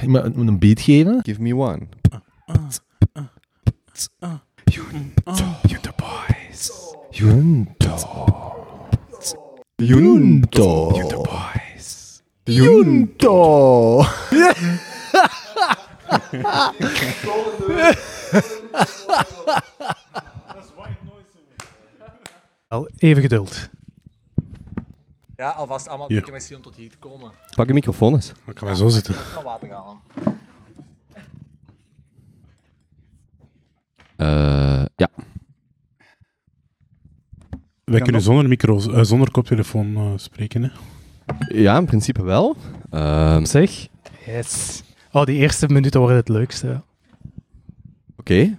ik moet moet een beat geven. Give me one. Junto Boys. Junto. Junto. Junto Boys. Junto. Wel, even geduld. Ja, alvast allemaal dikke mensen om tot hier te komen. Pak de microfoon eens. Dan kan maar zo zitten. Ik ga water halen. Eh, ja. Wij kunnen zonder, micro, eh, zonder koptelefoon eh, spreken. Hè. Ja, in principe wel. Ehm, Zeg. Yes. Oh, die eerste minuten worden het leukste. ja. Oké.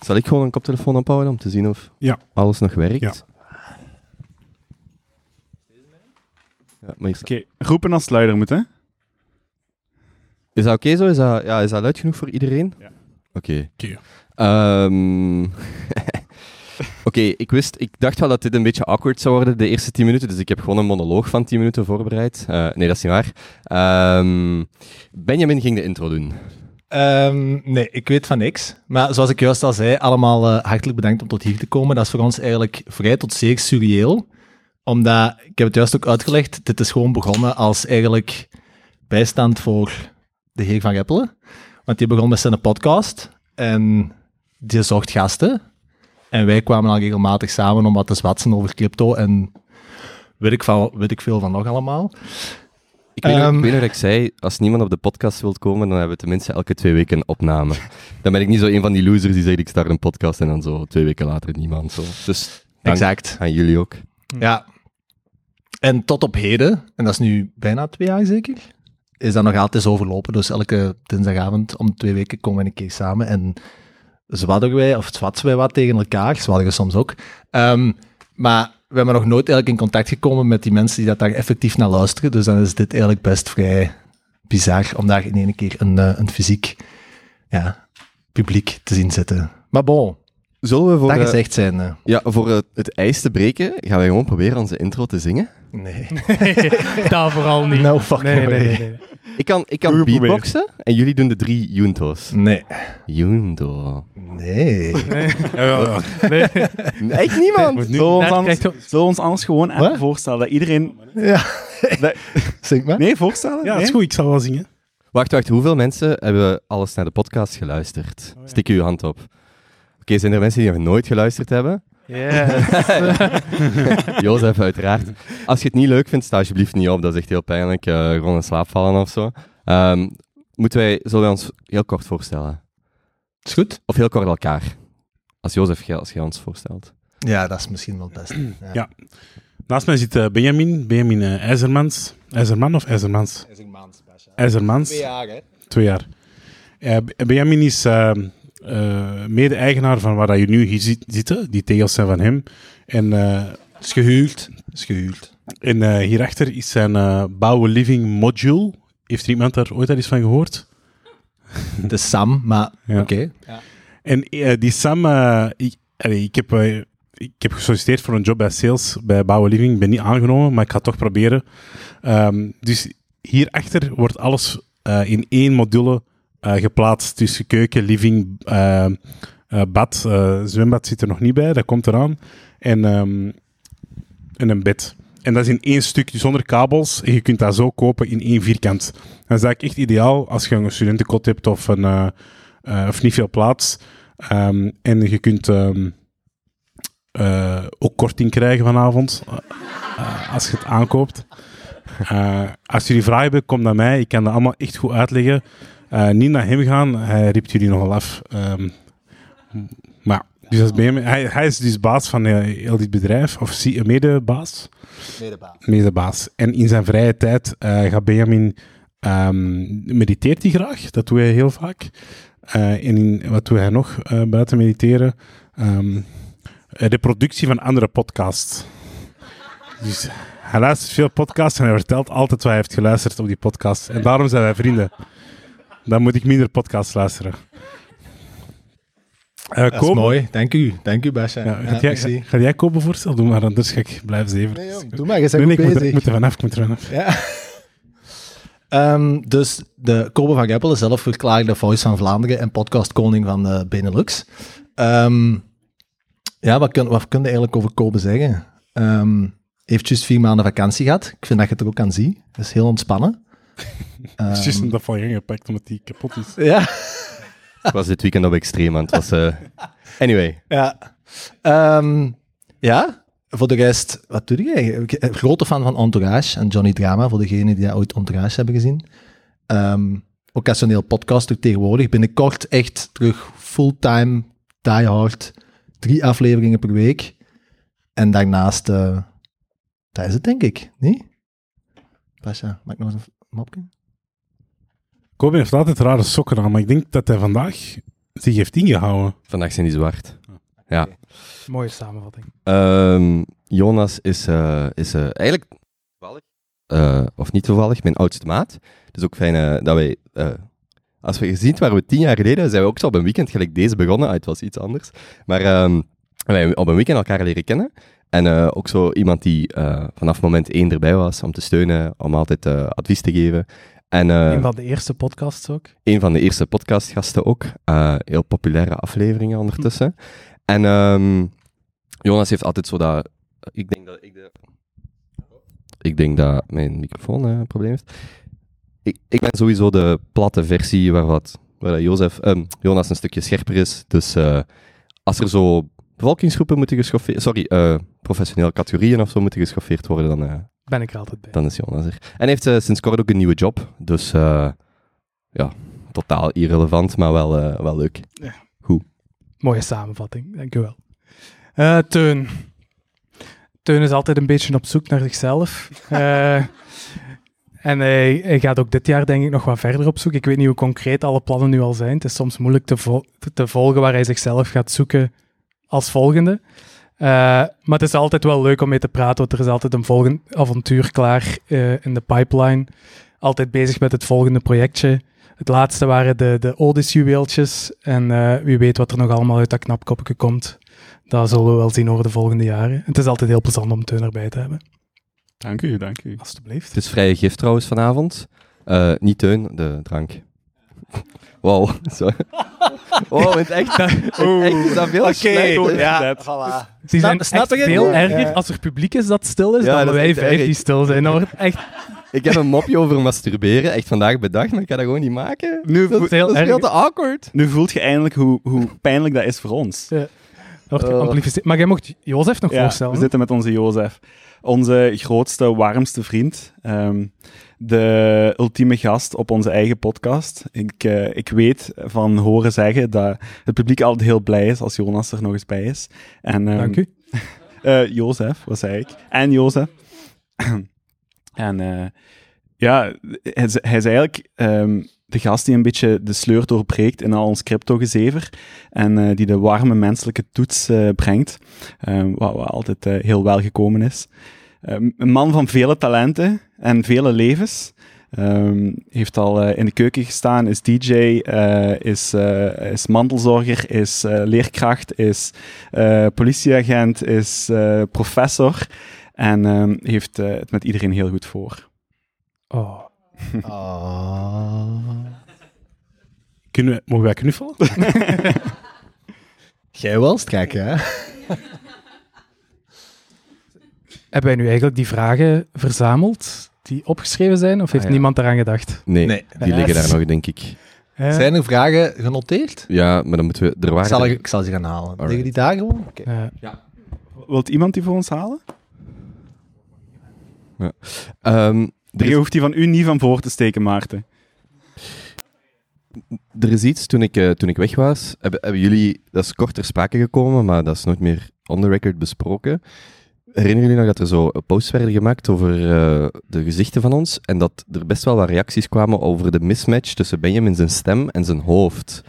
Zal ik gewoon een koptelefoon ophouden om te zien of Ja. alles nog werkt? Ja. Ja, maar is, Oké, roepen als het luider moet, hè? is dat oké zo? Is dat, ja, is dat luid genoeg voor iedereen? Ja. Oké. Oké. Ehm, Oké, ik wist, ik dacht wel dat dit een beetje awkward zou worden, de eerste 10 minuten. Dus ik heb gewoon een monoloog van 10 minuten voorbereid. Eh, nee, dat is niet waar. Ehm, Benjamin ging de intro doen. Ehm, nee, ik weet van niks. Maar zoals ik juist al zei, allemaal eh, hartelijk bedankt om tot hier te komen. Dat is voor ons eigenlijk vrij tot zeer surreëel. Omdat, ik heb het juist ook uitgelegd, dit is gewoon begonnen als eigenlijk bijstand voor de heer Van Reppelen. Want die begon met zijn podcast en die zocht gasten. En wij kwamen al regelmatig samen om wat te zwatsen over crypto en weet ik, van, weet ik veel van nog allemaal. Ik weet, nog- Ehm. ik weet nog dat ik zei, als niemand op de podcast wilt komen, dan hebben we tenminste elke twee weken een opname. Dan ben ik niet zo een van die losers die zegt, ik start een podcast en dan zo twee weken later niemand. Zo. Dus dank Exact. aan jullie ook. Ja. En tot op heden, en dat is nu bijna twee jaar zeker, is dat nog altijd zo verlopen. Dus elke dinsdagavond om twee weken komen we een keer samen en zwadderen wij, of zwatsen wij wat tegen elkaar, zwadderen soms ook. Ehm, maar we hebben nog nooit eigenlijk in contact gekomen met die mensen die dat daar effectief naar luisteren. Dus dan is dit eigenlijk best vrij bizar om daar in één keer een, eh, een fysiek ja, publiek te zien zitten. Maar bon, Zullen we voor, dat eh, gezegd zijn... eh, ja, voor eh, het ijs te breken, gaan wij gewoon proberen onze intro te zingen? nee. Daar vooral niet. No fucking nee, nee, Nou, nee, way. nee, nee. Ik kan, ik kan Goed geprobeerd. beatboxen en jullie doen de drie juntos. Nee. Junto. Nee. Nee. Echt niemand? Zullen we ons, Daar anders, krijgt je- zullen we ons anders gewoon even Wat? voorstellen? Dat iedereen... Ja. Nee. Zeg maar. Nee, voorstellen? Ja, dat is Nee? goed. Ik zal wel zingen. Wacht, wacht. Hoeveel mensen hebben alles naar de podcast geluisterd? Stik uw hand op. Oké, zijn er mensen die nog nooit geluisterd hebben? Yes. Jozef, uiteraard. Als je het niet leuk vindt, sta alsjeblieft niet op. Dat is echt heel pijnlijk. Eh, gewoon in slaap vallen of zo. Ehm, moeten wij, zullen wij ons heel kort voorstellen? Is goed? Of heel kort elkaar? Als Jozef, jij- als jij ons voorstelt. Ja, dat is misschien wel het beste. Ja. Ja. Naast mij zit eh, Benjamin. Benjamin eh, IJzermans. IJzerman of IJzermans? is een maand, Sebastian. IJzermans. jaar, hè? Twee jaar. Eh, B- Benjamin is eh, eh, mede-eigenaar van waar dat je nu hier ziet zitten. Die tegels zijn van hem. En, eh, Is gehuurd. Is gehuurd. en eh, hierachter is zijn eh, Bouwen Living Module. Heeft er iemand daar ooit al eens van gehoord? Het is Sam, maar Ja. oké. En eh, die Sam, eh, ik, allee, ik, heb, eh, ik heb gesolliciteerd voor een job bij sales bij Bouwen Living. Ik ben niet aangenomen, maar ik ga het toch proberen. Ehm, dus hierachter wordt alles eh, in één module eh, geplaatst. Dus keuken, living, eh, eh, bad. eh, zwembad zit er nog niet bij, dat komt eraan. En, ehm, en een bed. En dat is in één stuk, dus zonder kabels. En je kunt dat zo kopen in één vierkant. Dat is eigenlijk echt ideaal als je een studentenkot hebt of, een, eh, eh, of niet veel plaats. Ehm, en je kunt ehm, eh, ook korting krijgen vanavond eh, eh, als je het aankoopt. Eh, als jullie vragen hebben, kom naar mij. Ik kan dat allemaal echt goed uitleggen. Eh, niet naar hem gaan, hij ript jullie nogal af. Ehm, maar dus dat is bij hem. Hij, hij is dus baas van eh, heel dit bedrijf, of zie- medebaas medebaas. En in zijn vrije tijd eh, gaat Benjamin, ehm, mediteert hij graag, dat doet hij heel vaak. Eh, en in- wat doet hij nog eh, buiten mediteren? Ehm, eh, de productie van andere podcasts. Dus hij luistert veel podcasts en hij vertelt altijd wat hij heeft geluisterd op die podcast. En daarom zijn wij vrienden. Dan moet ik minder podcasts luisteren. Eh, Dat is kopen- mooi. Dank u. Dank u, Basja. Ja, gaat, jij, merci. ga jij kopen voorstel doen, maar anders ga ik blijven zeven. Doe maar, je bent Nee, nee, ik, goed moet er, bezig. ik moet er vanaf, ik moet er vanaf. Ja. Ehm, dus de Kobe van Geppel is zelf verklaarde voice van Vlaanderen en podcastkoning van eh, Benelux. Ehm, ja, wat kun, wat kun je eigenlijk over Kobe zeggen? Ehm heeft juist vier maanden vakantie gehad. Ik vind dat je het er ook aan ziet. Dat is heel ontspannen. Het is juist Ehm, dat van gang gepakt omdat die kapot is. ja. Ik was dit weekend op extreem aan het was. eh, Anyway, Ja. Ehm, ja, voor de rest, wat doe jij? Ik ben grote fan van Entourage en Johnny Drama, voor degenen die ooit Entourage hebben gezien. Ehm occasioneel podcaster tegenwoordig. Binnenkort echt terug fulltime, die hard. Drie afleveringen per week. En daarnaast, eh dat is het denk ik, niet? Pasha, maak nog eens een mopje. Kobe heeft altijd rare sokken aan, maar ik denk dat hij vandaag zich heeft ingehouden. vandaag zijn die zwart. Ja. Mooie samenvatting. Ehm, Jonas is, eh, is eh, eigenlijk toevallig, eh, of niet toevallig, mijn oudste maat. Het is ook fijn eh, dat wij, eh, als we gezien waren we tien jaar geleden, zijn we ook zo op een weekend gelijk deze begonnen. Ah, het was iets anders. Maar ehm, wij op een weekend elkaar leren kennen. En eh, ook zo iemand die eh, vanaf moment één erbij was om te steunen, om altijd eh, advies te geven. En, eh, Een van de eerste podcasts ook. een van de eerste podcastgasten ook. Eh, heel populaire afleveringen ondertussen. En ehm, Jonas heeft altijd zo dat... Ik denk dat ik de... Ik denk dat mijn microfoon eh, een probleem heeft. Ik, ik ben sowieso de platte versie waar, wat, waar dat Jozef, ehm, Jonas een stukje scherper is. Dus eh, als er zo bevolkingsgroepen moeten geschoffeerd... Sorry, eh, professionele categorieën of zo moeten geschoffeerd worden, dan, eh, Ben ik er altijd bij. dan is Jonas er. En hij heeft eh, sinds kort ook een nieuwe job. Dus eh, ja, totaal irrelevant, maar wel, eh, wel leuk. Mooie samenvatting, dankjewel. Eh Teun. Teun is altijd een beetje op zoek naar zichzelf. Eh, en hij, hij gaat ook dit jaar denk ik nog wat verder op zoek. Ik weet niet hoe concreet alle plannen nu al zijn. Het is soms moeilijk te, vol- te volgen waar hij zichzelf gaat zoeken als volgende. Eh, maar het is altijd wel leuk om mee te praten, want er is altijd een volgend avontuur klaar eh, in de pipeline. Altijd bezig met het volgende projectje. Het laatste waren de, de Odyssey-juweeltjes. En eh, wie weet wat er nog allemaal uit dat knapkopje komt. Dat zullen we wel zien over de volgende jaren. Het is altijd heel plezant om Teun erbij te hebben. Dank u, dank u. Alsjeblieft. Het is vrije gift trouwens vanavond. Eh, niet teun, de drank. Wow, sorry. Wow, in het echt, in het echt is dat veel slechter. ja, Ze zijn Snap- snap echt ik het? veel Ja. erger Ja. als er publiek is dat stil is Ja, dan dat is wij echt vijf erg. die stil zijn. Dat wordt echt Ik heb een mopje over masturberen, echt vandaag bedacht, maar ik kan dat gewoon niet maken. Nu, Dat, vo- heel dat is veel erg. te awkward. nu voelt je eindelijk hoe, hoe pijnlijk dat is voor ons. dat wordt geamplificeerd. Maar jij mocht Jozef nog Ja, voorstellen. we zitten met onze Jozef. Onze grootste, warmste vriend. Ehm, de ultieme gast op onze eigen podcast. Ik, eh, ik weet van horen zeggen dat het publiek altijd heel blij is als Jonas er nog eens bij is. En, ehm, Dank u. eh, Jozef, wat zei ik? En Jozef. en eh, ja, hij, is- hij is eigenlijk ehm, de gast die een beetje de sleur doorbreekt in al ons cryptogezever en eh, die de warme menselijke toets eh, brengt, ehm, wat, wat altijd eh, heel wel gekomen is. Ehm, een man van vele talenten en vele levens. Ehm, heeft al eh, in de keuken gestaan, is DJ, eh, is, eh, is mantelzorger, is eh, leerkracht, is eh, politieagent, is eh, professor en ehm, heeft eh, het met iedereen heel goed voor. Oh. Ah. Kunnen we, mogen wij knuffelen? Jij wel, strak, hè? Hebben wij nu eigenlijk die vragen verzameld die opgeschreven zijn? Of heeft Ah, ja. niemand daaraan gedacht? Nee, Nee. die liggen daar nog, denk ik. Eh, Zijn er vragen genoteerd? Ja, maar dan moeten we... Er Ik waren zal, er- ik zal ze gaan halen. Alright. Liggen die daar gewoon? Oké. eh, Wilt iemand die voor ons halen? Ehm, er, Je is, hoeft die van u niet van voor te steken, Maarten. er is iets, toen ik, eh, toen ik weg was, hebben, hebben jullie... Dat is kort ter sprake gekomen, maar dat is nooit meer on the record besproken. Herinneren jullie nog dat er zo posts werden gemaakt over eh, de gezichten van ons en dat er best wel wat reacties kwamen over de mismatch tussen Benjamin zijn stem en zijn hoofd?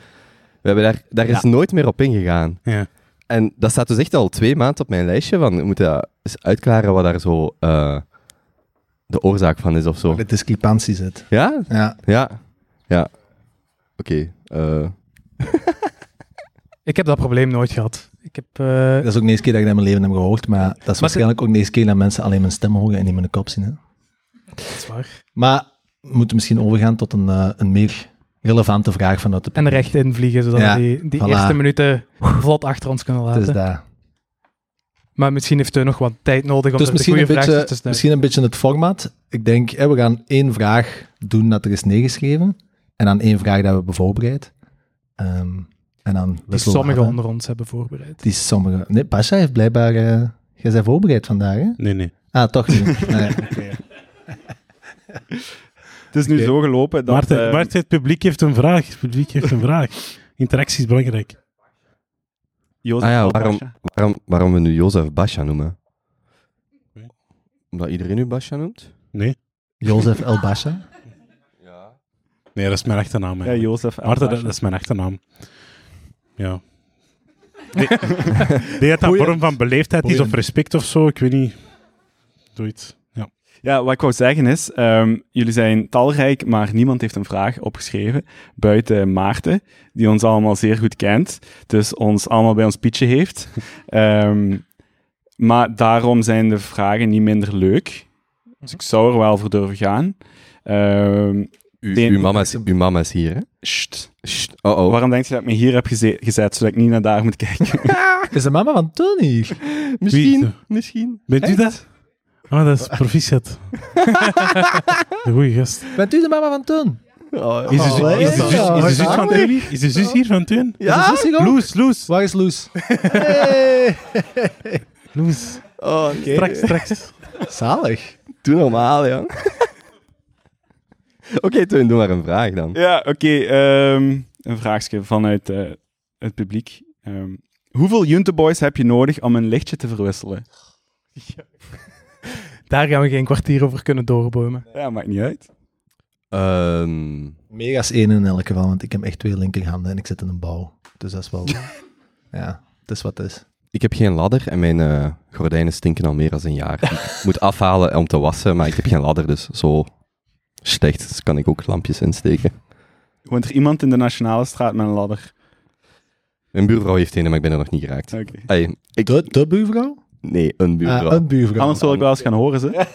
We hebben daar, daar is nooit meer op ingegaan. Ja. En dat staat dus echt al twee maanden op mijn lijstje van, we moeten dat eens uitklaren wat daar zo eh, de oorzaak van is of zo. De discrepantie zit. Ja, Ja. Ja, ja. Oké. eh, ik heb dat probleem nooit gehad. Ik heb... eh, Dat is ook de eerste keer dat ik dat in mijn leven heb gehoord, maar dat is waarschijnlijk ook de eerste keer dat mensen alleen mijn stem horen en niet mijn kop zien. Hè? dat is waar. Maar moeten misschien overgaan tot een, eh, een meer relevante vraag vanuit de En recht invliegen, zodat Ja, we die, die voilà. eerste minuten vlot achter ons kunnen Het is laten. daar. Maar misschien heeft Teun nog wat tijd nodig om Dus er de misschien goede een, vraagjes beetje, te stellen. misschien een beetje het formaat. Ik denk, hè, we gaan één vraag doen dat er is neergeschreven. En dan één vraag dat we hebben voorbereid. Ehm, en dan Die wisselen we sommigen af, hè. onder ons hebben voorbereid. Die sommige. Nee, Pasha heeft blijkbaar. eh jij bent voorbereid vandaag, hè? Nee, nee. Ah, toch niet. Nee. Het is nu zo gelopen dat... Maarten, eh, Maarten, het publiek heeft een vraag. Het publiek heeft een vraag. Interactie is belangrijk. Jozef Ah ja, Albasha. waarom- Waarom, waarom we nu Jozef Basha noemen? Omdat iedereen nu Basha noemt? Nee? Jozef El Basha. Ja. Nee, dat is mijn achternaam. Ja, eigenlijk. Jozef Maarten, dat, Albasha. dat is mijn achternaam. Ja. Nee, nee, dat dat een vorm van beleefdheid is of Boeiend. respect of zo, ik weet niet. Zoiets. Ja. Ja, wat ik wou zeggen is, ehm, jullie zijn talrijk, maar niemand heeft een vraag opgeschreven, buiten Maarten, die ons allemaal zeer goed kent, dus ons allemaal bij ons pitje heeft. Ehm, maar daarom zijn de vragen niet minder leuk. Dus ik zou er wel voor durven gaan. Ehm U, Nee. uw, mama is, uw mama is hier, hè? sst. Sst, Oh, oh. Waarom denk je dat ik me hier heb geze- gezet, zodat ik niet naar daar moet kijken? Ah, Is de mama van Tony hier? Misschien, Wie- misschien. Bent u dat? Ah, dat is proficiat. de goede gast. Bent u de mama van Toon? Is de, zu- Oh, is de ja. zus, is de zus Ja. van Tony? Is de zus hier van Teun? Ja? Is hij ook? Loes, Loes. Waar is Loes? Loes. Oh, Straks, straks. Zalig. Doe normaal, ja. Oké, Teun, doe maar een vraag dan. Ja, oké. ehm, een vraagje vanuit eh, het publiek. Ehm, hoeveel Junteboys heb je nodig om een lichtje te verwisselen? Daar gaan we geen kwartier over kunnen doorbomen. Ja, maakt niet uit. Ehm, Mega's één in elk geval, want ik heb echt twee linkerhanden en ik zit in een bouw. Dus dat is wel... ja, het is wat het is. ik heb geen ladder en mijn eh, gordijnen stinken al meer dan een jaar. ik moet afhalen om te wassen, maar ik heb geen ladder, dus zo slecht dus kan ik ook lampjes insteken. Woont er iemand in de Nationale Straat met een ladder? Mijn buurvrouw heeft een, maar ik ben er nog niet geraakt. Oké. Ai, ik, De, de buurvrouw? nee, een buurvrouw. Ah, een buurvrouw. Anders wil ik wel eens gaan horen, ze.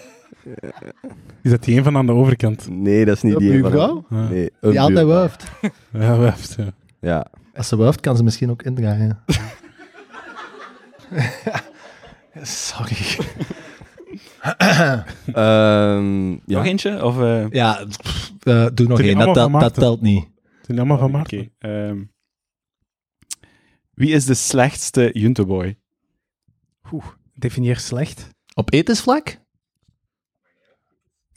Is dat die een van aan de overkant? Nee, dat is niet Een die. buurvrouw? Ah, Nee, een Die altijd buurvrouw. wuift. Ja, we hebben het, ja. Ja. Als ze wuift, kan ze misschien ook indraaien. Sorry. Ehm, ja. Nog eentje? Of, eh, Ja, pff, eh, doe nog Vind je één. allemaal Dat, van dat, dat Maarten? telt niet. Het zijn allemaal van Maarten. oké, ehm, wie is de slechtste Junteboy? Definieer slecht. Op etensvlak?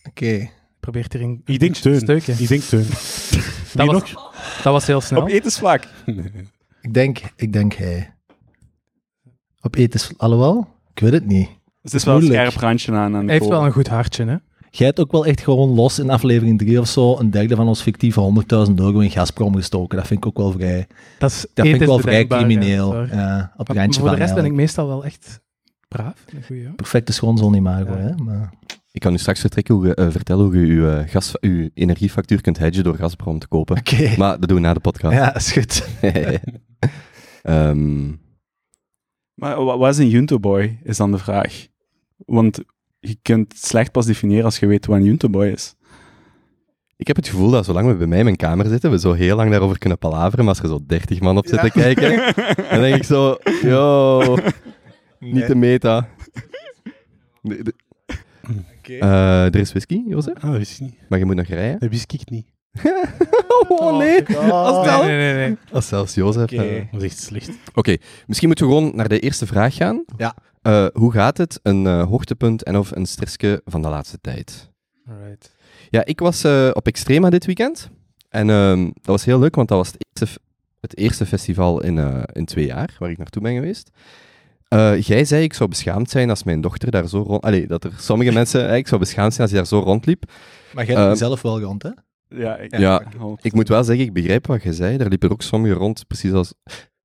Oké. Probeert hier een Ik denk een Teun. steukje. Ik denk Teun. Dat Wie was, dat was heel snel. Op etensvlak. Nee. Ik denk, ik denk hij. Op etensvlak. Alhoewel, ik weet het niet. Dus het is wel een Moeilijk. scherp randje aan. aan de Hij heeft kool. wel een goed hartje, hè? Jij hebt ook wel echt gewoon los in aflevering 3 of zo een derde van ons fictieve 100.000 euro in Gazprom gestoken. Dat vind ik ook wel vrij, Dat is, dat vind ik ethisch wel vrij bedenkbaar, ja, crimineel. sorry. Ja, op het Maar randje voor de van rest ben ik eigenlijk. meestal wel echt braaf. Een goeie, ja. Perfecte schoonzonimago, Ja. hè. Maar, Ik kan u straks vertrekken hoe, je, eh, vertellen hoe je uw, eh, gas, uw energiefactuur kunt hedgen door Gazprom te kopen. Oké. Maar dat doen we na de podcast. Ja, is goed. Ehm, Maar wa- wat is een Junteboy, is dan de vraag. Want je kunt slecht pas definiëren als je weet wat een Junteboy is. ik heb het gevoel dat zolang we bij mij in mijn kamer zitten, we zo heel lang daarover kunnen palaveren. Maar als er zo 30 man op zit te kijken, dan denk ik zo: yo, niet de meta. Nee, de- Eh, er is whisky, Jozef, Ah, dat wist ik niet. maar je moet nog rijden. Dat wist ik niet. Oh nee, als, Nee, zelfs- nee, nee. nee. als zelfs Jozef. eh, Dat was echt slecht. Oké, misschien moeten we gewoon naar de eerste vraag gaan. Ja. Eh, hoe gaat het? Een eh, hoogtepunt en of een stressje van de laatste tijd? Alright. Ja, ik was eh, op Extrema dit weekend. En ehm, dat was heel leuk, want dat was het eerste, f- het eerste festival in, eh, in twee jaar waar ik naartoe ben geweest. Eh, jij zei ik zou beschaamd zijn als mijn dochter daar zo rond... Allee, dat er sommige mensen... eh, ik zou beschaamd zijn als hij daar zo rondliep. Maar jij hebt Eh, zelf wel rond, hè? Ja, ik, Ja, Ik moet wel zeggen, ik begrijp wat je zei. Daar liepen er ook sommigen rond, precies als...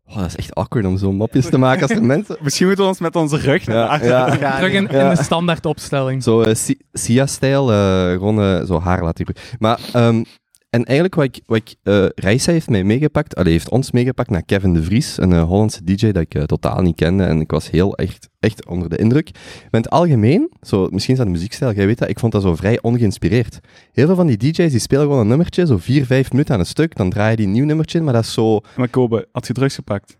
Oh, dat is echt awkward om zo'n mopjes te maken als er mensen... Misschien moeten we ons met onze rug naar achteren gaan. Terug in, in Ja. de standaardopstelling. Zo eh, Si- Sia-stijl, eh, gewoon eh, zo haar laten groeien. Maar ehm, En eigenlijk wat ik, wat ik eh, Reisa heeft mij meegepakt, allee, heeft ons meegepakt naar Kevin de Vries, een eh, Hollandse DJ dat ik eh, totaal niet kende en ik was heel echt, echt onder de indruk. Maar in het algemeen, zo, misschien is dat de muziekstijl, jij weet dat, ik vond dat zo vrij ongeïnspireerd. Heel veel van die DJ's die spelen gewoon een nummertje, zo vier, vijf minuten aan een stuk, dan draai je die een nieuw nummertje in, maar dat is zo... Maar Kobe, had je drugs gepakt?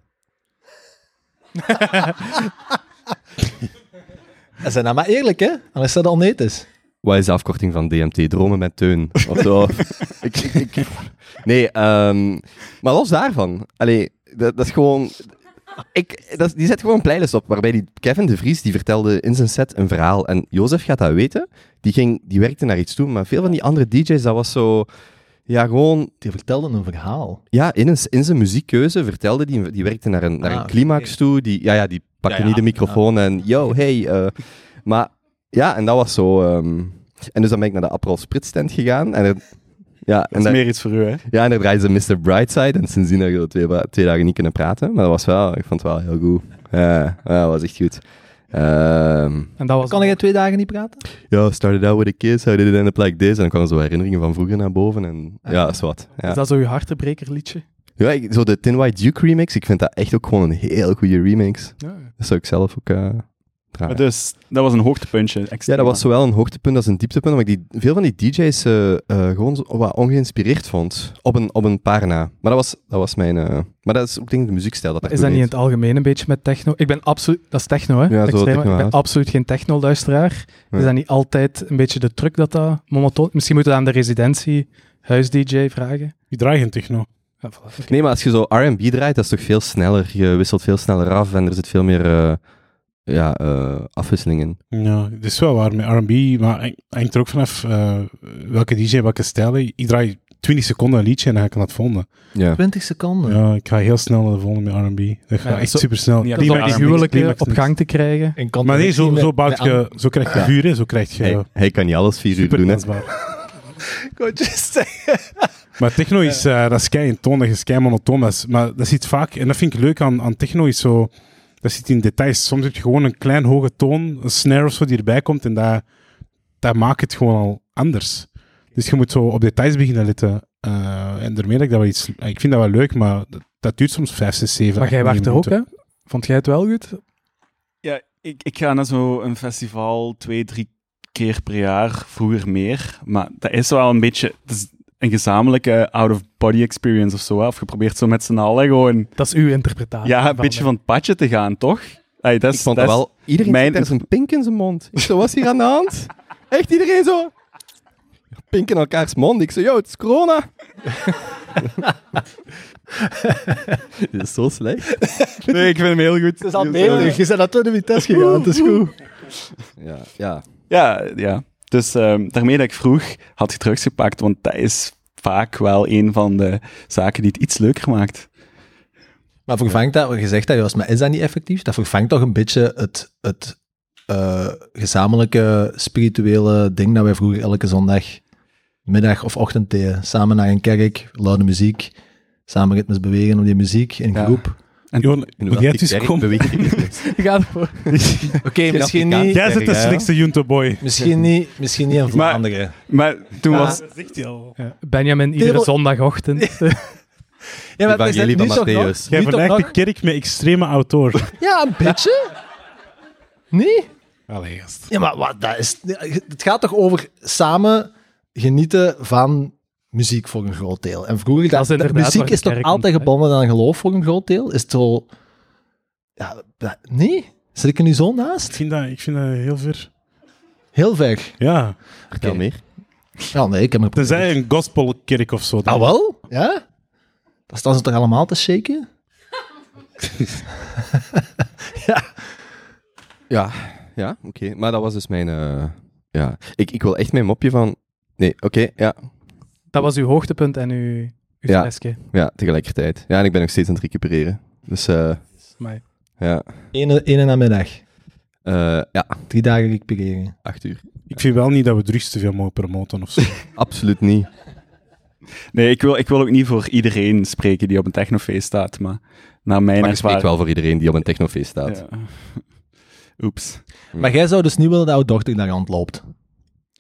En zijn nou maar eerlijk, hè? Anders is dat al niet is. Wat is de afkorting van DMT? Dromen met Teun. Of zo. ik, ik, nee, ehm, maar los daarvan. Allee, dat, dat is gewoon... Ik, dat, is- die zet gewoon een playlist op, waarbij die Kevin de Vries die vertelde in zijn set een verhaal. En Jozef gaat dat weten. Die, ging, die werkte naar iets toe, maar veel van die andere DJ's, dat was zo... Ja, gewoon... Die vertelden een verhaal. Ja, in, een, in zijn muziekkeuze vertelde die... Die werkte naar een, naar Ah, een climax toe. Die, ja, ja, die pakte Ja, Ah. ja. niet de microfoon en... Yo, hey... eh, maar ja, en dat was zo... ehm, en dus dan ben ik naar de Aperol Spritz tent gegaan. En er, ja, Dat en is daar, meer iets voor u, hè? ja, en daar draaide ze Mr. Brightside. En sindsdien hebben we twee, twee dagen niet kunnen praten. Maar dat was wel... Ik vond het wel heel goed. Ja, ja, dat was echt goed. Ehm, En dat was Kan ik twee dagen niet praten? ja, started out with a kiss, how did it end up like this? En dan kwamen zo herinneringen van vroeger naar boven. En ja, dat is wat. Ja. Is dat zo je hartebrekerliedje? Ja, ik- zo de Tin White Duke remix, ik vind dat echt ook gewoon een heel goede remix. Ja. Dat zou ik zelf ook eh draaien. Maar dus, dat was een hoogtepuntje. ja, extreem. dat was zowel een hoogtepunt als een dieptepunt, omdat ik die, veel van die DJ's eh, eh, gewoon zo, wat ongeïnspireerd vond. Op een, op een paar na. Maar dat was, dat was mijn... eh, maar dat is ook denk ik de muziekstijl dat Is dat niet in het algemeen een beetje met techno? Ik ben absoluut, dat is techno, hè? Ja, zo Extreem, techno, ik ben ja. absoluut geen techno-luisteraar. Nee. Is dat niet altijd een beetje de truc dat dat monotoon... Misschien moeten we dat aan de residentie huis-dj vragen. Je draait geen techno. Ja, voilà. Oké. Nee, maar als je zo R&B draait, dat is toch veel sneller. Je wisselt veel sneller af en er zit veel meer eh, ja, eh, afwisseling in. Ja, dat is wel waar met RB, maar hang- hangt er ook vanaf eh, welke DJ, welke stijl. Ik draai 20 seconden een liedje en dan ga ik aan het volgende. Ja. 20 seconden. Ja, ik ga heel snel naar de volgende met RB. Dat gaat Ja, echt zo- super snel. Ja, Dat is om Climax die niks, huwelijken op gang te krijgen. In contradictie Maar nee, zo, met- zo, bouwt met je, zo krijg je Ja. vuren, zo krijg je Hij, hij kan niet alles vier uur super doen, hè. dansbaar. Ik wou juist zeggen. Maar techno is, eh dat is kei eentonig, dat is kei monotoon. Dat is- maar dat zit vaak, en dat vind ik leuk aan, aan techno, is zo, dat zit in details. Soms heb je gewoon een klein hoge toon, een snare of zo die erbij komt en dat, dat maakt het gewoon al anders. Dus je moet zo op details beginnen letten. Eh, en daarmee dat ik dat wel iets, ik vind dat wel leuk, maar dat, dat duurt soms vijf, zes, zeven, Maar jij acht, negen wacht er ook, minuten. hè? Vond jij het wel goed? Ja, ik, ik ga naar zo'n festival twee, drie keer per jaar, vroeger meer. Maar dat is wel een beetje dat is een gezamenlijke out-of-body experience of zo. Hè? Of geprobeerd zo met z'n allen gewoon Ah, Dat is uw interpretatie. eh, ja, een beetje van het padje te gaan, toch? Ay, dat is, ik vond dat dat is- wel... Iedereen mijn- zit daar zijn pink in zijn mond. Ik zo, was hier aan de hand? Echt iedereen zo... Pink in elkaars mond. Ik zo, yo, het is corona. Dit is zo slecht. Nee, ik vind hem heel goed. Het is al nederig. Je bent naar de Vitesse gegaan. Het is goed. Ja, ja. Ja, ja. Dus ehm, daarmee dat ik vroeg, had je drugs gepakt? Want dat is vaak wel een van de zaken die het iets leuker maakt. Maar vervangt dat, je zegt dat juist, maar is dat niet effectief? Dat vervangt toch een beetje het, het eh, gezamenlijke spirituele ding dat wij vroeger elke zondag middag of ochtend deden. Samen naar een kerk, luide muziek, samen ritmes bewegen op die muziek in Ja. groep. Johan, moet jij dus Inderdaad, komen? die kerk beweegt niet. Ga ervoor. Oké, misschien Afrikaans. niet, Jij zit de Ja. slinkste Junto boy. misschien niet, misschien niet in Vlaanderen. Maar toen was... Ja, Benjamin, iedere Tero- zondagochtend. Ja, maar het is Evangelie nu van toch nog- Matthäus. Jij vergelijkt de kerk met extreme auteur. Ja, een beetje. Nee? Allee, gast. Ja, maar wat, dat is, het gaat toch over samen genieten van muziek voor een groot deel. En vroeger, Dat is dat, dat- inderdaad waar muziek de is toch kerk altijd komt, hè? gebonden aan geloof voor een groot deel? Is het zo... Ja, dat- nee? Zit ik er nu zo Ik naast? vind dat, ik vind dat heel ver. Heel ver. Ja. Vertel Oké. meer. Ja, nee, ik heb... me- Tenzij een gospelkerk of zo. Ah, wel? Ja? Dan staan ze toch allemaal te shaken? Ja, ja oké. Maar dat was dus mijn... eh, ja. ik, ik wil echt mijn mopje van... Nee, oké, ja. Dat was uw hoogtepunt en uw, uw Ja. flesje. Ja, tegelijkertijd. Ja, en ik ben nog steeds aan het recupereren. Dus, eh, Maar ja. Eén ene namiddag. Eh, ja, Drie dagen recupereren. acht uur. Ik vind wel niet dat we drugs te veel mogen promoten of zo. Absoluut niet. Nee, ik wil, ik wil ook niet voor iedereen spreken die op een technofeest staat, maar naar mijn Maar je spreekt wel voor iedereen die op een technofeest staat. Ja. Oeps. Maar jij zou dus niet willen dat jouw dochter daar rondloopt.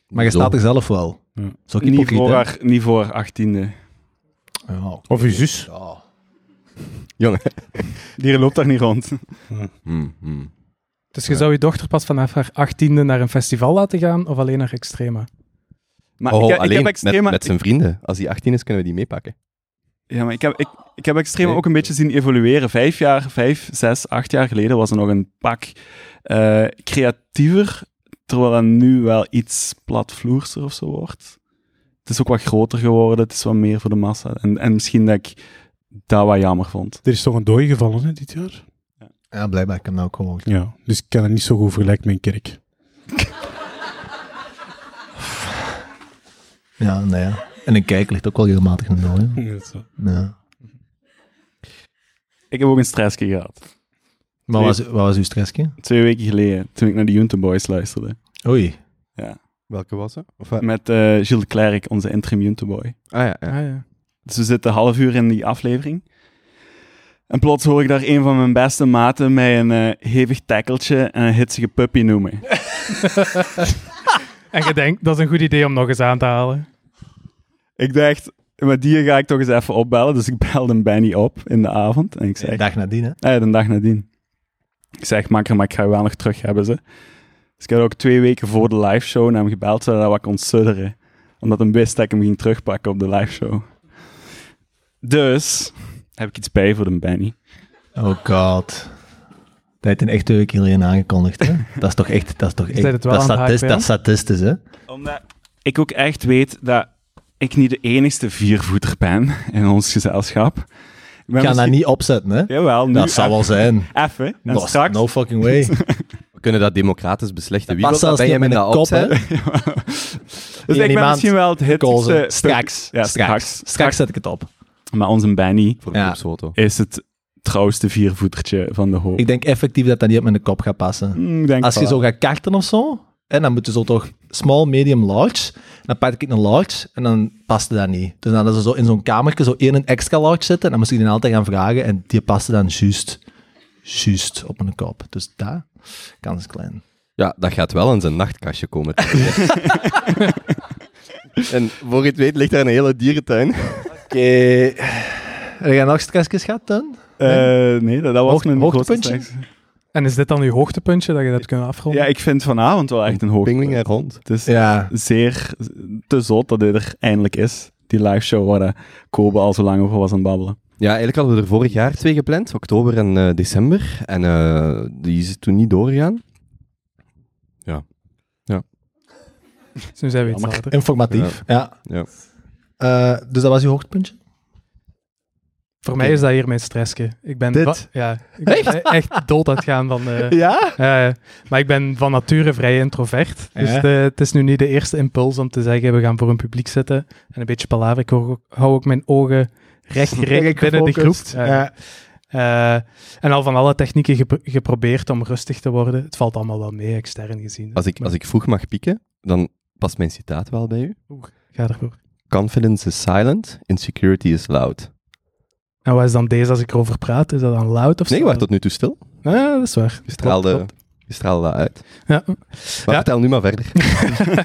Maar je Zo. staat er zelf wel. Ja. Zo Niet voor, haar, niet voor haar 18e. Ja, Of je zus. ja. Jongen. Die loopt daar niet rond. Hmm, hmm. Dus je zou je dochter pas vanaf haar 18e naar een festival laten gaan of alleen naar Extrema? Maar oh, ik, ik alleen heb met, extrema, met zijn vrienden. Als hij 18 is, kunnen we die meepakken. ja, maar ik heb, ik, ik heb extreem Nee. ook een beetje zien evolueren. Vijf jaar, vijf, zes, acht jaar geleden was er nog een pak eh, creatiever, terwijl dat nu wel iets platvloerser of zo wordt. Het is ook wat groter geworden, het is wat meer voor de massa. En, en misschien dat ik dat wat jammer vond. Er is toch een dooi gevallen hè, dit jaar? ja, blijkbaar. Ik heb dat ook gehoord. Ja, dus ik kan het niet zo goed vergelijken met een kerk. Ja, nou ja. En een kijk ligt ook wel regelmatig in de nooi. Ja. Ik heb ook een stressje gehad. Maar wat was, wat was uw stressje? Twee weken geleden, toen ik naar de Junten Boys luisterde. Oei. Welke was dat? Of, wat? Met eh, Gilles de Klerk, onze interim Junten Boy. ah ja, ja. Ah, ja. Dus we zitten een half uur in die aflevering. En plots hoor ik daar een van mijn beste maten mij een eh, hevig tackeltje en een hitsige puppy noemen. En je denkt, dat is een goed idee om nog eens aan te halen. ik dacht, met die ga ik toch eens even opbellen. Dus ik belde Benny op in de avond. En ik zei, Een dag nadien, hè? eh, de dag nadien. Ik zeg, makker, maar ik ga je wel nog terug hebben, ze. Dus ik had ook twee weken voor de liveshow naar hem gebeld, zodat hij wat kon sudderen. Omdat hij wist dat ik hem ging terugpakken op de liveshow. Dus, heb ik iets bij voor de Benny. Oh god. Dat heeft een echt twee weken geleden aangekondigd, hè? Dat is toch echt... Dat is toch echt... bent het wel dat, is aan het statist- haken, dat is statistisch, hè? Omdat ik ook echt weet dat ik niet de enigste viervoeter ben in ons gezelschap. Ik ben Ik ga dat misschien- niet opzetten, hè? Jawel, nu dat zal wel even- zijn. Even, en Dat is- straks. No fucking way. We kunnen dat democratisch beslechten. Wie wil Pas dat zelfs bij hem niet in met de een kop, hè? opzet? dus ik ben iemand misschien wel het Kozen. hitste... Straks. Ja, straks. straks. Straks zet ik het op. Maar onze Benny Voor Ja. een groepsfoto. is het trouwste viervoetertje van de hoop. Ik denk effectief dat dat niet op mijn kop gaat passen. Mm, ik denk Als je wel. zo gaat karten of zo, en dan moet je zo toch small, medium, large. Dan pak ik een large en dan paste dat niet. Dus dan hadden ze zo in zo'n kamertje zo één een extra large zitten. En dan moest ik die altijd gaan vragen. En die paste dan juist, juist op mijn kop. Dus daar, kans is klein. Ja, dat gaat wel in zijn nachtkastje komen. en voor je het weet ligt daar een hele dierentuin. Oké. Heb jij nog stressjes gehad dan? Eh, nee, dat, dat was Hoog- mijn grootste hoogtepuntje? stress. En is dit dan je hoogtepuntje dat je dat kunt afronden? Ja, ik vind vanavond wel echt een hoog. Pingling en rond. Het is Ja. zeer te zot dat dit er eindelijk is. Die live show waar eh, Kobe al zo lang over was aan het babbelen. Ja, eigenlijk hadden we er vorig jaar twee gepland, oktober en eh, december. En eh, die is toen niet doorgegaan. Dus nu zijn we iets Jammer. later. Informatief. Ja. Ja. Eh, dus dat was je hoogtepuntje? Voor mij is dat hier mijn stressje. Ik ben Dit? wa- ja, ik ben echt? dood aan het gaan van... eh, Ja? eh, maar ik ben van nature vrij introvert. Dus Ja. de- het is nu niet de eerste impuls om te zeggen, we gaan voor een publiek zitten. En een beetje palaver. Ik hou ook, hou ook mijn ogen recht gericht binnen de groep. gefocust, Ja. Eh, en al van alle technieken gep- geprobeerd om rustig te worden. Het valt allemaal wel mee, extern gezien. Als ik, als ik vroeg mag pieken, dan past mijn citaat wel bij u. Ga ervoor. Confidence is silent, insecurity is loud. En wat is dan deze als ik erover praat? Is dat dan loud of Nee, zo? je was tot nu toe stil. Ah, dat is waar. Je straalde, Klopt, je straalde dat uit. Ja. Maar Ja. vertel nu maar verder.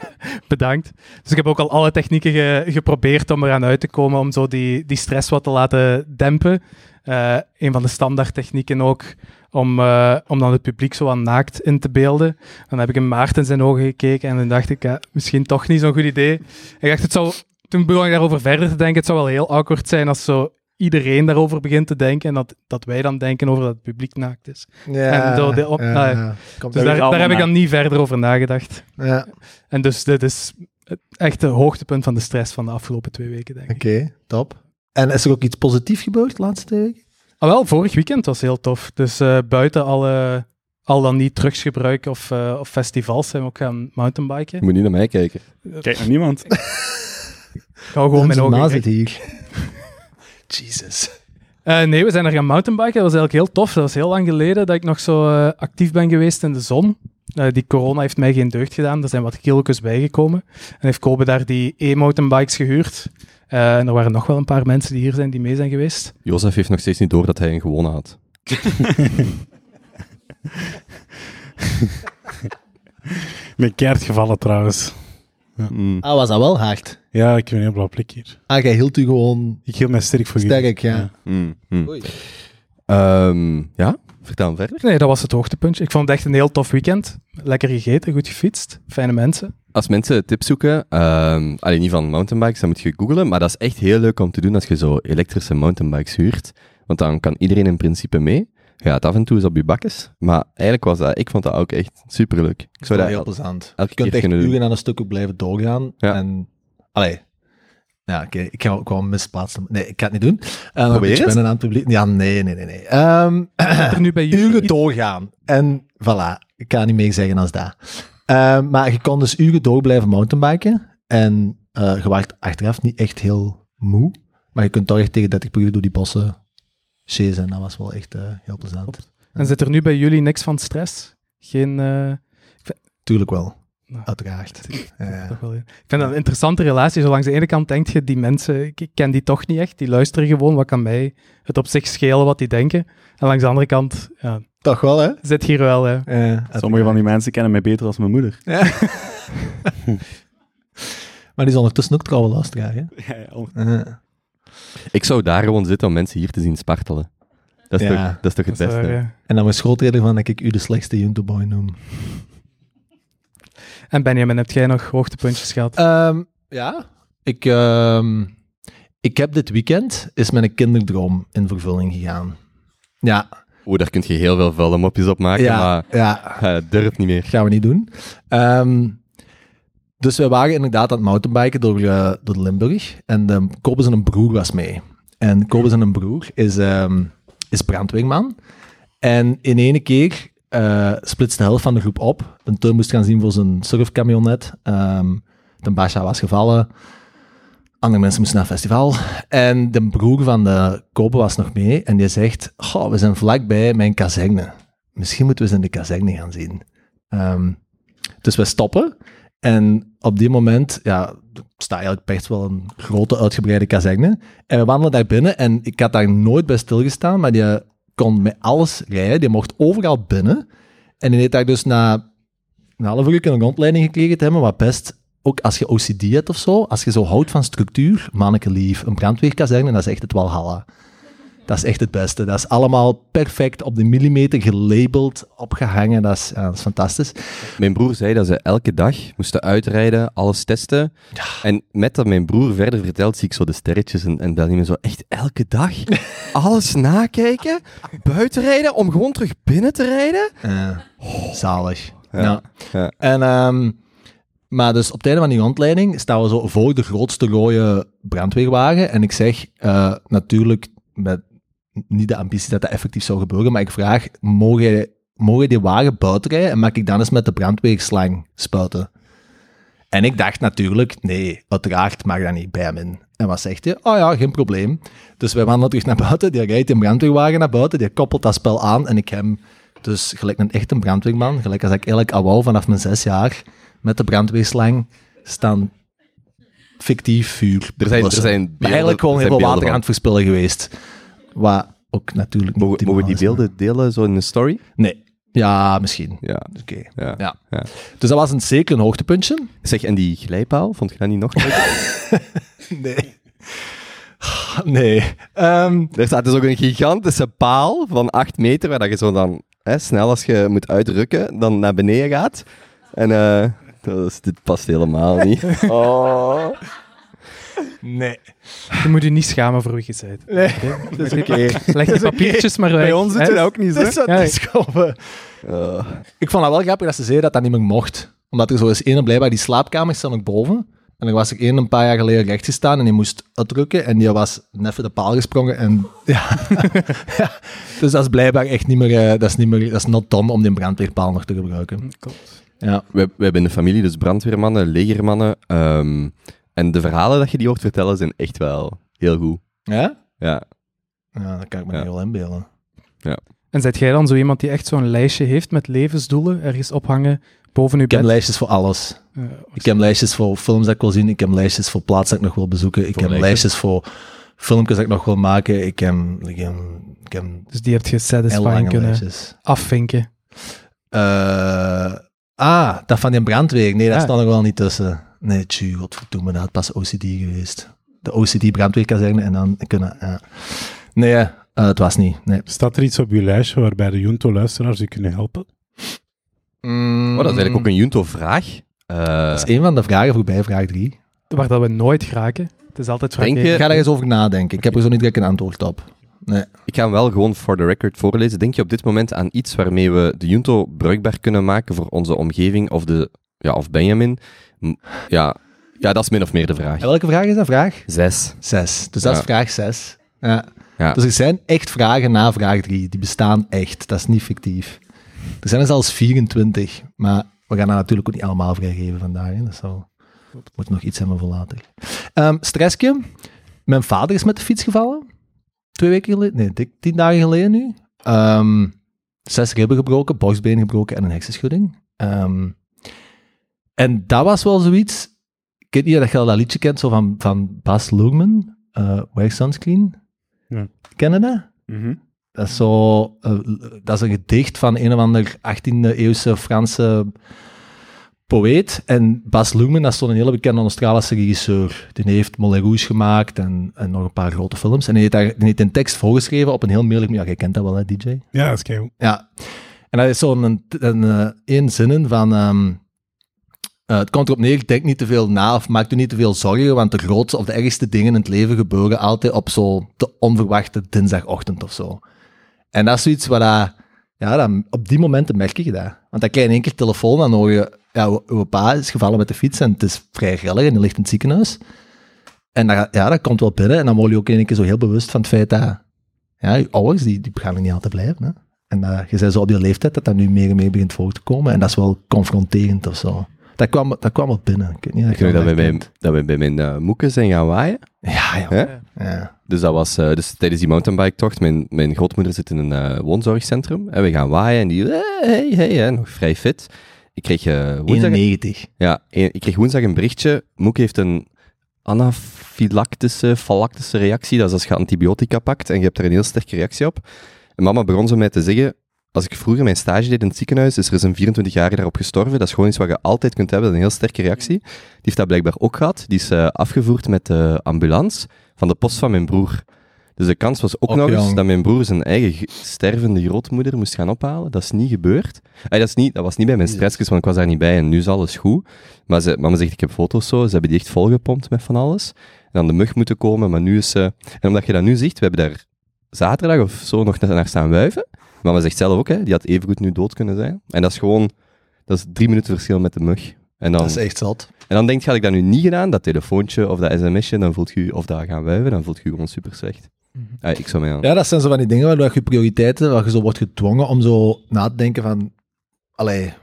Bedankt. Dus ik heb ook al alle technieken ge- geprobeerd om eraan uit te komen, om zo die, die stress wat te laten dempen. Eh, een van de standaard technieken ook, om, eh, om dan het publiek zo aan naakt in te beelden. Dan heb ik in maart in zijn ogen gekeken en dan dacht ik, ja, misschien toch niet zo'n goed idee. Ik dacht, het zou, toen begon ik daarover verder te denken, het zou wel heel awkward zijn als zo iedereen daarover begint te denken en dat, dat wij dan denken over dat het publiek naakt is. En zo de op- Ah, nou ja. Dus Komt Dat daar, is allemaal daar heb ik naakt. dan niet verder over nagedacht. er- ja. En dus dit is het echte hoogtepunt van de stress van de afgelopen twee weken, denk ik. Oké, top. En is er ook iets positiefs gebeurd de laatste twee weken? Ah, wel, vorig weekend was heel tof. Dus eh, buiten alle, al dan niet drugsgebruik of, eh, of festivals zijn we ook gaan Je mountainbiken. moet niet naar mij kijken. Kijk naar niemand. Ik hou gewoon mijn ogen naast gericht. het hier. Jesus. Eh, nee, we zijn er gaan mountainbiken. Dat was eigenlijk heel tof. Dat was heel lang geleden dat ik nog zo eh, actief ben geweest in de zon. Eh, die corona heeft mij geen deugd gedaan. Er zijn wat kilo's bijgekomen. En heeft Kobe daar die e-mountainbikes gehuurd. Eh, en er waren nog wel een paar mensen die hier zijn, die mee zijn geweest. Jozef heeft nog steeds niet door dat hij een gewonnen had. Ik ben keihard gevallen trouwens. Mm. Ah, was dat wel hard? Ja, ik heb een heel blauw plek hier. Ah, jij hield u gewoon Ik hield mij sterk voor jullie. sterk, ja. Ja. Mm. Mm. Oei. Ehm, ja, vertel verder. Nee, dat was het hoogtepuntje. Ik vond het echt een heel tof weekend. Lekker gegeten, goed gefietst, fijne mensen. Als mensen tips zoeken, ehm alleen niet van mountainbikes, dan moet je googlen. Maar dat is echt heel leuk om te doen als je zo elektrische mountainbikes huurt. Want dan kan iedereen in principe mee. Ja, het af en toe is op je bakjes. Maar eigenlijk was dat, ik vond dat ook echt superleuk. Ik zou dat heel el- plezant. elke Je kunt keer echt kunnen doen. uren aan een stuk ook blijven doorgaan. Ja. En, allee. Ja, oké. Ik ga ook wel misplaatsen. Nee, ik ga het niet doen. Eh, Probeer Ik het. ben aan het publiek. Ja, nee, nee, nee. nee. Ehm, Er nu bij jullie uren iets- doorgaan. En voilà, ik kan niet meer zeggen als dat. Ehm, maar je kon dus uren door blijven mountainbiken. En eh je waart achteraf niet echt heel moe. Maar je kunt toch echt tegen 30 per uur door die bossen chasen. En dat was wel echt eh, heel plezant. En zit er nu bij jullie niks van stress? Geen... eh, Tuurlijk wel. Nou, Uiteraard. Eh, Ja. Toch wel, ja. Ik vind dat een interessante relatie. Zo langs de ene kant denk je, die mensen, ik, ik ken die toch niet echt. Die luisteren gewoon, wat kan mij het op zich schelen wat die denken. En langs de andere kant ja, Toch wel, hè? zit hier wel... eh, Sommige van die mensen kennen mij beter als mijn moeder. Maar die is ondertussen ook trouwe luisteraar, hè? Eh, Ik zou daar gewoon zitten om mensen hier te zien spartelen. Dat is, Ja. toch, dat is toch het dat is beste? waar, ja. En dan was schootreden van dat ik u de slechtste Juntoboy noem. En Benjamin, heb jij nog hoogtepuntjes gehad? Ehm, ja, ik, ehm, ik heb dit weekend is mijn kinderdroom in vervulling gegaan. Ja, Oeh, daar kun je heel veel vuile mopjes op maken, ja, maar ja, eh, durf niet meer. gaan we niet doen. Ehm, dus wij waren inderdaad aan het mountainbiken door, eh, door Limburg. En de Kobus en een broer was mee. En Kobus en een broer is, ehm, is brandweerman. En in ene keer eh splitst de helft van de groep op. Een Teun moest gaan zien voor zijn surfkamionet. Ehm de Basha was gevallen. Andere mensen moesten naar het festival. En de broer van de Kopen was nog mee. En die zegt, "Goh, we zijn vlakbij mijn kazerne. Misschien moeten we eens in de kazerne gaan zien. Ehm, dus we stoppen. En op die moment ja, staat eigenlijk best wel een grote, uitgebreide kazerne. En we wandelen daar binnen. En ik had daar nooit bij stilgestaan. Maar die kon met alles rijden. Die mocht overal binnen. En die heeft daar dus na een half uur een rondleiding gekregen te hebben. Wat best, ook als je OCD hebt of zo. Als je zo houdt van structuur, manneke lief. Een brandweerkazerne, dat is echt het walhalla. Dat is echt het beste. Dat is allemaal perfect op de millimeter gelabeld, opgehangen. Dat is, ja, dat is fantastisch. Mijn broer zei dat ze elke dag moesten uitrijden, alles testen. En met dat mijn broer verder vertelt, zie ik zo de sterretjes en, en Benjamin zo echt elke dag alles nakijken, buiten rijden, om gewoon terug binnen te rijden. Eh, zalig. Ja, Ja. ja. En, ehm, maar dus op het einde van die rondleiding staan we zo voor de grootste rode brandweerwagen. En ik zeg eh, natuurlijk met niet de ambitie dat dat effectief zou gebeuren, maar ik vraag, mogen, jij- mogen die wagen buiten rijden en mag ik dan eens met de brandweerslang spuiten? En ik dacht natuurlijk, nee, uiteraard mag dat niet bij hem in. En wat zegt hij? Oh ja, geen probleem. Dus wij wandelen terug naar buiten, die rijdt in brandweerwagen naar buiten, die koppelt dat spel aan en ik hem dus gelijk een echte brandweerman, gelijk als ik eigenlijk al wou vanaf mijn zes jaar, met de brandweerslang staan fictief vuur. Er zijn- er blussen. zijn Maar beelden- eigenlijk gewoon er heel zijn beelden veel water van. aan het verspillen geweest. Wat ook natuurlijk niet Mogen, mogen we die optimaal is, beelden delen zo in een story? maar- Nee. Ja, misschien. Ja. Oké. ja. Ja. Ja. Dus dat was een, zeker een hoogtepuntje. Zeg, en die glijpaal, vond je dat niet nog leuk? Nee. Nee. Ehm, er staat dus ook een gigantische paal van 8 meter, waar dat je zo dan hè, snel als je moet uitrukken, dan naar beneden gaat. En eh, dat is, dit past helemaal niet. Oh. nee. Je moet je niet schamen voor wie je bent. Nee. Dat is oké. Leg die papiertjes maar weg. Bij ons doet hè. het ook niet zo. Dus dat Ja. is gewoon, eh, Eh. Ik vond dat wel grappig dat ze zeiden dat dat niet meer mocht. Omdat er zo is één blijkbaar, die slaapkamers staan ook boven. En er was er één een paar jaar geleden recht gestaan en die moest uitdrukken. En die was net voor de paal gesprongen. En, ja. Ja. Dus dat is blijkbaar echt niet meer, eh, dat is niet meer, dat is not dom om die brandweerpaal nog te gebruiken. Klopt. Ja. We, we hebben in de familie dus brandweermannen, legermannen. ehm, en de verhalen dat je die hoort vertellen zijn echt wel heel goed. Ja? Ja. Ja, dat kan ik me Ja. niet wel inbeelden. En zet jij dan zo iemand die echt zo'n lijstje heeft met levensdoelen ergens ophangen boven je Ik heb bed? lijstjes voor alles. Eh, Ik heb lijstjes voor films dat ik wil zien. Ik heb lijstjes voor plaatsen dat ik nog wil bezoeken. Ik Voor heb lijken. lijstjes voor filmpjes dat ik nog wil maken. Ik heb, ik heb, ik heb dus die heb je heel satisfying lange kunnen lijstjes. afvinken. Eh, ah, dat van die brandweer. Nee, daar Ah. staat nog wel niet tussen. Nee, tjoe, godverdomme, dat had pas OCD geweest. De OCD-brandweerkazerne en dan kunnen... ja. Nee, eh, het was niet. Nee. Staat er iets op uw lijstje waarbij de Junto-luisteraars u kunnen helpen? Mm, Oh, dat is eigenlijk ook een Junto-vraag. Eh, Dat is een van de vragen voorbij, vraag 3. Waar dat we nooit geraken. Het is altijd Denk vraag één. Ik ga daar eens over nadenken. Ik heb er zo niet direct een antwoord op. ik ga hem wel gewoon for the record voorlezen. Denk je op dit moment aan iets waarmee we de Junto bruikbaar kunnen maken voor onze omgeving of, de, ja, of Benjamin? M- Ja, ja, dat is min of meer de vraag. En welke vraag is dat? Vraag Zes. 6. Dus dat Ja. is vraag 6. Ja. Ja. Dus er zijn echt vragen na vraag 3. Die bestaan echt. Dat is niet fictief. Er zijn er zelfs 24. Maar we gaan dat natuurlijk ook niet allemaal vrijgeven vandaag. Hè. Dat zal, moet nog iets hebben voor later. Ehm stressje. Mijn vader is met de fiets gevallen. Twee weken geleden. Nee, dik tien dagen geleden nu. Ehm, zes ribben gebroken, borstbeen gebroken en een hersenschudding. Ehm, en dat was wel zoiets... Ik weet niet of je al dat liedje kent, zo van, van Bas Lugman. eh Wear Sunscreen. Ja. Ken je dat? Mhm. Dat is, zo, eh, dat is een gedicht van een of ander 18e-eeuwse Franse poëet. En Bas Luhrmann, dat is zo'n hele bekende Australische regisseur. Die heeft Moulin Rouge gemaakt en, en nog een paar grote films. En die heeft, daar, die heeft een tekst voorgeschreven op een heel mierlijk... Ja, jij kent dat wel, hè, DJ? Ja, dat is kei goed. Ja. En dat is zo'n een, een, eh, één zinnen van... ehm, eh, het komt erop neer, denk niet te veel na of maak je niet te veel zorgen, want de grootste of de ergste dingen in het leven gebeuren altijd op zo de onverwachte dinsdagochtend of zo. En dat is zoiets waar dat, ja, dat- op die momenten merk je dat. Want dan krijg je in één keer telefoon, dan hoor je, ja, uw- uw pa is gevallen met de fiets en het is vrij grillig en die ligt in het ziekenhuis. En dat, ja, dat komt wel binnen en dan word je ook in één keer zo heel bewust van het feit dat, ja, je ouders, die, die gaan er niet altijd blijven, hè. En eh, je zei zo op je leeftijd dat dat nu meer en meer begint voor te komen. En dat is wel confronterend of zo. Dat kwam, dat kwam wel binnen. Ik weet niet of Ik weet nog dat dat we bij, herkent. dat we bij mijn eh, moeken zijn gaan waaien. Ja, ja. Hè? ja. Dus dat was eh, dus tijdens die mountainbike-tocht. Mijn, mijn grootmoeder zit in een eh, woonzorgcentrum. En we gaan waaien en die... eh, hey, hey, hè, nog vrij fit. Ik kreeg, eh, woensdag, 91. ja, eh, ik kreeg woensdag een berichtje. Moek heeft een anafylactische, falactische reactie. Dat is als je antibiotica pakt en je hebt er een heel sterke reactie op. En mama begon zo mij te zeggen... Als ik vroeger mijn stage deed in het ziekenhuis, is er eens een 24-jarige daarop gestorven. Dat is gewoon iets wat je altijd kunt hebben, dat is een heel sterke reactie. Die heeft dat blijkbaar ook gehad. Die is eh, afgevoerd met de ambulance van de post van mijn broer. Dus de kans was ook Och, nog eens jong. dat mijn broer zijn eigen g- stervende grootmoeder moest gaan ophalen. Dat is niet gebeurd. Eh, dat, is niet, dat was niet bij mijn stressjes, want ik was daar niet bij en nu is alles goed. Maar ze, mama zegt, ik heb foto's zo. Ze hebben die echt volgepompt met van alles. En dan de mug moeten komen, maar nu is... ze. en omdat je dat nu ziet, we hebben daar zaterdag of zo nog naar staan wuiven. Mama zegt zelf ook, hè, die had evengoed nu dood kunnen zijn. En dat is gewoon... Dat is drie minuten verschil met de mug. En dan, Dat is echt zat. en dan denk je, had ik dat nu niet gedaan, dat telefoontje of dat sms'je, dan voelt je, of dat gaan wuiven, dan voelt je gewoon super slecht. Mhm. Ah, ik zou mij aan... Ja, dat zijn zo van die dingen waar je prioriteiten, waar je zo wordt gedwongen om zo na te denken van, allee,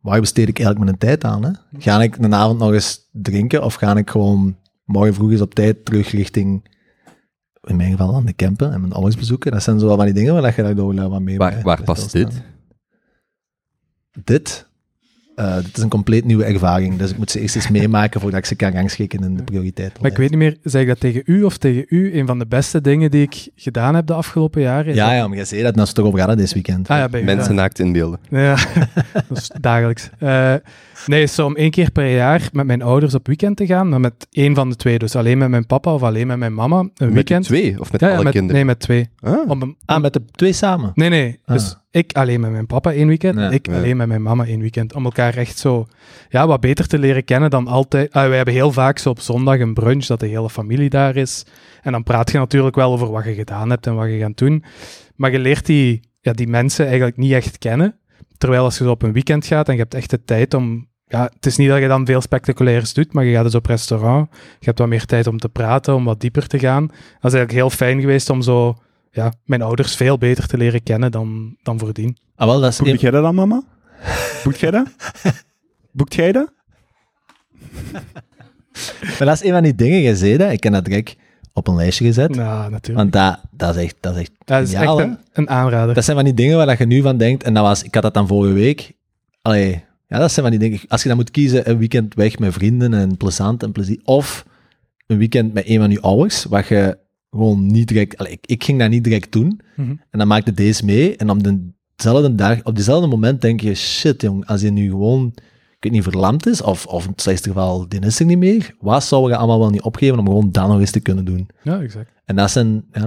waar besteed ik eigenlijk mijn tijd aan? Hè? Ga ik een avond nog eens drinken of ga ik gewoon morgen vroeg eens op tijd terug richting, in mijn geval dan de campen en mijn ouders bezoeken? Dat zijn zo wel van die dingen waar dat je daardoor wel wat mee Waar, bij- waar bij past stilstaan. dit? Dit? Eh, dit is een compleet nieuwe ervaring, dus ik moet ze eerst eens meemaken voordat ik ze kan rangschikken in de prioriteit. Maar ik weet niet meer, zeg ik dat tegen u of tegen u? Een van de beste dingen die ik gedaan heb de afgelopen jaren. is Ja, dat- ja, maar jij zei dat nou ze toch over hadden dit weekend. Ah ja, bij u, ja. Mensen naakt inbeelden. Ja, dat is dagelijks. Eh, nee, is zo om één keer per jaar met mijn ouders op weekend te gaan, maar met één van de twee. Dus alleen met mijn papa of alleen met mijn mama. Een Met die weekend. twee, of met Ja, ja, alle met- kinderen? Nee, met twee. Ah. Om een- Ah, met de twee samen? nee, nee. Ah. Dus ik alleen met mijn papa één weekend, Ja, ik ja. alleen met mijn mama één weekend. Om elkaar echt zo ja, wat beter te leren kennen dan altijd. Ah, wij hebben heel vaak zo op zondag een brunch dat de hele familie daar is. En dan praat je natuurlijk wel over wat je gedaan hebt en wat je gaat doen. Maar je leert die, ja, die mensen eigenlijk niet echt kennen. Terwijl als je zo op een weekend gaat en je hebt echt de tijd om... Ja, het is niet dat je dan veel spectaculairs doet, maar je gaat dus op restaurant. Je hebt wat meer tijd om te praten, om wat dieper te gaan. Dat is eigenlijk heel fijn geweest om zo ja, mijn ouders veel beter te leren kennen dan, dan voordien. Ah, wel, dat is Boekt jij dat dan, mama? Boekt jij dat? Boekt jij dat? Maar dat is een van die dingen, je zei dat, ik heb dat direct op een lijstje gezet. Ja, natuurlijk. Want dat, dat is echt, dat is echt Dat is echt geniaal, een, hè? een aanrader. Dat zijn van die dingen waar dat je nu van denkt, en dat was, ik had dat dan vorige week. Allee, ja, dat zijn van die dingen. Als je dan moet kiezen, een weekend weg met vrienden en plezant en plezier, of een weekend met een van je ouders, wat je gewoon niet direct, allee, ik, ik ging dat niet direct doen, Mhm. en dan maakte deze mee, en op dezelfde dag, op dezelfde moment denk je, shit jong, als je nu gewoon weet niet, verlamd is, of, of in het slechtste geval, die is er niet meer. Wat zouden we allemaal wel niet opgeven om gewoon dat nog eens te kunnen doen? Ja, exact. En dat zijn, ja,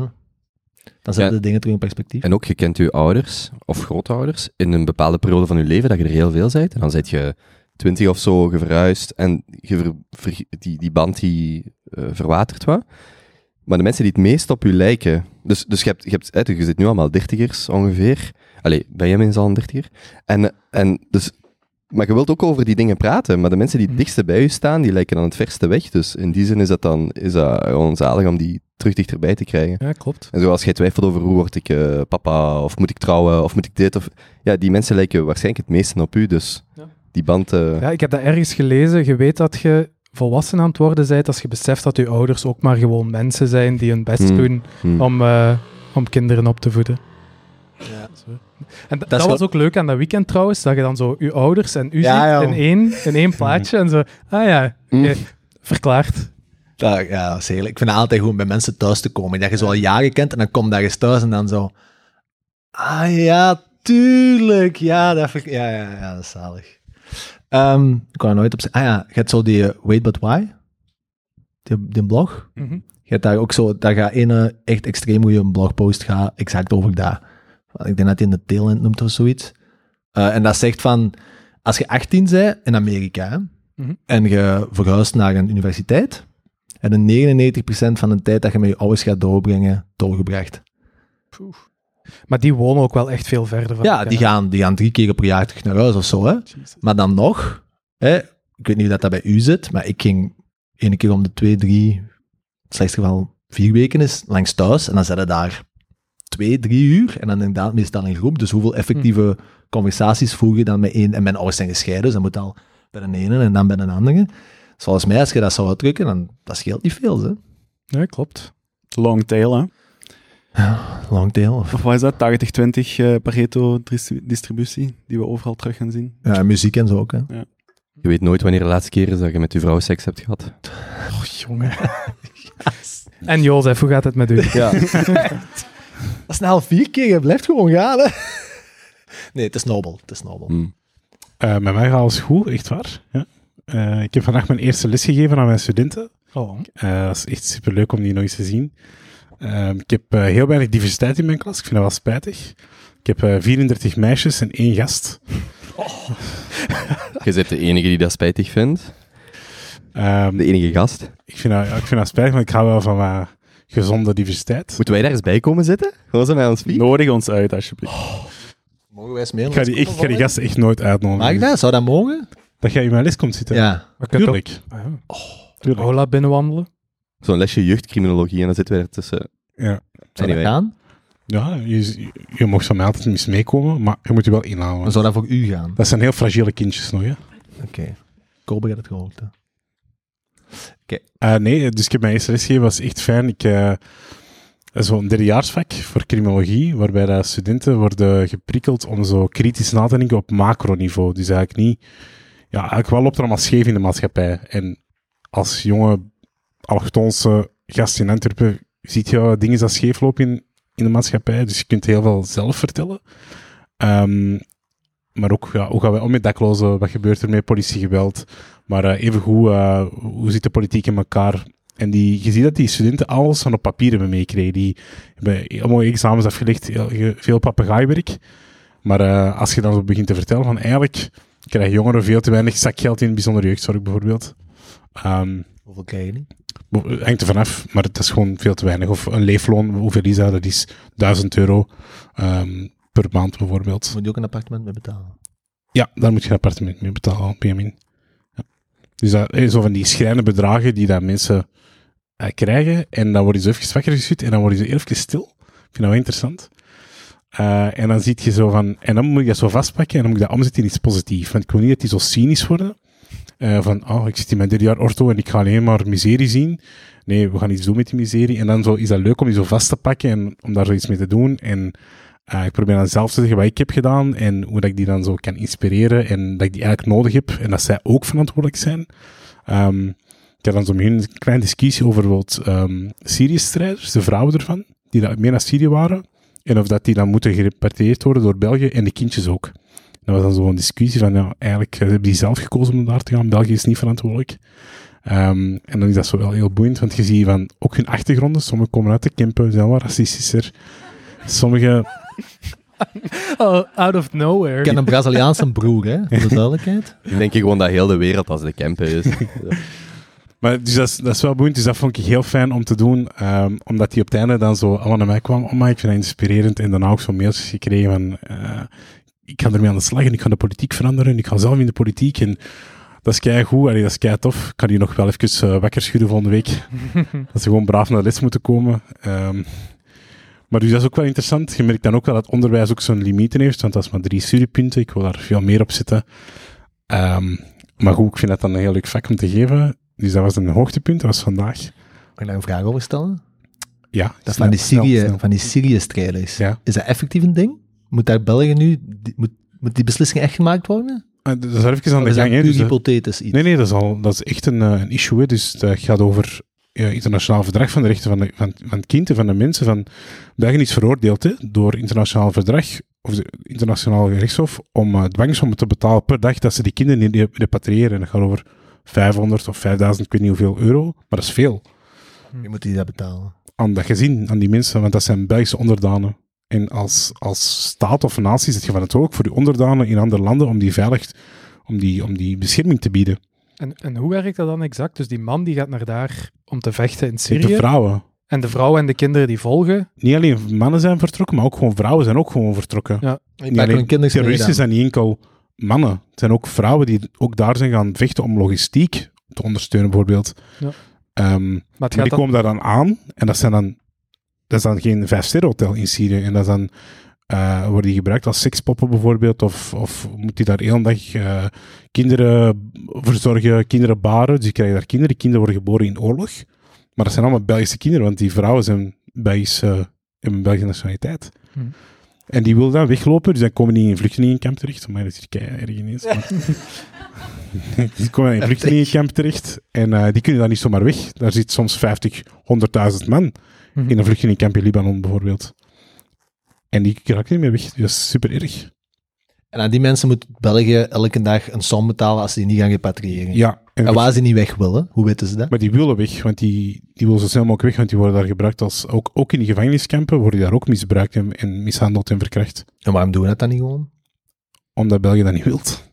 dan zetten Ja. de dingen terug in perspectief. En ook, je kent je ouders of grootouders in een bepaalde periode van je leven, dat je er heel veel bent. En dan zit je twintig of zo, je verhuist en je ver- ver- die, die band die eh, verwatert wat. Maar de mensen die het meest op je lijken... Dus, dus je, hebt, je, hebt, hè, je zit nu allemaal dertigers ongeveer. Allee, Benjamin is al een dertiger. En, en dus... Maar je wilt ook over die dingen praten, maar de mensen die het Mhm. dichtste bij je staan, die lijken dan het verste weg. Dus in die zin is dat dan is dat gewoon zalig om die terug dichterbij te krijgen. Ja, klopt. En zoals jij twijfelt over hoe word ik eh, papa, of moet ik trouwen, of moet ik dit, of... Ja, die mensen lijken waarschijnlijk het meeste op u, dus Ja. die band... eh, Ja, ik heb dat ergens gelezen. Je weet dat je volwassen aan het worden bent als je beseft dat je ouders ook maar gewoon mensen zijn die hun best Hmm. doen hm. om, eh, om kinderen op te voeden. Ja. Zo. En d- dat, is wel- was ook leuk aan dat weekend trouwens, dat je dan zo je ouders en u Ja, Hmm. ziet joh. in één, in één plaatje en zo, ah ja, Mm. je- verklaard. Ja, ja, dat is heerlijk. Ik vind het altijd goed om bij mensen thuis te komen. Dat je ze al jaren kent en dan kom je daar eens thuis en dan zo... Ah ja, tuurlijk. Ja, dat vind ik... Ja, ja, ja, dat is zalig. Ehm, ik kan er nooit op zeggen. Ah ja, je hebt zo die eh, Wait But Why. Die, die blog. Mhm. Je hebt daar ook zo... Daar gaat ene echt extreem hoe je een blogpost gaat exact over daar. Ik denk dat hij in de tailend noemt of zoiets. Eh, en dat zegt van... Als je 18 bent in Amerika... hè, Mhm. En je verhuist naar een universiteit... En een 99% van de tijd dat je met je ouders gaat doorbrengen, doorgebracht. Maar die wonen ook wel echt veel verder van ja, elkaar. die gaan, die gaan drie keer per jaar terug naar huis of zo. Hè? Maar dan nog, hè, ik weet niet hoe dat, dat bij u zit, maar ik ging ene keer om de twee, drie, in het slechtste geval vier weken is, langs thuis. En dan zetten daar twee, drie uur. En dan inderdaad meestal in groep. Dus hoeveel effectieve conversaties voer je dan met één? En mijn ouders zijn gescheiden, dus dat moet al bij een ene en dan bij een andere. Dus volgens mij, als je dat zou uitdrukken, dan dat scheelt niet veel. Hè? Ja, klopt. Long tail, hè? Long tail of Of wat is dat? 80-20 eh, Pareto-distributie, die we overal terug gaan zien. ja, muziek en zo ook. Hè? Je weet nooit wanneer de laatste keer is dat je met je vrouw seks hebt gehad. Oh, jongen. En Jozef, hoe gaat het met u? Ja. Dat is een half vier keer, je blijft gewoon gaan, hè. Nee, het is nobel, het is nobel. Eh, met mij gaat alles goed, echt waar. Ja. Eh, ik heb vandaag mijn eerste les gegeven aan mijn studenten. Oh. Eh, dat is echt superleuk om die nog eens te zien. Ehm, ik heb eh, heel weinig diversiteit in mijn klas. Ik vind dat wel spijtig. Ik heb eh, 34 meisjes en één gast. Je bent de enige die dat spijtig vindt. Ehm, De enige gast. ik, vind dat, ja, ik vind dat spijtig, maar ik hou wel van wat gezonde diversiteit. Moeten wij daar eens bij komen zitten? Gewoon zo met ons vier? Nodig ons uit, alsjeblieft. Mogen wij eens mee? Ik ga die, ik ga die gasten echt nooit uitnodigen. Mag ik dat? Zou dat mogen? Dat jij in mijn les komt zitten. Ja. We kunnen Tuurlijk. toch Ah, ja. Tuurlijk. Ola binnenwandelen? Zo'n lesje jeugdcriminologie en dan zitten wij ertussen. Ja. Zou dat Anyway. gaan? Ja, je, je mag van mij altijd mis meekomen, maar je moet je wel Maar inhalen. zou dat voor u gaan? Dat zijn heel fragiele kindjes nog, hè. Oké. Kobe gaat het gehoord, hè. Eh, nee, dus ik heb mijn eerste les gegeven, was echt fijn. Ik, eh, dat is zo'n derdejaarsvak voor criminologie, waarbij dat studenten worden geprikkeld om zo kritisch na te denken op macroniveau. Dus eigenlijk niet... Ja, eigenlijk wel loopt er allemaal scheef in de maatschappij. En als jonge allochtoonse gast in Antwerpen ziet je wel dingen dat scheef lopen in, in de maatschappij. Dus je kunt heel veel zelf vertellen. Ehm, maar ook, ja, hoe gaan we om met daklozen? Wat gebeurt er met politiegeweld? Maar eh, even hoe, eh, hoe zit de politiek in elkaar? En die, je ziet dat die studenten alles van op papier hebben meegekregen. Die hebben heel mooie examens afgelegd, heel- heel- veel papegaaiwerk. Maar eh, als je dan zo begint te vertellen van eigenlijk krijgen jongeren veel te weinig zakgeld in bijzondere jeugdzorg bijvoorbeeld. Ehm, Hoeveel krijg je niet? het hangt er vanaf, maar het is gewoon veel te weinig. Of een leefloon, hoeveel is dat? Dat is 1000 euro ehm, per maand bijvoorbeeld. Moet je ook een appartement mee betalen? Ja, daar moet je een appartement mee betalen, Benjamin. Ja. Dus dat is zo van die schrijnende bedragen die dat mensen eh, krijgen. En dan worden ze even wakker geschud en dan worden ze even stil. Ik vind dat wel interessant. Eh, en dan zie je zo van... En dan moet je dat zo vastpakken en dan moet je dat omzetten in iets positiefs. Want ik wil niet dat die zo cynisch worden. Eh, van, oh, ik zit in mijn derde jaar ortho en ik ga alleen maar miserie zien. Nee, we gaan iets doen met die miserie. En dan zo, is dat leuk om die zo vast te pakken en om daar zoiets mee te doen. En eh, ik probeer dan zelf te zeggen wat ik heb gedaan en hoe dat ik die dan zo kan inspireren en dat ik die eigenlijk nodig heb en dat zij ook verantwoordelijk zijn. Ehm, ik had dan zo'n een kleine discussie over wat ehm Syrië-strijders, de vrouwen ervan, die daar mee naar Syrië waren. En of dat die dan moeten gerepatrieerd worden door België en de kindjes ook. Dat was dan zo'n discussie van, ja, eigenlijk eh, hebben die zelf gekozen om daar te gaan. België is niet verantwoordelijk. Ehm, en dan is dat zo wel heel boeiend, want je ziet van ook hun achtergronden. Sommigen komen uit de Kempen, zijn wel racistischer. Sommigen, Oh, out of nowhere. Ik ken een Braziliaanse broer, hè, voor de duidelijkheid. Ik denk gewoon dat heel de wereld als de Kempen is. maar dus dat is, dat is wel boeiend, dus dat vond ik heel fijn om te doen. ehm, omdat die op het einde dan zo allemaal naar mij kwam. Oh, maar ik vind dat inspirerend. En daarna ook zo'n mailtjes gekregen van, eh, ik ga ermee aan de slag en ik ga de politiek veranderen. En ik ga zelf in de politiek en... Dat is keigoed, Allee, dat is kei tof. Ik kan die nog wel even eh, wakker schudden volgende week. dat ze gewoon braaf naar de les moeten komen. Ehm, maar dus dat is ook wel interessant. Je merkt dan ook wel dat onderwijs ook zijn limieten heeft, want dat is maar drie studiepunten. Ik wil daar veel meer op zitten. Ehm, maar goed, ik vind dat dan een heel leuk vak om te geven. Dus dat was een hoogtepunt, dat was vandaag. Mag ik daar een vraag over stellen? Ja, Dat snel, van die snel, Syrië- snel. van die Syrië-strijders. Ja. Is dat effectief een ding? Moet daar België nu... die- moet, moet die beslissing echt gemaakt worden? Eh, Dat is even aan Of de is Oh, dat gang. hè. puur Dus, eh, hypothetisch iets? nee, nee, dat is, al, dat is echt een, eh, een issue. hè. Dus dat gaat over eh, internationaal verdrag van de rechten van, de, van, van het kind en van de mensen. Van, België is veroordeeld hè, door internationaal verdrag of de internationaal gerechtshof om eh dwangsommen te betalen per dag dat ze die kinderen niet re- repatriëren. En dat gaat over 500 of 5000, ik weet niet hoeveel euro, maar dat is veel. Je moet die dat betalen. Aan dat gezin, aan die mensen, want dat zijn Belgische onderdanen. En als, als staat of natie zit je van het ook voor die onderdanen in andere landen om die veilig, om die, om die bescherming te bieden. En, en hoe werkt dat dan exact? Dus die man die gaat naar daar om te vechten in Niet de Syrië. vrouwen. En de vrouwen en de kinderen die volgen. Niet alleen mannen zijn vertrokken, maar ook gewoon vrouwen zijn ook gewoon vertrokken. Ik Niet maak alleen een kindertje Terroristen zijn niet enkel mannen. Het zijn ook vrouwen die ook daar zijn gaan vechten om logistiek te ondersteunen, bijvoorbeeld. Ja. Ehm, Maar het maar gaat die dan, komen daar dan aan en dat zijn dan, dat is dan geen vijfsterrenhotel in Syrië. En dat is dan, eh, worden die gebruikt als sekspoppen bijvoorbeeld, of, of moet die daar heel dag eh, kinderen verzorgen, kinderen baren. Dus die krijgen daar kinderen. Die kinderen worden geboren in oorlog. Maar dat zijn allemaal Belgische kinderen, want die vrouwen zijn Belgische, hebben een Belgische nationaliteit. Hmm. En die willen dan weglopen, dus dan komen die in een vluchtelingenkamp terecht. Maar dat is hier erg ineens. Maar... die komen in een vluchtelingenkamp terecht en eh, die kunnen daar niet zomaar weg. Daar zit soms 50, 100.000 man Mhm. in een vluchtelingenkamp in Libanon bijvoorbeeld. En die raken niet meer weg, dus dat is super erg. En aan die mensen moet België elke dag een som betalen als ze die niet gaan repatriëren. Ja, en En waar ze niet weg willen, hoe weten ze dat? Maar die willen weg, want die, die willen zo snel mogelijk weg, want die worden daar gebruikt als... Ook, ook in die gevangeniskampen worden die daar ook misbruikt en, en mishandeld en verkracht. En waarom doen we dat dan niet gewoon? Omdat België dat niet wilt.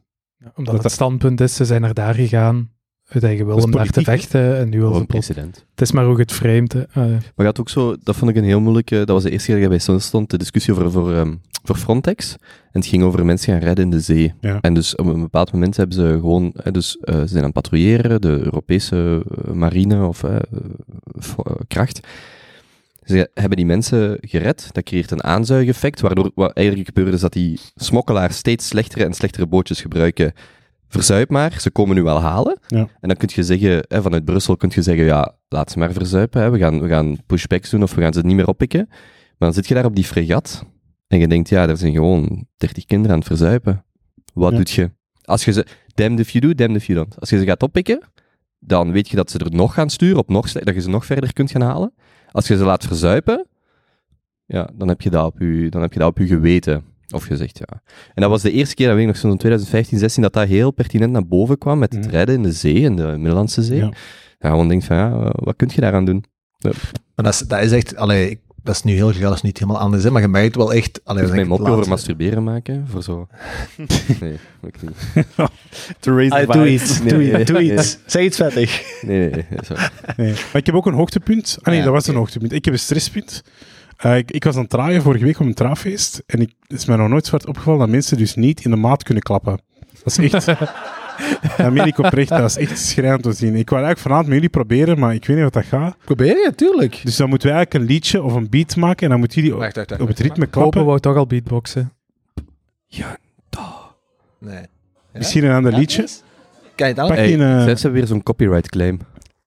omdat dat- het standpunt is, ze zijn naar daar gegaan. Uit eigen wil Dat om is daar te politiek, vechten. En nu wil Gewoon ze een plots- precedent. Het is maar hoe je het framed. eh. Eh, Maar je had ook zo, dat vond ik een heel moeilijke, dat was de eerste keer dat ik bij Sun stond, de discussie over, voor, ehm, voor Frontex. En het ging over mensen gaan redden in de zee. Ja. En dus op een bepaald moment hebben ze gewoon, hè, dus eh, ze zijn aan het patrouilleren, de Europese eh, marine of eh, eh, fo- eh, kracht. Ze hebben die mensen gered, dat creëert een aanzuigeffect, waardoor wat eigenlijk gebeurde is dat die smokkelaars steeds slechtere en slechtere bootjes gebruiken. Verzuip maar, ze komen nu wel halen. Ja. En dan kun je zeggen, hè, vanuit Brussel kun je zeggen, ja, laat ze maar verzuipen, hè. We, gaan, we gaan pushbacks doen of we gaan ze niet meer oppikken. Maar dan zit je daar op die fregat en je denkt, ja, er zijn gewoon 30 kinderen aan het verzuipen. Wat Ja. doet je? Als je ze, damned if you do, damned if you don't. Als je ze gaat oppikken, dan weet je dat ze er nog gaan sturen, op nog, sle- dat je ze nog verder kunt gaan halen. Als je ze laat verzuipen, ja, dan heb je dat op je, dan heb je, dat op je geweten. Of gezegd, ja. En dat was de eerste keer, dat weet ik nog, zo'n 2015, 16, dat dat heel pertinent naar boven kwam met het Mhm. redden in de zee, in de Middellandse Zee. Ja. Ja. gewoon denkt van, ja, wat kun je daaraan doen? Maar dat is, dat is echt, allee, ik- dat is nu heel graag, dat is niet helemaal anders, hè, maar je merkt wel echt... Allee, Kun je dat is mijn echt mopje het over laatste. masturberen maken? Voor zo... Nee, ook niet. To raise the Ah, doe vibe. iets, Nee, doe nee, iets, doe nee. iets. Zeg iets vettig. Nee, nee, nee, sorry. Nee. Maar ik heb ook een hoogtepunt. Ah nee, Ja, dat was oké. een hoogtepunt. Ik heb een stresspunt. Eh, ik, ik was aan het draaien vorige week op een trouwfeest en ik, het is mij nog nooit zwart opgevallen dat mensen dus niet in de maat kunnen klappen. Dat is echt... dat meen ik oprecht, dat is echt schrijnend te zien. Ik wou eigenlijk vanavond met jullie proberen, maar ik weet niet wat dat gaat. Probeer je, tuurlijk. Dus dan moeten wij eigenlijk een liedje of een beat maken en dan moeten jullie Wacht, wacht, wacht. op het ritme Kopen klappen. wou toch al beatboxen. Nee. Misschien een ander Ja, liedje. yes. Kan je het aan? Pak Hey, je een, eh, Zelfs hebben we weer zo'n copyright claim.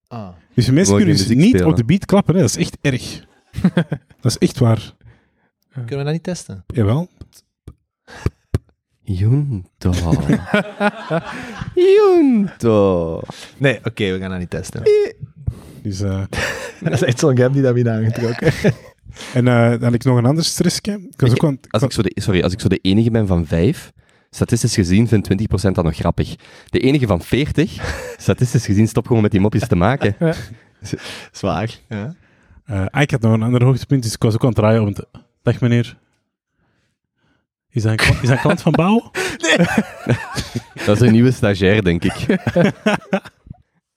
Ah. dus de mensen Wou je kunnen dus muziek niet spelen? op de beat klappen, hè. dat is echt erg. dat is echt waar. Kunnen we dat niet testen? Jawel. Junto. Junto. Nee, oké, we gaan dat niet testen. Dus, eh, dat is echt zo'n game die dat weer aangetrokken. en eh, dan had ik nog een ander stressje. Ik was Ik- ook aan, het- Als ik, zo de, sorry, als ik zo de enige ben van vijf, Statistisch gezien vindt 20% dat nog grappig. De enige van 40, statistisch gezien, stop gewoon met die mopjes te maken. Zwaar. Ja. Eh, ah, ik had nog een ander hoogtepunt, dus ik was ook aan het draaien om te... Dag meneer. Is dat een, kla- is dat een klant van Bouw? Dat is een nieuwe stagiair, denk ik.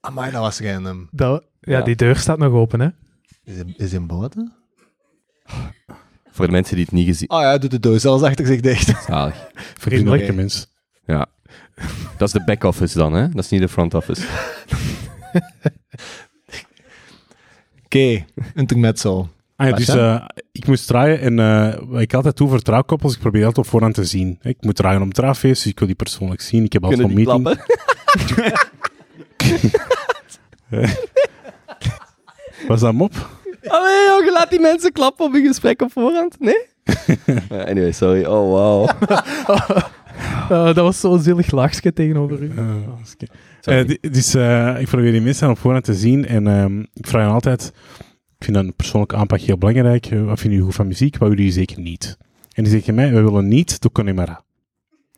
Amai, dat was random. Dat, ja, Ja. die deur staat nog open, hè. Is hij, is hij een boten? Voor de mensen die het niet gezien Ah, Oh ja, hij doet de doos zelfs achter zich dicht. hebben. Vriendelijke mens. Dat is de back-office dan, hè? Dat is niet de front-office. Oké, intermezzo. Ah ja, Wat, dus hè? eh, ik moest draaien en eh, wat ik altijd doe voor trouwkoppels, ik probeer altijd op voorhand te zien. Ik moet draaien om trouwfeest, dus ik wil die persoonlijk zien. Ik heb altijd Kunnen een die meeting. klappen? Eh, Was dat mop? Oh nee, joh, laat die mensen klappen op een gesprek op voorhand. Nee? Eh, anyway, sorry. Oh, wow. Ah. Eh, dat was zo'n zielig lachje tegenover u. Eh, was ik- Eh, di- dus eh, ik probeer die mensen op voorhand te zien en ehm, ik vraag hen altijd, ik vind een persoonlijke aanpak heel belangrijk. Eh, wat vinden jullie goed van muziek? Wat willen jullie zeker niet? En die zeggen mij, we willen niet de Connemara.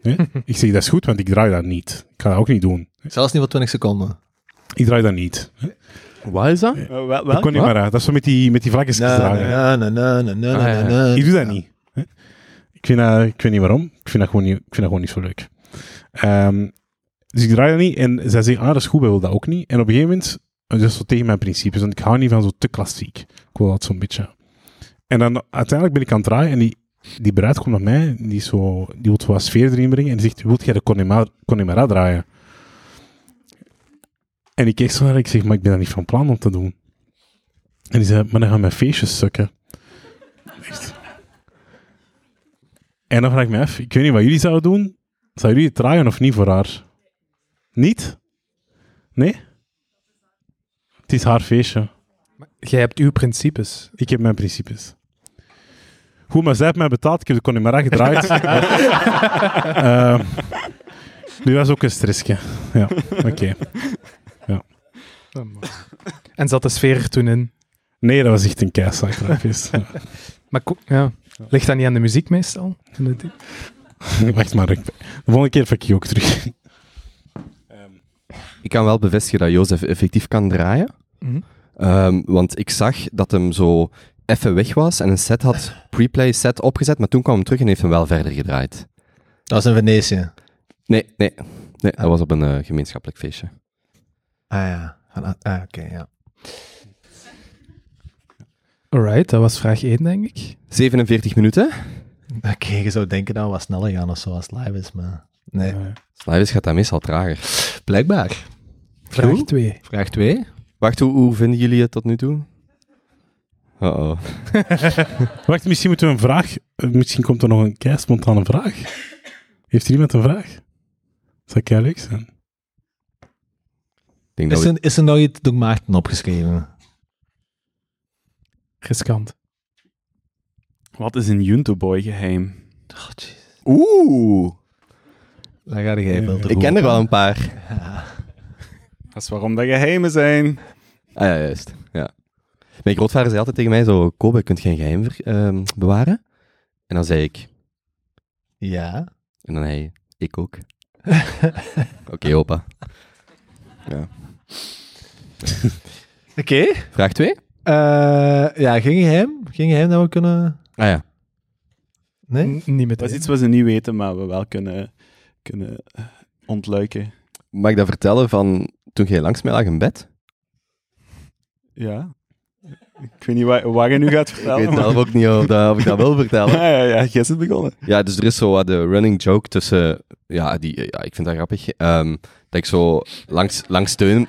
Nee? ik zeg, dat is goed, want ik draai dat niet. Ik ga dat ook niet doen. Zelfs niet wat 20 seconden. Ik draai dat niet. Wat is dat? Eh, wel- De wel? Connemara, dat is zo met die, met die vlaggetjes draaien. na, na, na, na, na, Ah, ja, ja. na. Ik doe dat niet. hè. Ik, vind dat, ik weet niet waarom. Ik vind dat gewoon niet, ik vind dat gewoon niet zo leuk. Ehm, dus ik draai dat niet. En zij zeggen, ah, dat is goed, wij willen dat ook niet. En op een gegeven moment, eh, dat is zo tegen mijn principes, want ik hou niet van zo te klassiek. Ik wil dat zo'n beetje. En dan uiteindelijk ben ik aan het draaien en die, die bruid komt naar mij, die, is zo, die wil wat sfeer erin brengen en die zegt, wilt jij de Connemara- Connemara draaien? En ik keek zo naar haar, ik zeg, maar ik ben dat niet van plan om te doen. En die zei, maar dan gaan mijn feestjes sukken. Echt. En dan vraag ik me af, ik weet niet wat jullie zouden doen. Zouden jullie het draaien of niet voor haar? Niet? Nee? Het is haar feestje. Jij hebt uw principes. Ik heb mijn principes. Goed, maar zij heeft mij betaald. Ik heb de Connemara gedraaid. Ehm, nu was ook een stressje. Ja, oké. En zat de sfeer er toen in. Nee, dat was echt een keislaan feest. Maar ko- ja, ligt dat niet aan de muziek meestal? Aan de- Wacht maar, ik- de volgende keer pak ik je ook terug. Ik kan wel bevestigen dat Jozef effectief kan draaien. Mhm. Ehm, want ik zag dat hem zo even weg was en een set had, pre-play set opgezet, maar toen kwam hem terug en heeft hem wel verder gedraaid. Dat is een Venetië. Nee, nee. Nee, dat was op een eh, gemeenschappelijk feestje. Ah ja. Van- Ah, oké, ja. Alright, dat was vraag 1, denk ik. 47 minuten. Oké, je zou denken dat we wat sneller gaan of zo als het live is, maar... Nee. Live gaat dat meestal trager. Blijkbaar. Vraag 2. Vraag 2. Wacht, hoe, hoe vinden jullie het tot nu toe? Uh-oh. Wacht, misschien moeten we een vraag. eh, Misschien komt er nog een kei spontane vraag. Heeft er iemand een vraag? Zou kei leuk zijn. Ik denk dat Is we- er, is er nou iets door Maarten opgeschreven? Riskant. Wat is een Junteboy geheim? Oeh, Daar ga jij veel te ik ken vroeg er wel op. een paar. Dat is waarom dat geheimen zijn. Ah ja, juist. Ja. Mijn grootvader zei altijd tegen mij zo, Kobe, kunt geen geheim ver- ehm, bewaren? En dan zei ik, Ja. En dan hij, ik ook. Oké, opa. Oké. Vraag 2? Eh, ja, ging geheim? Ging geheim dat we kunnen... Ah ja. Nee? N- Niet Dat is iets meteen. wat ze niet weten, maar we wel kunnen, kunnen eh, ontluiken. Mag ik dat vertellen van toen jij langs mij lag in bed? Ja. Ik weet niet waar, waar je nu gaat Ik vertellen. weet maar- zelf ook niet of, dat, of ik dat wil vertellen. Ja, ja, ja, jij bent begonnen. Ja, dus er is zo wat de running joke tussen... Ja, die, ja ik vind dat grappig. ehm, dat ik zo langs, langs steun...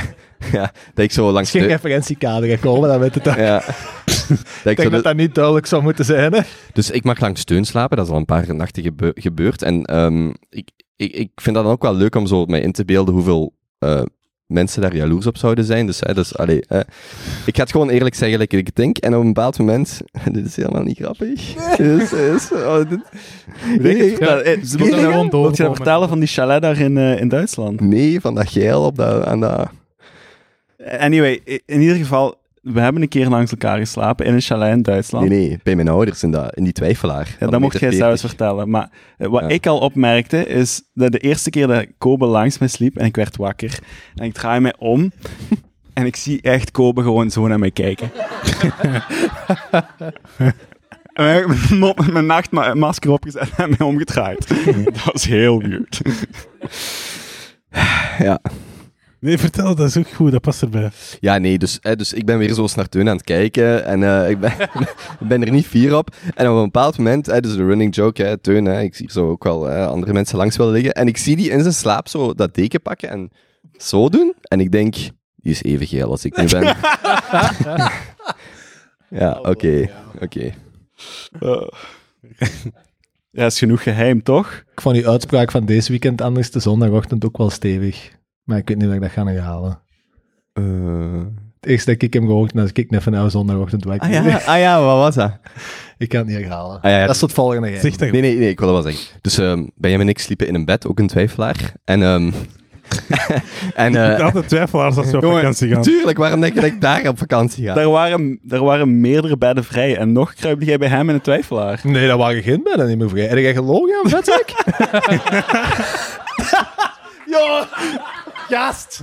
ja, dat ik zo langs Geen steun... referentiekader gekomen, dan weet het ook. Ja. dat Ik denk dat dat niet duidelijk zou moeten zijn, hè? Dus ik mag lang steun slapen, dat is al een paar nachten gebe- gebeurd. En ehm, ik, ik, ik vind dat dan ook wel leuk om zo mij in te beelden hoeveel eh, mensen daar jaloers op zouden zijn. Dus, hè, dus allee, eh, ik ga het gewoon eerlijk zeggen, like ik het denk. En op een bepaald moment, dit is helemaal niet grappig. Is, is, oh, dit- Ja, eh, Ze moeten Ja, nou- gewoon Wilt je doorkomen. dat vertellen van die chalet daar in, eh, in Duitsland? nee, van dat geil op dat, aan dat... Anyway, i- in ieder geval, we hebben een keer langs elkaar geslapen in een chalet in Duitsland. Nee, nee, bij mijn ouders in, dat, in die twijfelaar. Ja, dat mocht jij zelfs vertellen. Maar eh, wat Ja. ik al opmerkte, is dat de eerste keer dat Kobe langs me sliep en ik werd wakker. En ik draai mij om en ik zie echt Kobe gewoon zo naar mij kijken. En hij heeft mijn mop- mijn nachtmasker opgezet en mij omgedraaid. Dat was heel weird. Ja. Nee, vertel, dat is ook goed, dat past erbij. Ja, nee, dus, hè, dus ik ben weer zoals naar Teun aan het kijken en eh, ik ben, ben er niet fier op. En op een bepaald moment, hè, dus de running joke, hè, Teun, hè, ik zie zo ook wel hè, andere mensen langs willen liggen. En ik zie die in zijn slaap zo dat deken pakken en zo doen. En ik denk, die is even geel als ik nu ben. ja, oké, oké. Eh, Ja, is genoeg geheim, toch? Ik vond die uitspraak van deze weekend anders de zondagochtend ook wel stevig. Maar ik weet niet of ik dat ga herhalen. Eh, Het eerste dat ik hem gehoord heb, is ik net van nou zondagochtend wakker. ah, ja, ah ja, wat was dat? Ik kan het niet herhalen. Ah, ja, ja. Dat is tot volgende geheim. Zeg dat Nee, nee, nee, ik wil dat wel zeggen. Dus ehm Benjamin en ik sliepen in een bed, ook een twijfelaar. En, ehm en eh, altijd twijfelaars als we op Jongen, vakantie gaan. Tuurlijk, waarom denk je dat ik daar op vakantie ga? Daar, waren, daar waren meerdere bedden vrij en nog kruipte jij bij hem in een twijfelaar. Nee, dat waren geen bedden niet meer vrij. Heb jij gelogen aan vetzak? ja, gast.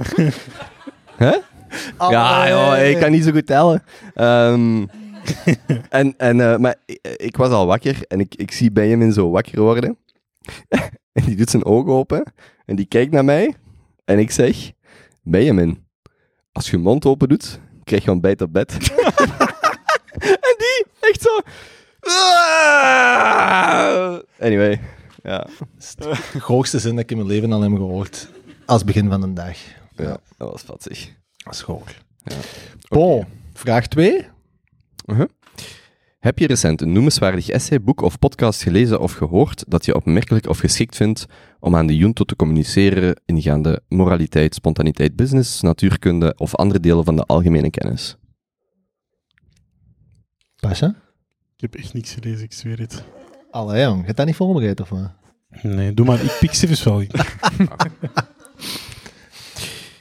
Hè? Ja, joh, ik kan niet zo goed tellen. Ehm, en, en, eh, maar ik, ik was al wakker en ik, ik zie Benjamin zo wakker worden. en die doet zijn ogen open en die kijkt naar mij. En ik zeg, Benjamin, als je je mond open doet, krijg je ontbijt op bed. en die echt zo... Anyway, ja, De hoogste zin dat ik in mijn leven al heb gehoord. Als begin van een dag. ja dat was fatig. Dat is hoog. Bon, vraag 2. Heb je recent een noemenswaardig essay, boek of podcast gelezen of gehoord dat je opmerkelijk of geschikt vindt om aan de junto te communiceren ingaande moraliteit, spontaniteit, business, natuurkunde of andere delen van de algemene kennis? Pasha? Ik heb echt niks gelezen, ik zweer het. Allee jong, gaat dat niet voorbereid of wat? Nee, doe maar. Ik pik Sivus wel in.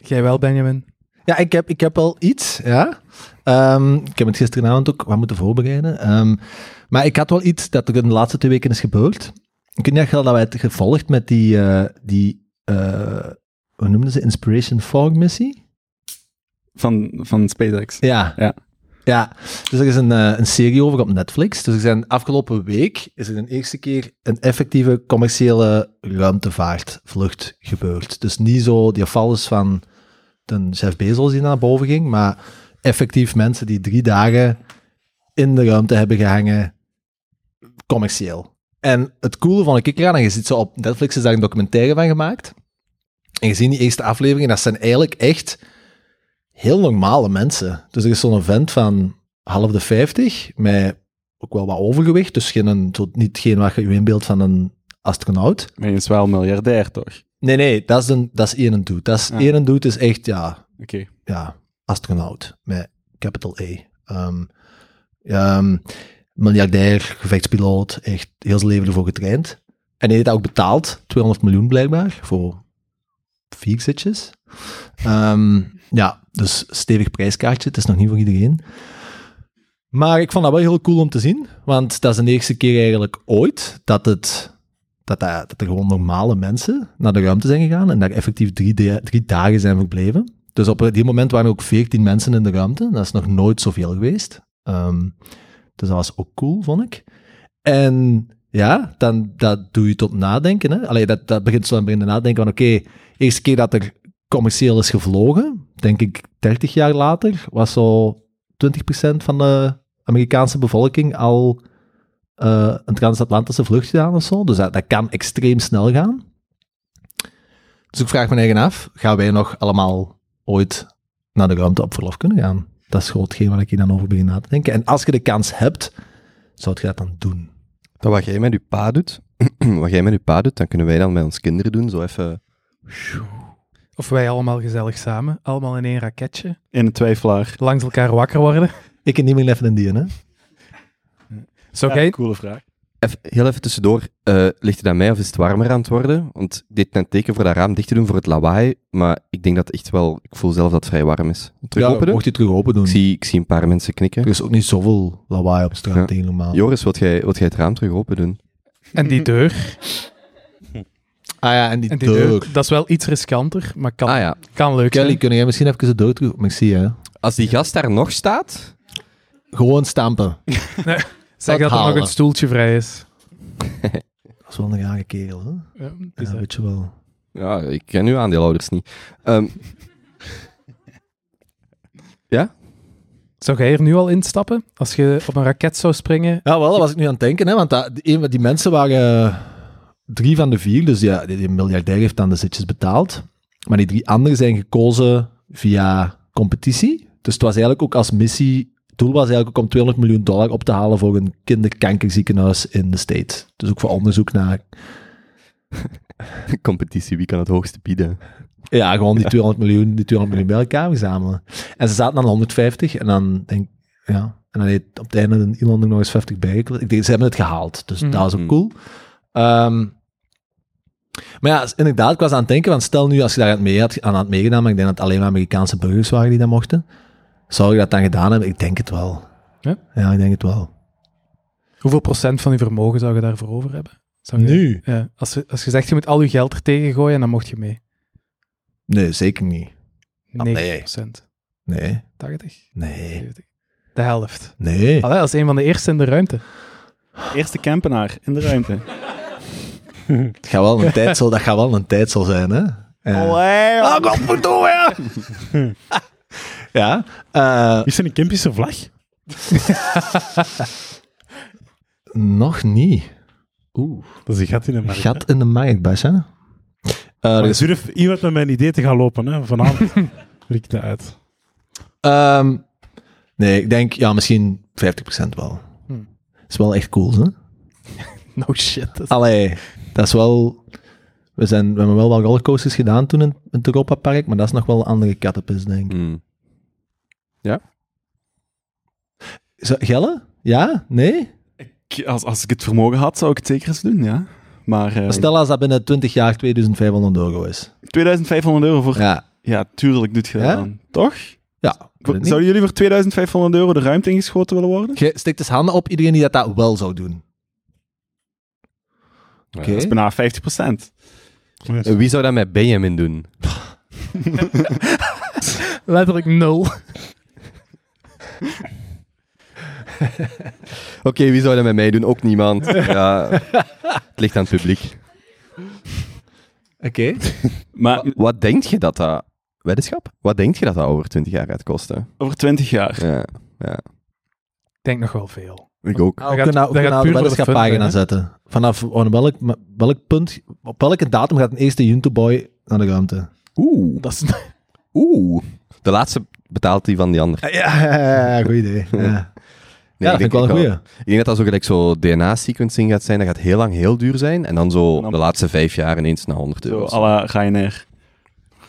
Jij wel, Benjamin. Ja, ik heb, ik heb wel iets, ja. Ehm, ik heb het gisteravond ook wat moeten voorbereiden. Ehm, maar ik had wel iets dat er in de laatste twee weken is gebeurd. Ik weet niet echt wel dat wij het gevolgd met die, eh, die eh, hoe noemden ze, Inspiration Fog missie? Van, van SpaceX. Ja. Ja. Ja, dus er is een, eh, een serie over op Netflix. Dus er zijn afgelopen week is er een eerste keer een effectieve commerciële ruimtevaartvlucht gebeurd. Dus niet zo die afvallers van de Jeff Bezos die naar boven ging, maar effectief mensen die drie dagen in de ruimte hebben gehangen, commercieel. En het coole van ik eraan, en je ziet zo op Netflix is daar een documentaire van gemaakt. En je ziet die eerste afleveringen, dat zijn eigenlijk echt heel normale mensen. Dus er is zo'n vent van half de 50, met ook wel wat overgewicht, dus geen, een- zo, niet geen wat je je inbeeldt van een astronaut. Maar je is wel miljardair, toch? Nee, nee, dat is, een, dat is één dude. Dat is, Ja. één dude is echt, ja, Oké. ja, astronaut met capital E. Ehm, ehm, miljardair, gevechtspiloot, echt heel zijn leven ervoor getraind. En hij heeft dat ook betaald, 200 miljoen blijkbaar, voor vier zitjes. Ehm, ja, dus stevig prijskaartje, het is nog niet voor iedereen. Maar ik vond dat wel heel cool om te zien, want dat is de eerste keer eigenlijk ooit dat het... Dat, dat, dat er gewoon normale mensen naar de ruimte zijn gegaan en daar effectief drie, de- drie dagen zijn verbleven. Dus op die moment waren er ook 14 mensen in de ruimte. Dat is nog nooit zoveel geweest. Ehm, dus dat was ook cool, vond ik. En ja, dan, dat doe je tot nadenken. Hè? Allee, dat, dat begint zo aan het beginnen nadenken van oké, eerste keer dat er commercieel is gevlogen, denk ik 30 jaar later, was zo 20% van de Amerikaanse bevolking al eh, een transatlantische vlucht gedaan of zo. Dus dat, dat kan extreem snel gaan. Dus ik vraag me eigen af, gaan wij nog allemaal ooit naar de ruimte op verlof kunnen gaan. Dat is gewoon hetgeen waar ik hier dan over begin na te denken. En als je de kans hebt, zou je dat dan doen. Dat wat jij met je pa doet, wat jij met je pa doet, dan kunnen wij dan met ons kinderen doen, zo even... Of wij allemaal gezellig samen, allemaal in één raketje, In een twijfelaar. langs elkaar wakker worden. Ik en niet meer even in die, hè? Zou Ja, jij coole vraag. Even- heel even tussendoor, eh, ligt het aan mij of is het warmer aan het worden? Want ik deed net teken voor dat raam dicht te doen voor het lawaai, maar ik denk dat echt wel, ik voel zelf dat het vrij warm is. Terug ja, open doen? mocht je het terug open doen. Ik zie, ik zie een paar mensen knikken. Er is ook niet zoveel lawaai op straat Ja. tegen normaal. Joris, wilt jij, wilt jij het raam terug open doen? En die deur. Ah ja, en die, En die deur. deur. Dat is wel iets riskanter, maar kan, Ah ja, kan leuk Kelly, zijn. kun jij misschien even de deur terug... Maar ik zie hè. als die gast daar nog staat, Gewoon stampen. Zeg dat dat er nog halen. een stoeltje vrij is. Dat is wel een rare kerel, hè? Ja, het is Ja, dat. weet je wel. ja, ik ken uw aandeelhouders niet. Ehm, Zou jij er nu al instappen? Als je op een raket zou springen? Ja, wel, dat was ik nu aan het denken, hè, want dat, die, die mensen waren eh, drie van de vier, dus ja, die, die miljardair heeft dan de zitjes betaald. Maar die drie anderen zijn gekozen via competitie. Dus het was eigenlijk ook als missie, het doel was eigenlijk ook om 200 miljoen dollar op te halen voor een kinderkankerziekenhuis in de States. Dus ook voor onderzoek naar, competitie, wie kan het hoogste bieden? ja, gewoon die 200 miljoen, die 200 miljoen bij elkaar verzamelen. En ze zaten aan 150 en dan denk ik, ja, en dan heeft op het einde een Elon er nog eens 50 bijgekomen. Ik denk, ze hebben het gehaald, dus Mhm. dat is ook Mhm. cool. Ehm, maar ja, s- inderdaad, ik was aan het denken, want stel nu als je daar aan het, mee had, aan had meegedaan, maar ik denk dat het alleen maar Amerikaanse burgers waren die dat mochten, zou je dat dan gedaan hebben? Ik denk het wel. Ja? ja ik denk het wel. Hoeveel procent van je vermogen zou je daarvoor over hebben? Zou je- Nu? Ja, als, je- als je zegt, je moet al je geld er tegen gooien, dan mocht je mee. Nee, zeker niet. 90 Ah, nee. procent. Nee, 80? nee, 70? De helft. nee. Allee, als een van de eerste in de ruimte. Eerste campenaar in de ruimte. Het gaat wel een tijd zal, dat gaat wel een tijd zal zijn, hè? Ja. Oh, Allee, Ah, godverdomme! ja. eh, Is er een Kempische vlag? nog niet. Oeh. Dat is een gat in de markt. Gat in de markt, Bas, hè? Eh, Maar er is- durf iemand met mijn idee te gaan lopen, hè? Vanavond rek ik dat uit. ehm, nee, ik denk, ja, misschien 50% wel. Hmm. is wel echt cool, hè? No shit. dat is- Allee, dat is wel... We, zijn, we hebben wel wat rollercoasters gedaan toen in, in het Europa Park, maar dat is nog wel een andere kattenpis, denk ik. Hmm. Zo- Gelle? Ja? Nee? Ik- Als, als ik het vermogen had, zou ik het zeker eens doen, ja. Maar eh, Stel als dat binnen 20 jaar 2500 euro is. 2500 euro voor... Ja, Ja. tuurlijk doet je dat Ja? aan. Toch? Ja. ik weet het niet. Zouden jullie voor 2500 euro de ruimte ingeschoten willen worden? Je steekt dus handen op iedereen die dat, dat wel zou doen. Oké. Dat is bijna 50 procent. Eh, Wie zou dat met Benjamin doen? Letterlijk nul. Oké, wie zou dat met mij doen? Ook niemand. Ja, het ligt aan het publiek. Oké. Maar Ah, Wat denk je dat dat... Weddenschap? Wat denk je dat dat over 20 jaar gaat kosten? over 20 jaar. Ja, Ik denk nog wel veel. ik ook. We gaat- kunnen dat ook gaat naar de puur voor de fun weddenschap-pagina zijn, zetten. Vanaf aan welk, welk punt, op welke datum gaat een eerste Junto Boy naar de ruimte? Oeh. Dat is, Oeh. De laatste betaalt die van die ander. Ja, ja, ja, goed idee. Ja, ja, Nee, dat vind ik wel een echt goeie. Ik denk dat dat zo gelijk zo DNA-sequencing gaat zijn. Dat gaat heel lang heel duur zijn. En dan zo En dan- de laatste vijf jaar ineens naar 100 Zo, euro. à la Ryanair.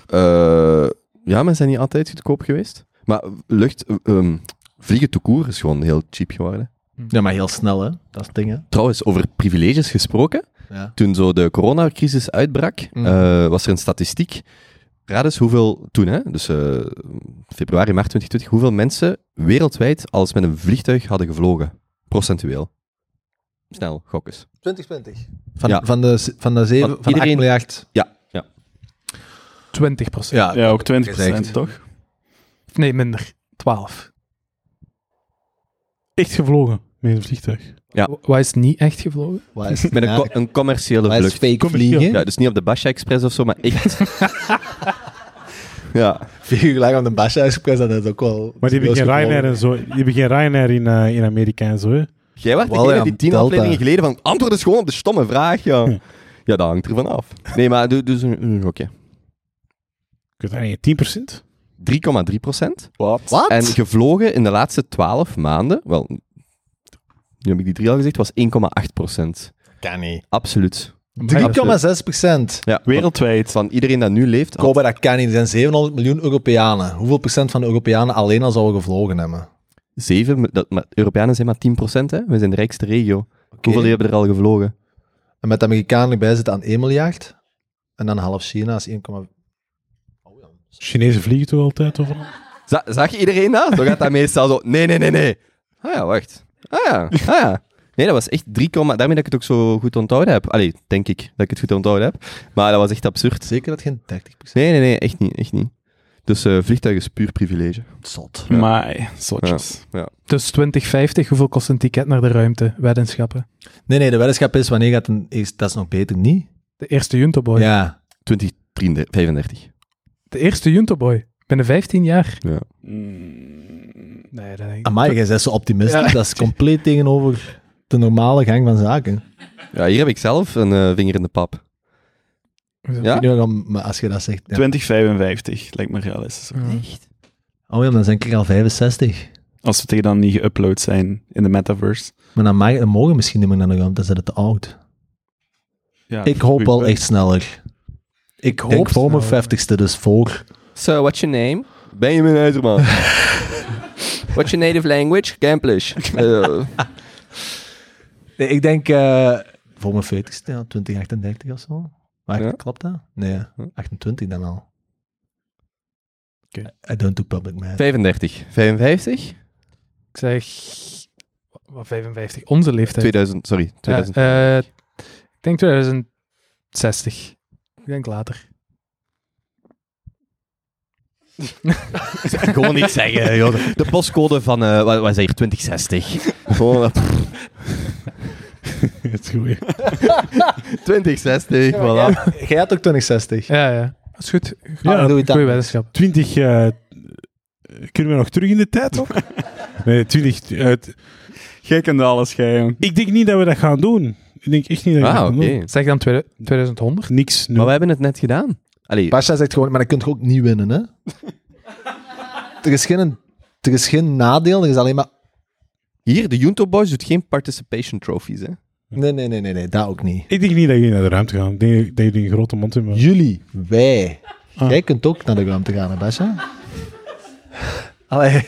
Eh, ja, maar zijn die altijd goedkoop geweest? Maar lucht... eh, ehm, vliegen to koer is gewoon heel cheap geworden. Ja, maar heel snel, hè. Dat is het ding, hè. Trouwens, over privileges gesproken. Ja. Toen zo de coronacrisis uitbrak, Mhm. eh, was er een statistiek. Raad eens hoeveel toen, hè? dus eh, februari, maart 2020, hoeveel mensen wereldwijd als met een vliegtuig hadden gevlogen. Procentueel. Snel, gokkes. 2020. Van, Ja. van de, van de 7, Want van de iedereen- 8 miljard. 20 procent. Ja, Ja, ook 20 Gezegd. procent, toch? Nee, minder. 12. Echt gevlogen met een vliegtuig. Ja. Wa- Wat is niet echt gevlogen? Waar is, Met een, ja, co- een commerciële waar is vlucht. fake vliegen? Ja, dus niet op de Basha Express of zo, maar echt. ja. Vier uur lang op de Basha Express, dat is ook wel... Maar die hebben geen dat is Ryanair gewoon- en zo. Die hebben geen Ryanair in, eh, in Amerika en zo. Hè? Jij werd Wel, degene ja, die tien Delta. afleveringen geleden van antwoord is gewoon op de stomme vraag, ja. Hm. Ja, dat hangt er van af. Nee, maar doe- doe dus een oké. Ik weet het niet, 10%? 3,3 procent. Wat? Wat? En gevlogen in de laatste 12 maanden, wel, nu heb ik die drie al gezegd, was 1,8 procent. Kan niet. Absoluut. 3,6 procent. Ja, want Wereldwijd. van iedereen dat nu leeft, had- Kopen, dat kan niet. Er zijn 700 miljoen Europeanen. Hoeveel procent van de Europeanen alleen al zouden gevlogen hebben? zeven, dat, maar Europeanen zijn maar 10 procent, hè? We zijn de rijkste regio. Hoeveel hebben er al gevlogen? En met de Amerikanen erbij zitten aan 1 miljard. En dan half China is 1,5. Chinezen vliegen toch altijd overal? Za- zag iedereen dat? Dan gaat dat meestal zo, nee, nee, nee, nee. Ah ja, wacht. Ah ja, ah ja. Nee, dat was echt 3, daarmee dat ik het ook zo goed onthouden heb. Allee, denk ik dat ik het goed onthouden heb. Maar dat was echt absurd. Zeker dat geen 30%. Nee, nee, nee, echt niet, echt niet. Dus eh vliegtuigen is puur privilege. Zot. Ja. Maar, eh, zotjes. Dus 2050, hoeveel kost een ticket naar de ruimte? Weddenschappen. Nee, nee, de weddenschap is wanneer gaat een. Is, dat is nog beter, niet? De eerste Junto Boy. Ja. 2035. De eerste Junto Boy. Binnen 15 jaar. Mm. Nee, dat denk ik. Amai, jij bent zo optimistisch. Dat is compleet tegenover de normale gang van zaken. Ja, hier heb ik zelf een eh, vinger in de pap. Ja? Ik weet niet waarom, maar als je dat zegt. Ja. 2055, lijkt me realistisch. Ja. Oh ja, dan zijn ik al 65. Als we tegen dan niet geüpload zijn in de metaverse. Maar dan, mag, dan mogen we misschien niet meer naar de ruimte, dan is het te oud. Ja, ik hoop goeie wel punt. echt sneller. Ik hoop denk voor mijn sneller. vijftigste, dus voor. So, what's your name? Benjamin Uiterman. what's your native language? Gamplish. Eh, Nee, ik denk eh, voor mijn veertigste, ja, 2038 of zo. Maar Ja. klopt dat? Nee, 28 dan al. Oké. I don't do public math. 35. 55? Ik zeg... Wat, 55? Onze leeftijd. 2000, sorry. 2000. Ja, eh, ik denk 2060. Ik denk later. Gewoon niet zeggen. De postcode van, eh wat, wat is dat hier, 2060. Gewoon, eh, pff, Het is goed. 2060, voilà. Jij had ook 2060. Ja, ja. Dat is goed. Ja, dan doe je dat. Goeie weddenschap. 20. eh, kunnen we nog terug in de tijd ook? Nee, 20. eh, t- Jij kent alles, jij, jong. ik denk niet dat we dat gaan doen. Ik denk echt niet dat we dat Ah, gaan oké. doen. Zeg dan 2100? Niks. nul. Maar we hebben het net gedaan. Allee, Pasha zegt gewoon, maar dan kun je ook niet winnen, hè? er, is geen, er is geen nadeel, er is alleen maar... hier, de Junto Boys doet geen participation trophies, hè. Nee, nee, nee, nee, nee dat ook niet. Ik denk niet dat jullie naar de ruimte gaan. Ik denk dat jullie een grote mond hebben. Jullie, wij. Jij kunt ook naar de ruimte gaan, hè, Basja? Allee.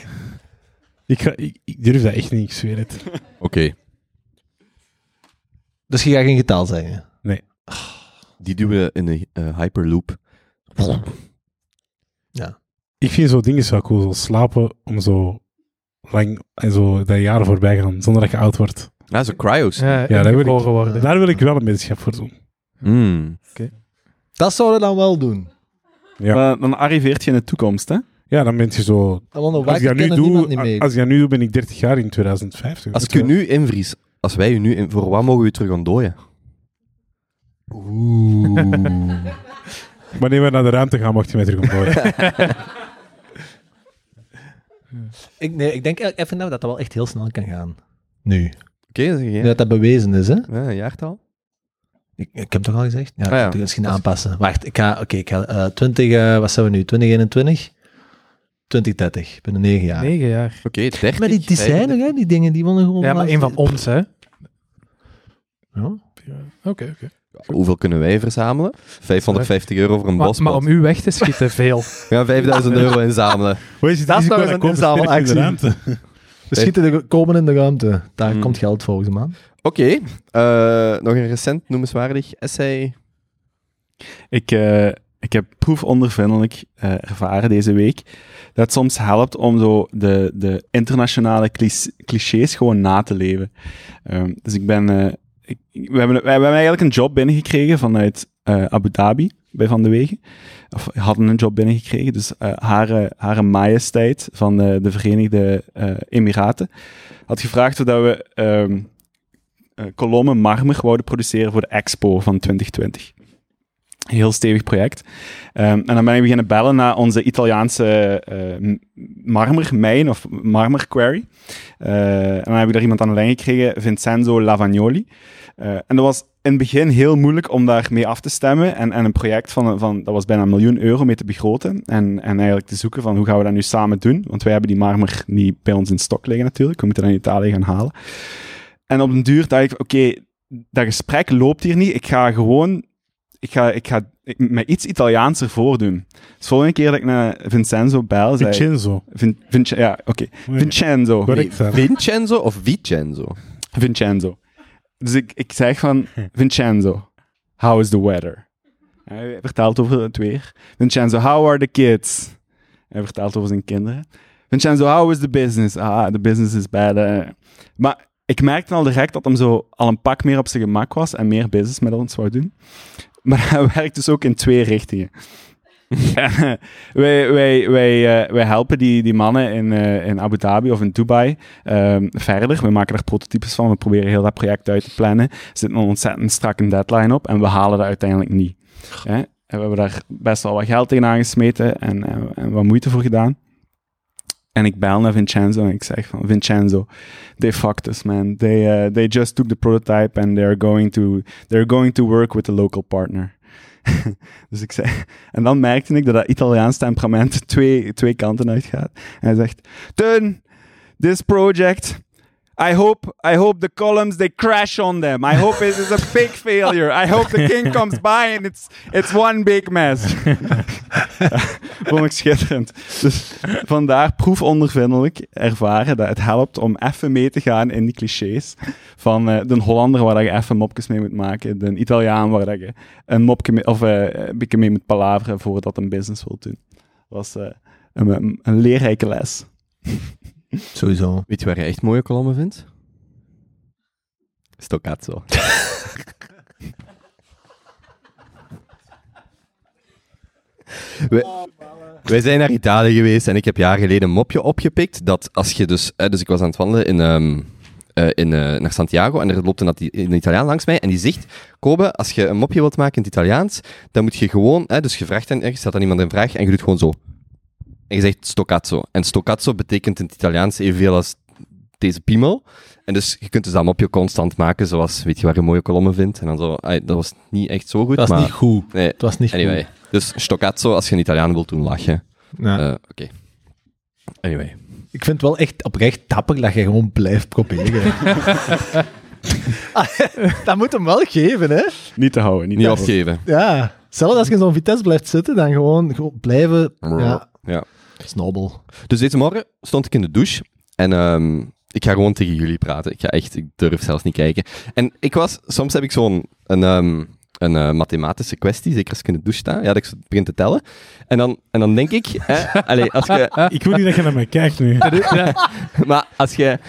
Ik, ga, ik, ik durf dat echt niet, ik zweer het. Oké. Dus je gaat geen getal zeggen. Die doen we in een eh, hyperloop. Ik vind zo dingen zo cool, zo slapen om zo lang en zo dat jaren voorbij gaan, zonder dat je oud wordt. Ah, zo cryos. Ja, dat wil ik. ingeboren worden. Daar wil ik wel een wetenschap voor doen. Mm. Dat zouden we dan wel doen. Ja. Maar Eh, dan arriveert je in de toekomst, hè? Ja, dan ben je zo... Dan want Als ik, dat nu niemand doe, ah, niet mee. als ik dat nu doe, ben ik 30 jaar in 2050. Als ik u nu invries, als wij u nu in, voor wat mogen we u terug ontdooien? Oeh. Wanneer we naar de ruimte gaan, mocht je mij terug ontdooien. ik, nee, ik denk eigenlijk even dat dat wel echt heel snel kan gaan. Nu. Oké, dat is Nu dat dat bewezen is, hè? Ja, een jaartal. Ik, ik heb toch al gezegd? Ja, Ah, ja. ik moet het misschien aanpassen. Wacht, ik ga... Oké, ik ga... eh, 20... eh, wat zijn we nu? 2021? 2030. Binnen 9 jaar. 9 jaar. Oké, 30. Maar die, die zijn er, 35. hè? Die dingen, die wonnen gewoon... Ja, maar als- één van ons, hè? Ja. Oké, oké. Hoeveel kunnen wij verzamelen? 550 euro voor een Maar, bos. maar om u weg te schieten, veel. Ja, 5000 euro inzamelen. Hoe is het Dat is risico nog eens een ik over sterk in de inzamelactie. ruimte? We schieten de, komen in de ruimte. Daar Hmm. komt geld volgens mij. aan. Oké, eh, nog een recent noemenswaardig essay. Ik, eh, ik heb proefondervindelijk eh, ervaren deze week dat het soms helpt om zo de, de internationale clich- clichés gewoon na te leven. Ehm, dus ik ben... eh, ik- ik- we, hebben, we hebben eigenlijk een job binnengekregen vanuit eh, Abu Dhabi bij Van de Wegen. Of hadden een job binnengekregen. Dus eh Hare, Hare Majesteit van de, de Verenigde eh, Emiraten had gevraagd of dat we ehm eh, kolommen marmer wouden produceren voor de expo van 2020. Een heel stevig project. Ehm, en dan ben ik beginnen bellen naar onze Italiaanse eh, m- marmermijn of marmer quarry. Eh, en dan heb ik daar iemand aan de lijn gekregen, Vincenzo Lavagnoli. Eh, en dat was in het begin heel moeilijk om daar mee af te stemmen. En, en een project van, van, dat was bijna een miljoen euro mee te begroten. En, en eigenlijk te zoeken van hoe gaan we dat nu samen doen. Want wij hebben die marmer niet bij ons in stok liggen natuurlijk. We moeten dat in Italië gaan halen. En op den duur dacht ik, oké, dat gesprek loopt hier niet. Ik ga gewoon ik ga, ik ga me iets Italiaanser voordoen. Dus volgende keer dat ik naar Vincenzo bel, zei ik... Vincenzo. Vin, Vince- ja, oké. Nee, Vincenzo. Correct. Vincenzo of Vincenzo? Vincenzo. Dus ik, ik zeg van, Vincenzo, how is the weather? Hij vertelt over het weer. Vincenzo, how are the kids? Hij vertelt over zijn kinderen. Vincenzo, how is the business? Ah, the business is bad. eh. Maar ik merkte al direct dat hem zo al een pak meer op zijn gemak was en meer business met ons wou doen. Maar hij werkt dus ook in twee richtingen. En, eh, wij, wij, wij, eh, wij helpen die, die mannen in, eh, in Abu Dhabi of in Dubai ehm, verder. We maken daar prototypes van. We proberen heel dat project uit te plannen. Er zit een ontzettend strakke deadline op en we halen dat uiteindelijk niet. Hè? En we hebben daar best wel wat geld in aangesmeten en, en, en wat moeite voor gedaan. En ik bel naar Vincenzo en ik zeg van, Vincenzo, they fucked us, man. They, eh, they just took the prototype and they're going to, they're going to work with a local partner. dus ik zei, en dan merkte ik dat dat Italiaans temperament twee, twee kanten uitgaat. En hij zegt, Teun, this project. I hope, I hope the columns they crash on them. I hope it is a big failure. I hope the king comes by and it's, it's one big mess. Vond ik schitterend. Dus vandaar proefondervindelijk ervaren dat het helpt om even mee te gaan in die clichés. Van eh, de Hollander waar dat je even mopjes mee moet maken. De Italiaan waar dat je een mopje mee, of, eh, een beetje mee moet palaveren voordat een business wilt doen. was eh, een, een leerrijke les. Sowieso. Weet je waar je echt mooie kolommen vindt? Stoccato. wij, wij zijn naar Italië geweest en ik heb jaar geleden een mopje opgepikt dat als je dus... eh, dus ik was aan het wandelen in, ehm, eh, in, eh, naar Santiago en er loopt een, Ati- een Italiaan langs mij en die zegt... Kobe, als je een mopje wilt maken in het Italiaans, dan moet je gewoon... eh, dus je vraagt en je stelt aan iemand een vraag en je doet gewoon zo. En je zegt stoccazzo. En stoccazzo betekent in het Italiaans evenveel als deze piemel. En dus je kunt dus dat mopje constant maken, zoals weet je waar je mooie kolommen vindt. En dan zo, ai, dat was niet echt zo goed. Dat was maar, niet goed. Nee, Het was niet anyway. Dus stoccazzo als je een Italiaan wilt doen lachen. goed. Ja. Eh, Oké. Anyway. Ik vind het wel echt oprecht dapper dat je gewoon blijft proberen. Ah, dat moet hem wel geven, hè? Niet te houden, niet, Niet te houden. afgeven. Ja. Zelfs als je in zo'n Vitesse blijft zitten, dan gewoon, gewoon blijven ja, ja. snobbel. Dus deze morgen stond ik in de douche en ehm, ik ga gewoon tegen jullie praten. Ik ga echt, ik durf zelfs niet kijken. En ik was, soms heb ik zo'n een, ehm, een eh, mathematische kwestie, zeker als ik in de douche sta. Ja, dat ik zo begin te tellen. En dan, en dan denk ik, hè, allee, als je, Ik wil niet dat je naar mij kijkt nu. maar als je,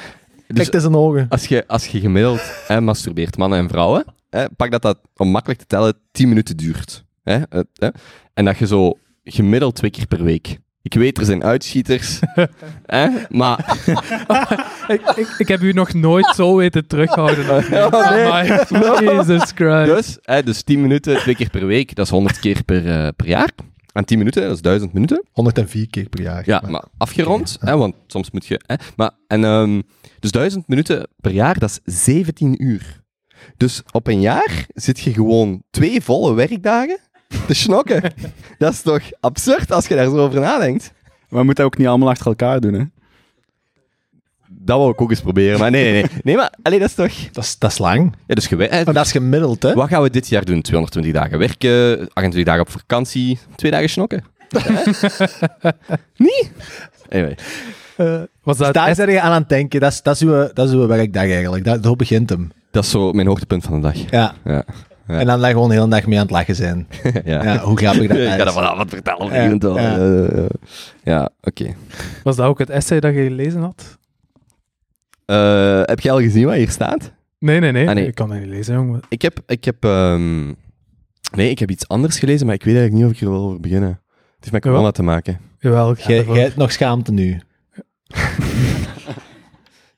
dus Kijk tussen zijn ogen. als je, als je gemiddeld hè, masturbeert, mannen en vrouwen, hè, pak dat dat, om makkelijk te tellen, 10 minuten duurt. Hè, het, hè. En dat je zo gemiddeld twee keer per week. Ik weet, er zijn uitschieters, hè, maar Ik, ik, ik heb u nog nooit zo weten terughouden. Oh, nee. Maar- Jesus Christ. Dus, hè, dus 10 minuten, twee keer per week, dat is 100 keer per, eh, per jaar. En 10 minuten, dat is 1000 minuten. 104 keer per jaar. Ja, maar afgerond, hè, want soms moet je. Hè, maar, en, ehm, dus 1000 minuten per jaar, dat is 17 uur. Dus op een jaar zit je gewoon twee volle werkdagen te snokken. dat is toch absurd als je daar zo over nadenkt? Maar we moeten dat ook niet allemaal achter elkaar doen, hè. Dat wou ik ook eens proberen, maar nee, nee, nee. Nee, maar alleen dat is toch. Dat, is, dat is lang. Ja, dus je, we- hè, Maar dat is gemiddeld, hè? Wat gaan we dit jaar doen? 220 dagen werken, 28 dagen op vakantie, twee dagen snokken. nee? Anyway. Was Dus dat daar het zijn je aan aan het denken. Dat is, dat is, uw, dat is uw werkdag eigenlijk. Dat, zo begint hem. Dat is zo mijn hoogtepunt van de dag. Ja. Ja. Ja. En dan daar gewoon de hele dag mee aan het lachen zijn. ja. Ja, hoe grappig dat Ik ga is. dat vanavond vertellen. Ja, vriend. Eh, ja. eh, Ja, oké. Was dat ook het essay dat je gelezen had? Eh, heb jij al gezien wat hier staat? Nee, nee, nee. Ah, nee. Ik kan dat niet lezen, jongen. Ik heb... Ik heb ehm, Nee, ik heb iets anders gelezen, maar ik weet eigenlijk niet of ik er wil over beginnen. Het heeft met Jawel. corona te maken. Jawel, ik ga Jij ervoor. jij hebt nog schaamte nu.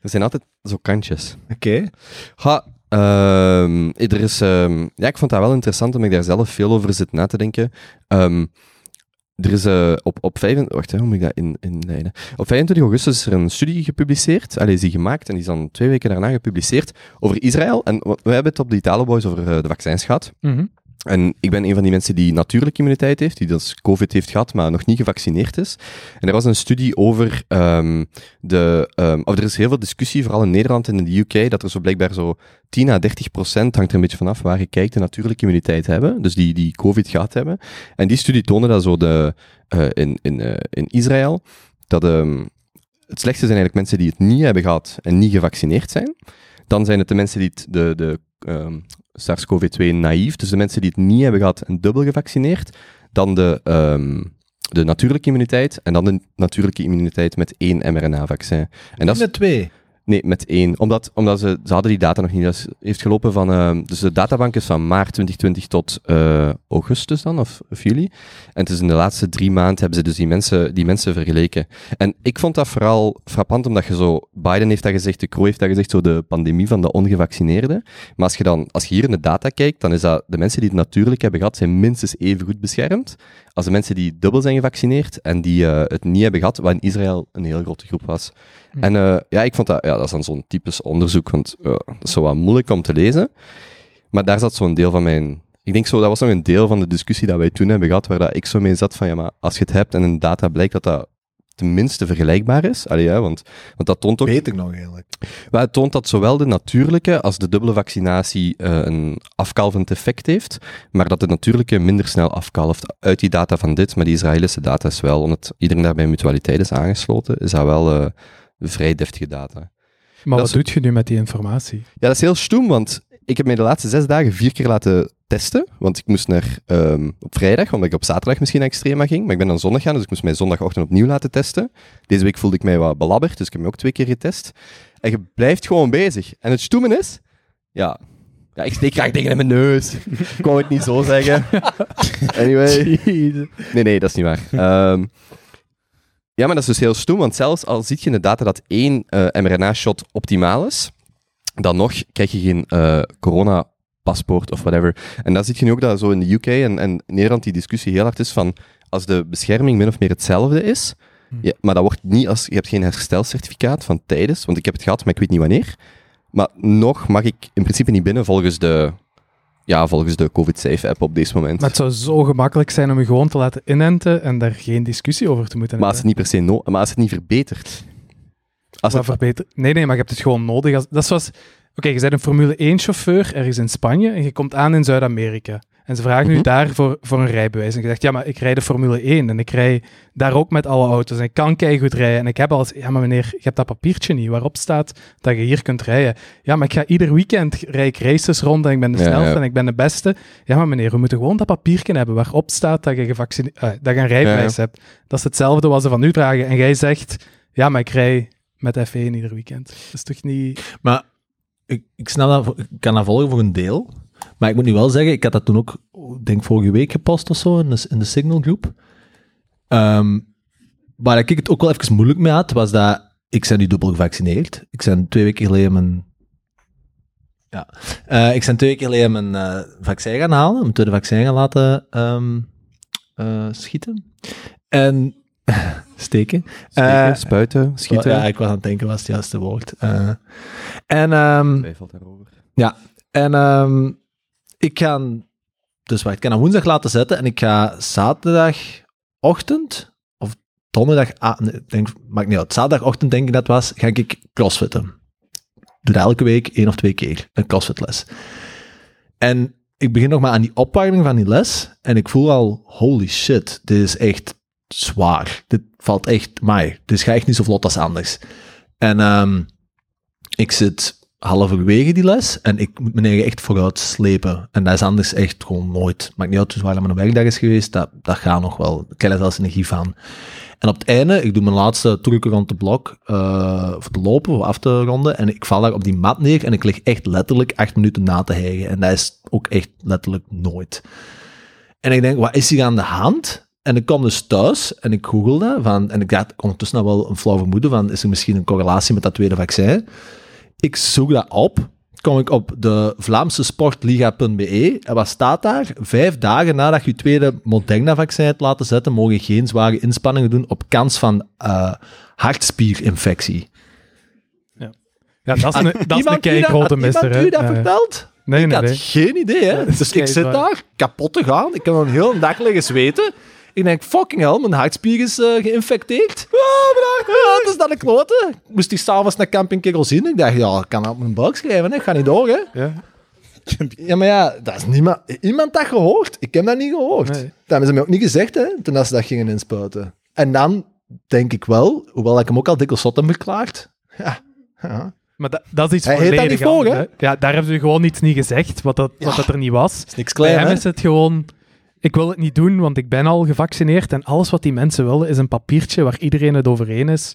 Er zijn altijd zo kantjes. Oké. Ha, ehm, er is, ehm, ja, ik vond dat wel interessant omdat ik daar zelf veel over zit na te denken. Ehm, er is eh, op, op 25, wacht, hè, hoe moet ik dat in, inleiden? Op 25 augustus is er een studie gepubliceerd, allee, is die gemaakt en die is dan twee weken daarna gepubliceerd over Israël. En we, we hebben het op de Italoboys over eh, de vaccins gehad. Mhm. En ik ben een van die mensen die natuurlijke immuniteit heeft, die dus COVID heeft gehad, maar nog niet gevaccineerd is. En er was een studie over ehm, de. ehm, of er is heel veel discussie, vooral in Nederland en in de UK, dat er zo blijkbaar zo 10 à 30 procent, hangt er een beetje vanaf waar je kijkt, de natuurlijke immuniteit hebben. Dus die, die COVID gehad hebben. En die studie toonde dat zo de, eh, in, in, eh, in Israël, dat ehm, het slechtste zijn eigenlijk mensen die het niet hebben gehad en niet gevaccineerd zijn. Dan zijn het de mensen die het, de, de ehm, SARS-CoV-2 naïef, dus de mensen die het niet hebben gehad en dubbel gevaccineerd. Dan de, ehm, de natuurlijke immuniteit en dan de natuurlijke immuniteit met één mRNA-vaccin. En dat is Met twee. Nee, met één. Omdat, omdat ze, ze hadden die data nog niet. Dat is- heeft gelopen van... ehm, dus de databank is van maart 2020 tot eh, augustus dan, of, of juli. En het is in de laatste drie maanden hebben ze dus die mensen, die mensen vergeleken. En ik vond dat vooral frappant, omdat je zo... Biden heeft dat gezegd, de Croo heeft dat gezegd, zo de pandemie van de ongevaccineerden. Maar als je, dan, als je hier in de data kijkt, dan is dat... De mensen die het natuurlijk hebben gehad, zijn minstens even goed beschermd als de mensen die dubbel zijn gevaccineerd en die eh, het niet hebben gehad, wat in Israël een heel grote groep was. En eh, ja, ik vond dat, ja, dat is dan zo'n typisch onderzoek, want eh, dat is zo wat moeilijk om te lezen. Maar daar zat zo'n deel van mijn... Ik denk zo, dat was nog een deel van de discussie dat wij toen hebben gehad, waar dat ik zo mee zat van, ja, maar als je het hebt en in data blijkt dat dat tenminste vergelijkbaar is, allee, ja, want, want dat toont ook... Beter nog eigenlijk. Maar het toont dat zowel de natuurlijke als de dubbele vaccinatie eh, een afkalvend effect heeft, maar dat de natuurlijke minder snel afkalft. Uit die data van dit, maar die Israëlische data is wel, omdat iedereen daar bij mutualiteit is aangesloten, is dat wel eh, vrij deftige data. Dat Maar wat is- doet je nu met die informatie? Ja, dat is heel stoem, want ik heb mij de laatste zes dagen vier keer laten testen, want ik moest naar ehm, op vrijdag, omdat ik op zaterdag misschien naar Extrema ging, maar ik ben dan zondag gaan, dus ik moest mij zondagochtend opnieuw laten testen. Deze week voelde ik mij wat belabberd, dus ik heb me ook twee keer getest. En je blijft gewoon bezig. En het stoemen is, ja, ja ik steek graag dingen in mijn neus. ik wou het niet zo zeggen. Anyway. Nee, nee, dat is niet waar. Ehm, ja, maar dat is dus heel stoem, want zelfs al ziet je in de data dat één eh, mRNA-shot optimaal is, dan nog krijg je geen eh, corona-paspoort of whatever. En dan zie je nu ook dat zo in de UK en, en Nederland die discussie heel hard is van als de bescherming min of meer hetzelfde is, ja, maar dat wordt niet als je hebt geen herstelcertificaat van tijdens, want ik heb het gehad, maar ik weet niet wanneer. Maar nog mag ik in principe niet binnen volgens de, ja, volgens de COVID-safe-app op dit moment. Maar het zou zo gemakkelijk zijn om je gewoon te laten inenten en daar geen discussie over te Eh, moeten Maar als het hebben. niet per se no, maar als het niet verbetert. Als Maar het, verbeter... Nee, nee, maar je hebt het gewoon nodig. Als... Dat is zoals... Oké, je bent een Formule 1-chauffeur ergens in Spanje en je komt aan in Zuid-Amerika. En ze vragen Mhm. u daar voor, voor een rijbewijs. En je zegt, ja, maar ik rijd de Formule 1 en ik rij daar ook met alle auto's en ik kan keigoed rijden. En ik heb al... Ja, maar meneer, je hebt dat papiertje niet waarop staat dat je hier kunt rijden. Ja, maar ik ga ieder weekend rij ik races rond en ik ben de Ja, snelste ja. en ik ben de beste. Ja, maar meneer, we moeten gewoon dat papiertje hebben waarop staat dat je, gevaccine... eh, dat je een rijbewijs hebt. Dat is hetzelfde wat ze van u vragen. En jij zegt, ja, maar ik rij met F1 ieder weekend. Dat is toch niet... Maar ik, ik snap dat, voor- ik kan dat volgen voor een deel. Maar ik moet nu wel zeggen, ik had dat toen ook, ik denk vorige week gepost of zo, in de, in de Signal Group. Ehm, waar ik het ook wel even moeilijk mee had, was dat ik ben nu dubbel gevaccineerd. Ik ben twee weken geleden mijn... Ja. Eh, ik ben twee weken geleden mijn eh, vaccin gaan halen, mijn tweede vaccin gaan laten ehm, eh, schieten. En... Steken. Eh, Steken, spuiten, schieten. Ja, ik was aan het denken, was het juiste woord. Eh, en... ehm, Twijfel daarover. en ehm, ik ga, dus wacht, ik kan hem woensdag laten zetten en ik ga zaterdagochtend of donderdag, ah, nee, ik denk, maakt niet uit, zaterdagochtend denk ik dat was, ga ik crossfitten. Doe dat elke week één of twee keer, een crossfitles. En ik begin nog maar aan die opwarming van die les en ik voel al, holy shit, dit is echt zwaar. Dit valt echt, mij. dit gaat echt niet zo vlot als anders. En ehm, ik zit halverwege die les en ik moet mijn eigen echt vooruit slepen. En dat is anders echt gewoon nooit. Maakt niet uit hoe zwaar dat mijn werkdag is geweest, dat, dat gaat nog wel. Ik krijg daar zelfs energie van. En op het einde, ik doe mijn laatste trucje rond de blok, eh, of te lopen, of af te ronden, en ik val daar op die mat neer en ik lig echt letterlijk acht minuten na te hijgen. En dat is ook echt letterlijk nooit. En ik denk, wat is hier aan de hand? En ik kom dus thuis en ik google dat. Van, en ik had ondertussen al wel een flauw vermoeden van, is er misschien een correlatie met dat tweede vaccin? Ik zoek dat op. Kom ik op de Vlaamse sportliga.be. E. En wat staat daar? Vijf dagen nadat je je tweede Moderna-vaccin hebt laten zetten, mogen je geen zware inspanningen doen op kans van eh, hartspierinfectie. Ja, dat is een, Ah, dat is een Iemand die keigrote had mister, iemand hè. u dat Ja, ja. verteld? Nee, Ik nee, had nee. geen idee, hè. dat is dus ik zit keizwaar. daar kapot te gaan. Ik heb een hele dag liggen zweten. Ik denk, fucking hell, mijn hartspier is eh, geïnfecteerd. Ah, mijn hartspier. Ja, het is dat ik klote. Ik moest die s'avonds naar Camping Kegel zien. Ik dacht, ja, ik kan dat op mijn buik schrijven, hè. Ik ga niet door, hè. Ja. Ja, maar ja, dat is niemand... Iemand dat gehoord? Ik heb dat niet gehoord. Nee. Dat hebben ze mij ook niet gezegd, hè, toen dat ze dat gingen inspuiten. En dan denk ik wel, hoewel ik hem ook al dikwijls zot heb verklaard... Ja, ja, Maar da- dat is iets Hij heet dat volledig niet voor, anders, hè. Ja, daar hebben ze gewoon iets niet gezegd, wat dat, wat dat er niet was. is Bij niks klein, hem hè? is het gewoon... Ik wil het niet doen, want ik ben al gevaccineerd. En alles wat die mensen willen, is een papiertje waar iedereen het over eens is.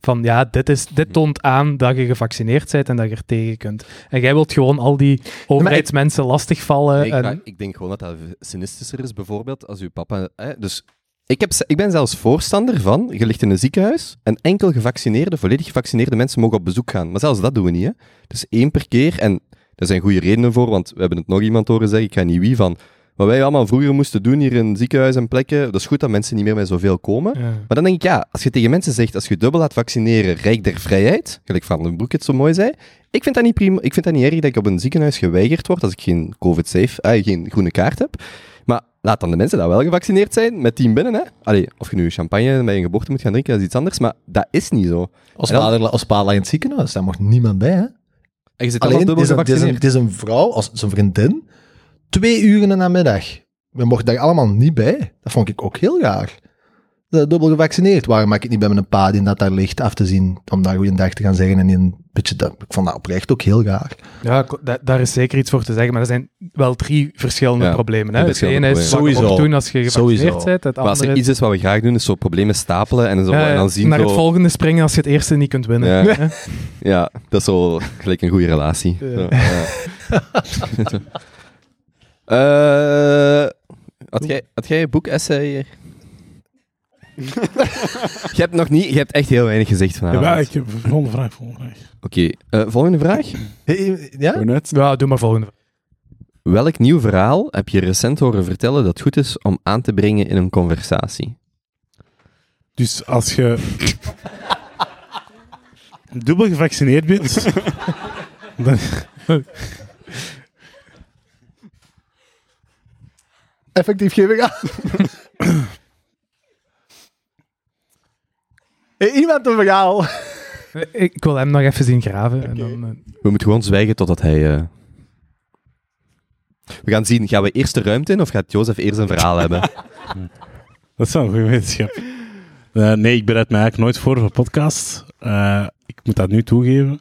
Van ja, dit, is, dit toont aan dat je gevaccineerd bent en dat je er tegen kunt. En jij wilt gewoon al die overheidsmensen lastigvallen. ik, maar en, ik denk gewoon dat dat sinistischer is, bijvoorbeeld, als uw papa... Hè, dus ik, heb, ze- ik ben zelfs voorstander van, je ligt in een ziekenhuis en enkel gevaccineerde, volledig gevaccineerde mensen mogen op bezoek gaan. Maar zelfs dat doen we niet, hè. Dus één per keer, en daar zijn goede redenen voor, want we hebben het nog iemand horen zeggen, ik ga niet wie, van wat wij allemaal vroeger moesten doen hier in ziekenhuis en plekken, dat is goed dat mensen niet meer met zoveel komen. Ja. Maar dan denk ik, ja, als je tegen mensen zegt, als je dubbel laat vaccineren, rijk der vrijheid, gelijk Van den Broek het zo mooi zei, ik vind dat niet, prima, ik vind dat niet erg dat ik op een ziekenhuis geweigerd word als ik geen COVID-safe, eh, geen groene kaart heb. Maar laat dan de mensen dat wel gevaccineerd zijn, met tien binnen, hè. Allee, of je nu champagne bij een geboorte moet gaan drinken, dat is iets anders, maar dat is niet zo. Als En dan- vader, als vader in het ziekenhuis, daar mocht niemand bij, hè? En je zit allemaal Alleen, het dubbel is, een, het is een- gevaccineerd. het is een vrouw, als zijn vriendin, twee uur in de namiddag. We mochten daar allemaal niet bij. Dat vond ik ook heel raar. Dat dubbel gevaccineerd. Waarom maak ik het niet bij mijn pa die dat daar ligt af te zien, om daar goeiedag te gaan zeggen en die een beetje... Dat, ik vond dat oprecht ook heel raar. Ja, ko- da- daar is zeker iets voor te zeggen, maar er zijn wel drie verschillende Ja, problemen. Hè? drie Het ene verschillende is wat je problemen. mocht Sowieso. doen als je gevaccineerd Sowieso. bent. Het Maar als andere er iets is wat we graag doen, is zo problemen stapelen en, zo, Ja, en dan zien naar zo... het volgende springen als je het eerste niet kunt winnen. Ja. hè. Ja, dat is wel gelijk een goede relatie. Ja. Zo, ja. Eh, had, jij, had jij een boek essay hier? je hebt nog niet, je hebt echt heel weinig gezegd vanavond. Ja, ik heb volgende vraag, volgende vraag. Oké, eh, volgende vraag. Eh, Ja? Gewoon uit. ja, doe maar volgende. Welk nieuw verhaal heb je recent horen vertellen dat goed is om aan te brengen in een conversatie? Dus als je dubbel gevaccineerd bent, dan, Effectief geef ik aan. Hey, Eh, iemand een verhaal. Ik, ik wil hem nog even zien graven. En dan, eh, We moeten gewoon zwijgen totdat hij... eh, We gaan zien, gaan we eerst de ruimte in of gaat Jozef eerst een verhaal hebben? dat is wel een goede wetenschap. Eh, nee, ik bereid me eigenlijk nooit voor voor podcast. Eh, ik moet dat nu toegeven.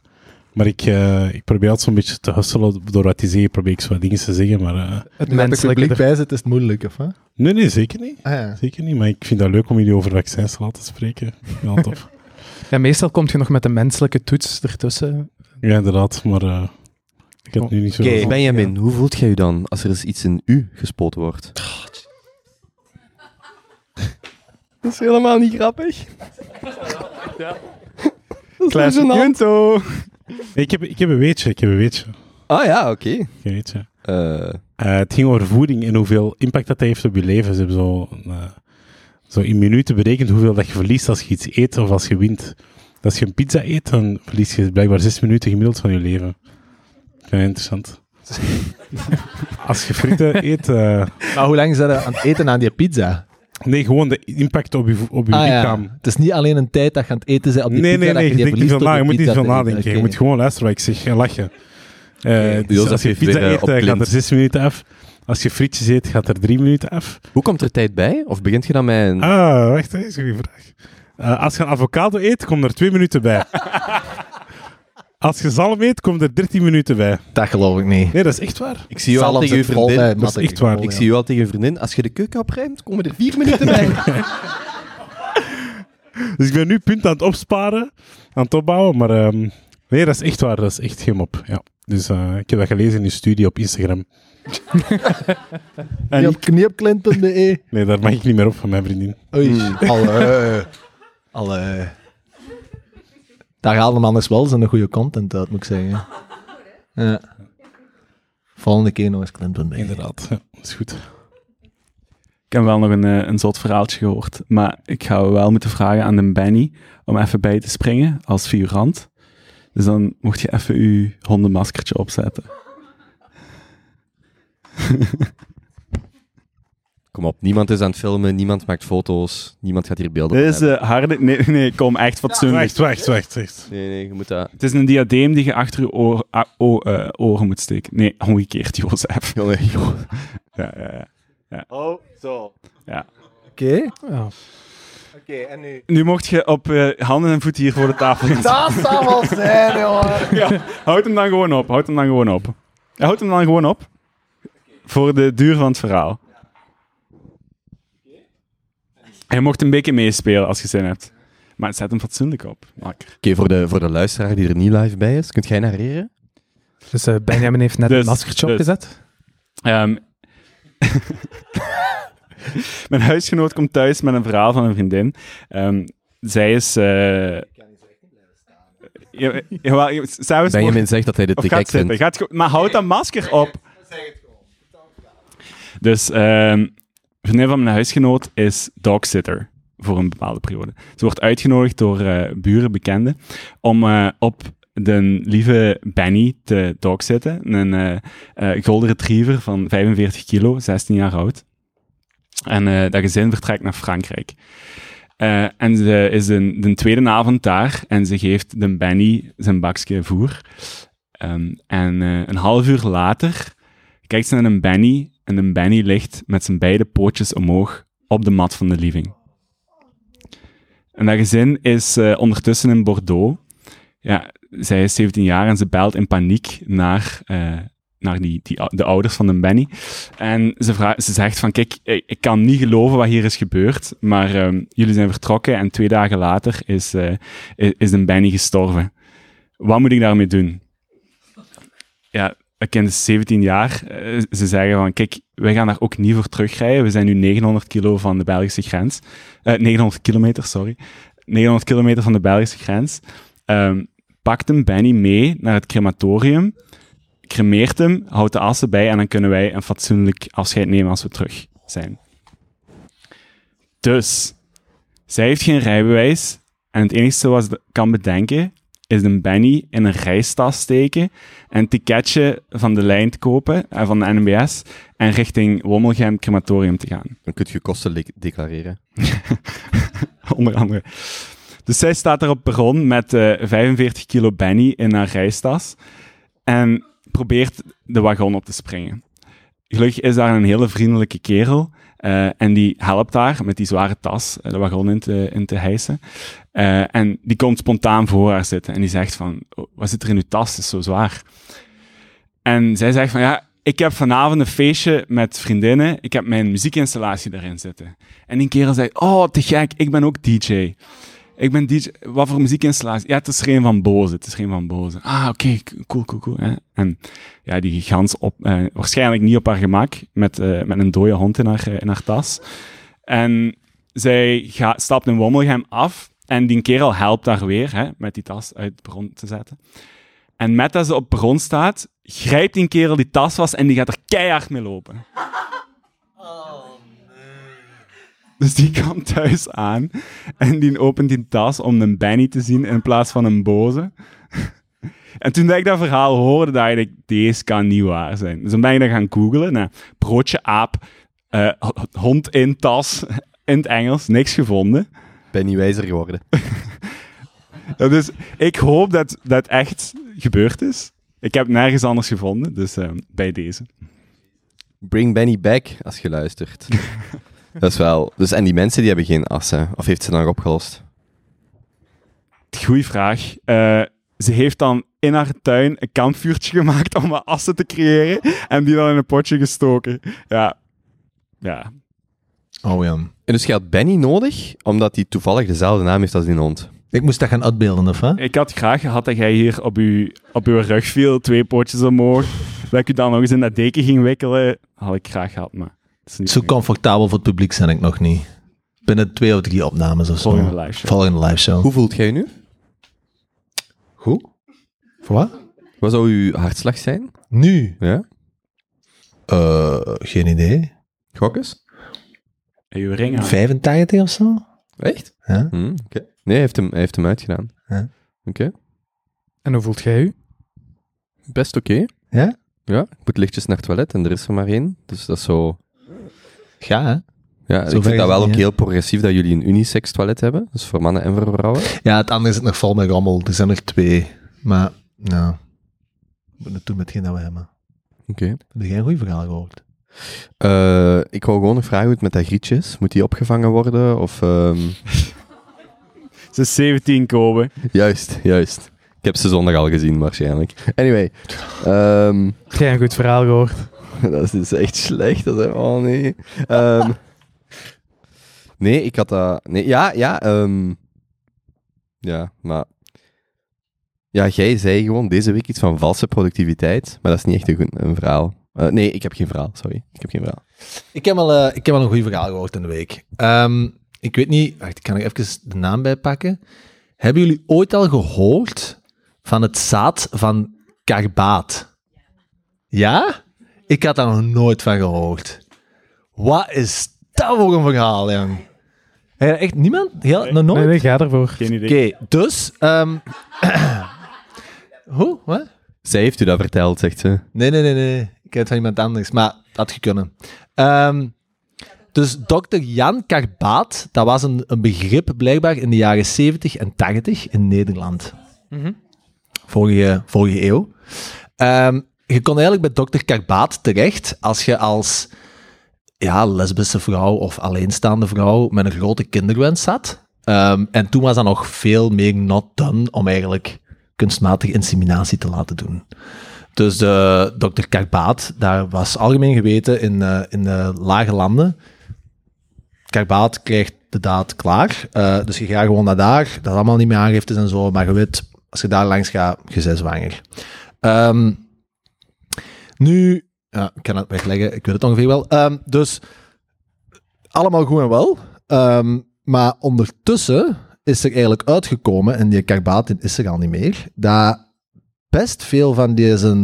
Maar ik, eh, ik probeer altijd zo'n beetje te hustelen door wat die zeggen. Probeer ik zo wat dingen te zeggen. Maar eh, het Als het menselijke. publiek er- bij zit, is het moeilijk, of hè? nee, nee, zeker niet. Ah, ja. Zeker niet, maar ik vind dat leuk om jullie over vaccins te laten spreken. Ja, tof. eh, Ja, meestal komt je nog met een menselijke toets ertussen. ja, inderdaad, maar eh, ik heb het nu niet zo... Oké, Benjamin, hoe voelt jij je dan als er eens iets in u gespoot wordt? Dat is helemaal niet grappig. Klaas dus Junto. Nee, ik, heb, ik heb een weetje, ik heb een weetje. Ik Ah ja, oké. heb een weetje. Eh, Eh, het ging over voeding en hoeveel impact dat heeft op je leven. Ze hebben zo, eh, zo in minuten berekend hoeveel dat je verliest als je iets eet of als je wint. Dus Als je een pizza eet, dan verlies je blijkbaar zes minuten gemiddeld van je leven. Ja, interessant. als je frieten eet... eh, Maar hoe lang is dat aan het eten aan die pizza? nee, gewoon de impact op je, vo- op je Ah, ja. lichaam. Het is niet alleen een tijd dat je aan het eten bent op die Nee, pizza. nee, dat nee, je je die denkt verliest niet veel door na. die Je moet niet pizza veel te eten. nadenken. Je Oké. moet gewoon luisteren wat ik zeg en lachen. Eh, Oké, dus Jozef als je heeft pizza weer, eh, eet, eh, gaat er opklimt. zes minuten af. Als je frietjes eet, gaat er drie minuten af. hoe komt er tijd bij? Of begint je dan met Hmm. een... Ah, wacht, dat is een goede vraag. Eh, als je een avocado eet, komt er twee minuten bij. als je zalm eet, komt er dertien minuten bij. Dat geloof ik niet. Nee, dat is echt waar. ik zie jou al tegen je vriendin. Dat is echt waar. ik zie jou al tegen je vriendin. Als je de keuken opruimt, komen er vier minuten bij. Dus ik ben nu punt aan het opsparen, aan het opbouwen. Maar ehm, nee, dat is echt waar. Dat is echt geen mop. Ja. Dus eh, ik heb dat gelezen in een studie op Instagram. En op kniepklint.be. Nee, daar mag ik niet meer op van mijn vriendin. Oei. Mm. Alle. Alle. Daar haalde man anders wel zijn goede content uit, moet ik zeggen. Ja. Volgende keer nog eens klint.be. Inderdaad, ja, dat is goed. Ik heb wel nog een, eh, een zot verhaaltje gehoord. Maar ik ga wel moeten vragen aan de Benny om even bij te springen als figurant. Dus dan mocht je even je hondenmaskertje opzetten. Kom op, niemand is aan het filmen, niemand maakt foto's, niemand gaat hier beelden van Dit is de harde... Nee, nee, kom, echt fatsoenlijk. Wacht, wacht, wacht. wacht. hebben. Nee, nee, je moet dat... Het is een diadeem die je achter je oor- a- o- eh, oren moet steken. Nee, omgekeerd, Jozef. Oh, Ja, ja, ja. Ja. en nu? Nu mocht je op eh, handen en voeten hier voor de tafel gaan staan. Dat zou wel zijn, jongen. Houd hem dan gewoon op. Houd hem dan gewoon op. Ja, Houd hem dan gewoon op. Voor de duur van het verhaal. Je mocht een beetje meespelen als je zin hebt. Maar zet hem fatsoenlijk op. Makker. Oké, voor, de, voor de luisteraar die er niet live bij is, kunt jij narreren? Dus eh, Benjamin heeft net Dus, een maskertje dus. opgezet. Ehm, Mijn huisgenoot komt thuis met een verhaal van een vriendin. Ehm, zij is. eh Ja, jawel, je- s'avonds Benjamin zegt dat hij dit Of te gaat gek zitten. vindt. Gaat ge- maar houd dat masker op. Dus ehm vriendin van mijn huisgenoot is dogsitter voor een bepaalde periode. Ze wordt uitgenodigd door eh, buren, bekenden, om eh, op de lieve Benny te dogzitten. Een eh, eh, golden retriever van 45 kilo, 16 jaar oud. En eh, dat gezin vertrekt naar Frankrijk. Eh, en ze is een, de tweede avond daar en ze geeft de Benny zijn bakje voer. Ehm, en eh, een half uur later kijkt ze naar een Benny en een Benny ligt met zijn beide pootjes omhoog op de mat van de living. En dat gezin is eh, ondertussen in Bordeaux. Ja, zij is 17 jaar en ze belt in paniek naar, eh, naar die, die, ou- de ouders van de Benny. En ze, vra- ze zegt van, kijk, ik, ik kan niet geloven wat hier is gebeurd, maar ehm, jullie zijn vertrokken en twee dagen later is, eh, i- is de Benny gestorven. Wat moet ik daarmee doen? ja, een kind is 17 jaar. Eh, ze zeggen van, kijk, wij gaan daar ook niet voor terugrijden. We zijn nu 900 kilo van de Belgische grens. Eh, 900 kilometer, sorry. 900 kilometer van de Belgische grens. Ehm, pakt hem Benny mee naar het crematorium. Cremeert hem, houdt de assen bij en dan kunnen wij een fatsoenlijk afscheid nemen als we terug zijn. Dus, zij heeft geen rijbewijs. En het enige wat ze kan bedenken, is een Benny in een reistas steken een ticketje van de lijn te kopen, eh, van de NMBS, en richting Wommelgem Crematorium te gaan. Dan kunt je kosten le- declareren. Onder andere. Dus zij staat daar op perron met eh, 45 kilo Benny in haar reistas en probeert de wagon op te springen. Gelukkig is daar een hele vriendelijke kerel eh, en die helpt haar met die zware tas eh, de wagon in te, in te hijsen. Eh, en die komt spontaan voor haar zitten en die zegt van, "Oh, wat zit er in uw tas? Het is zo zwaar. En zij zegt van, ja, ik heb vanavond een feestje met vriendinnen. Ik heb mijn muziekinstallatie daarin zitten. En die kerel zei, oh, te gek, ik ben ook DJ. Ik ben DJ, wat voor muziekinstallatie? Ja, het is geen van Boze, het is geen van Boze. Ah, oké, k- cool, cool, cool. Hè? En ja, die gans op, eh, waarschijnlijk niet op haar gemak, met, eh, met een dode hond in haar, eh, in haar tas. En zij gaat, stapt in Wommelgem af en die kerel helpt haar weer, hè, met die tas uit de bron te zetten. En met dat ze op perron staat, grijpt die kerel die tas was en die gaat er keihard mee lopen. Dus die kwam thuis aan en die opent die tas om een Benny te zien in plaats van een boze. En toen dat ik dat verhaal hoorde, dacht ik, deze kan niet waar zijn. Dus dan ben ik dat gaan googlen. Nou, broodje aap, eh, hond in tas, in het Engels, niks gevonden. Ben niet wijzer geworden. Ja, dus ik hoop dat dat echt gebeurd is. Ik heb nergens anders gevonden, dus eh, bij deze. Bring Benny back, als je luistert. dat is wel... Dus, en die mensen die hebben geen assen. Of heeft ze dan opgelost? Goeie vraag. Eh, ze heeft dan in haar tuin een kampvuurtje gemaakt om wat assen te creëren en die dan in een potje gestoken. Ja. Ja. Oh ja. En dus je had Benny nodig, omdat hij toevallig dezelfde naam heeft als die hond. Ik moest dat gaan uitbeelden, of hè? Ik had graag gehad dat jij hier op, uw, op uw rug viel, twee potjes omhoog. Dat ik u dan nog eens in dat deken ging wikkelen. Had ik graag gehad, maar... het is niet Zo gebeurd. comfortabel voor het publiek zijn ik nog niet. Binnen twee of drie opnames of zo. Volgende live show. Volgende live show. Hoe voelt jij je nu? Goed. Voor wat? Wat zou uw hartslag zijn? Nu? Ja? Eh, geen idee. Gokkes? En uw ring aan. 85 of zo? Echt? Ja. Hm, Oké. Nee, hij heeft hem, hij heeft hem uitgedaan. Ja. Oké. En hoe voelt jij u? Best oké. Ja? Ja, ik moet lichtjes naar het toilet en er is er maar één. Dus dat is zo... Ja, hè? Ja, Zo ik ver vind is dat wel het ook niet, hè? heel progressief dat jullie een unisex toilet hebben. Dus voor mannen en voor vrouwen. Ja, het andere zit nog vol met rommel. Er zijn er twee. Maar, nou... We moeten het doen met geen dat we hebben. Oké. Heb je geen goede verhaal gehoord? Eh, ik wou gewoon nog vragen hoe het met dat grietje is. Moet die opgevangen worden? Of, ehm, Ze is 17 komen. Juist, juist. Ik heb ze zondag al gezien, waarschijnlijk. Anyway. ehm, Heb jij een goed verhaal gehoord? dat is dus echt slecht. Dat is, oh nee. Ehm, nee, ik had dat... Nee, ja, ja. ehm, ja, maar... Ja, jij zei gewoon deze week iets van valse productiviteit. Maar dat is niet echt een, goed- een verhaal. Eh, nee, ik heb geen verhaal. Sorry. Ik heb geen verhaal. Ik heb al, eh, ik heb al een goed verhaal gehoord in de week. Ehm, ik weet niet, wacht, ik kan er even de naam bij pakken. Hebben jullie ooit al gehoord van het zaad van karbaat? Ja? Ik had daar nog nooit van gehoord. Wat is dat voor een verhaal, jong? Hè, Echt niemand? Heel, nog nooit? Nee, nee, ga ervoor. Geen idee. Oké, dus... ehm, hoe? Wat? Zij heeft u dat verteld, zegt ze. Nee, nee, nee, nee. Ik heb het van iemand anders, maar dat had je kunnen. Ehm, dus dokter Jan Karbaat, dat was een, een begrip blijkbaar in de jaren 70 en 80 in Nederland. Vorige, vorige eeuw. Ehm, je kon eigenlijk bij dokter Karbaat terecht als je als ja, lesbische vrouw of alleenstaande vrouw met een grote kinderwens zat. Ehm, en toen was dat nog veel meer not done om eigenlijk kunstmatige inseminatie te laten doen. Dus de dokter Karbaat, daar was algemeen geweten in, eh, in de lage landen. Karbaat krijgt de daad klaar. Eh, dus je gaat gewoon naar daar. Dat is allemaal niet meer aangiftes en zo. Maar je weet, als je daar langs gaat, je bent zwanger. Ehm, nu, ja, ik kan het wegleggen. Ik weet het ongeveer wel. Ehm, dus allemaal goed en wel. Ehm, maar ondertussen is er eigenlijk uitgekomen, en die Karbaat is er al niet meer, dat best veel van deze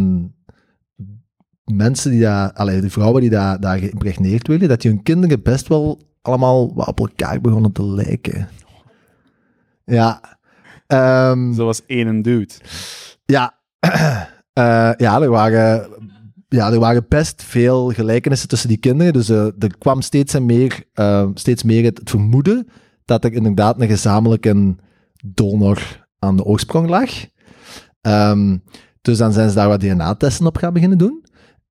mensen die daar, allee, de vrouwen die daar, daar geïmpregneerd werden, dat die hun kinderen best wel allemaal wat op elkaar begonnen te lijken. Ja. Ehm, Zo was één dude. ja. Eh, ja, er waren, ja, er waren best veel gelijkenissen tussen die kinderen. Dus eh, er kwam steeds, en meer, eh, steeds meer het, het vermoeden dat er inderdaad een gezamenlijke donor aan de oorsprong lag. Ehm, dus dan zijn ze daar wat DNA-testen op gaan beginnen doen.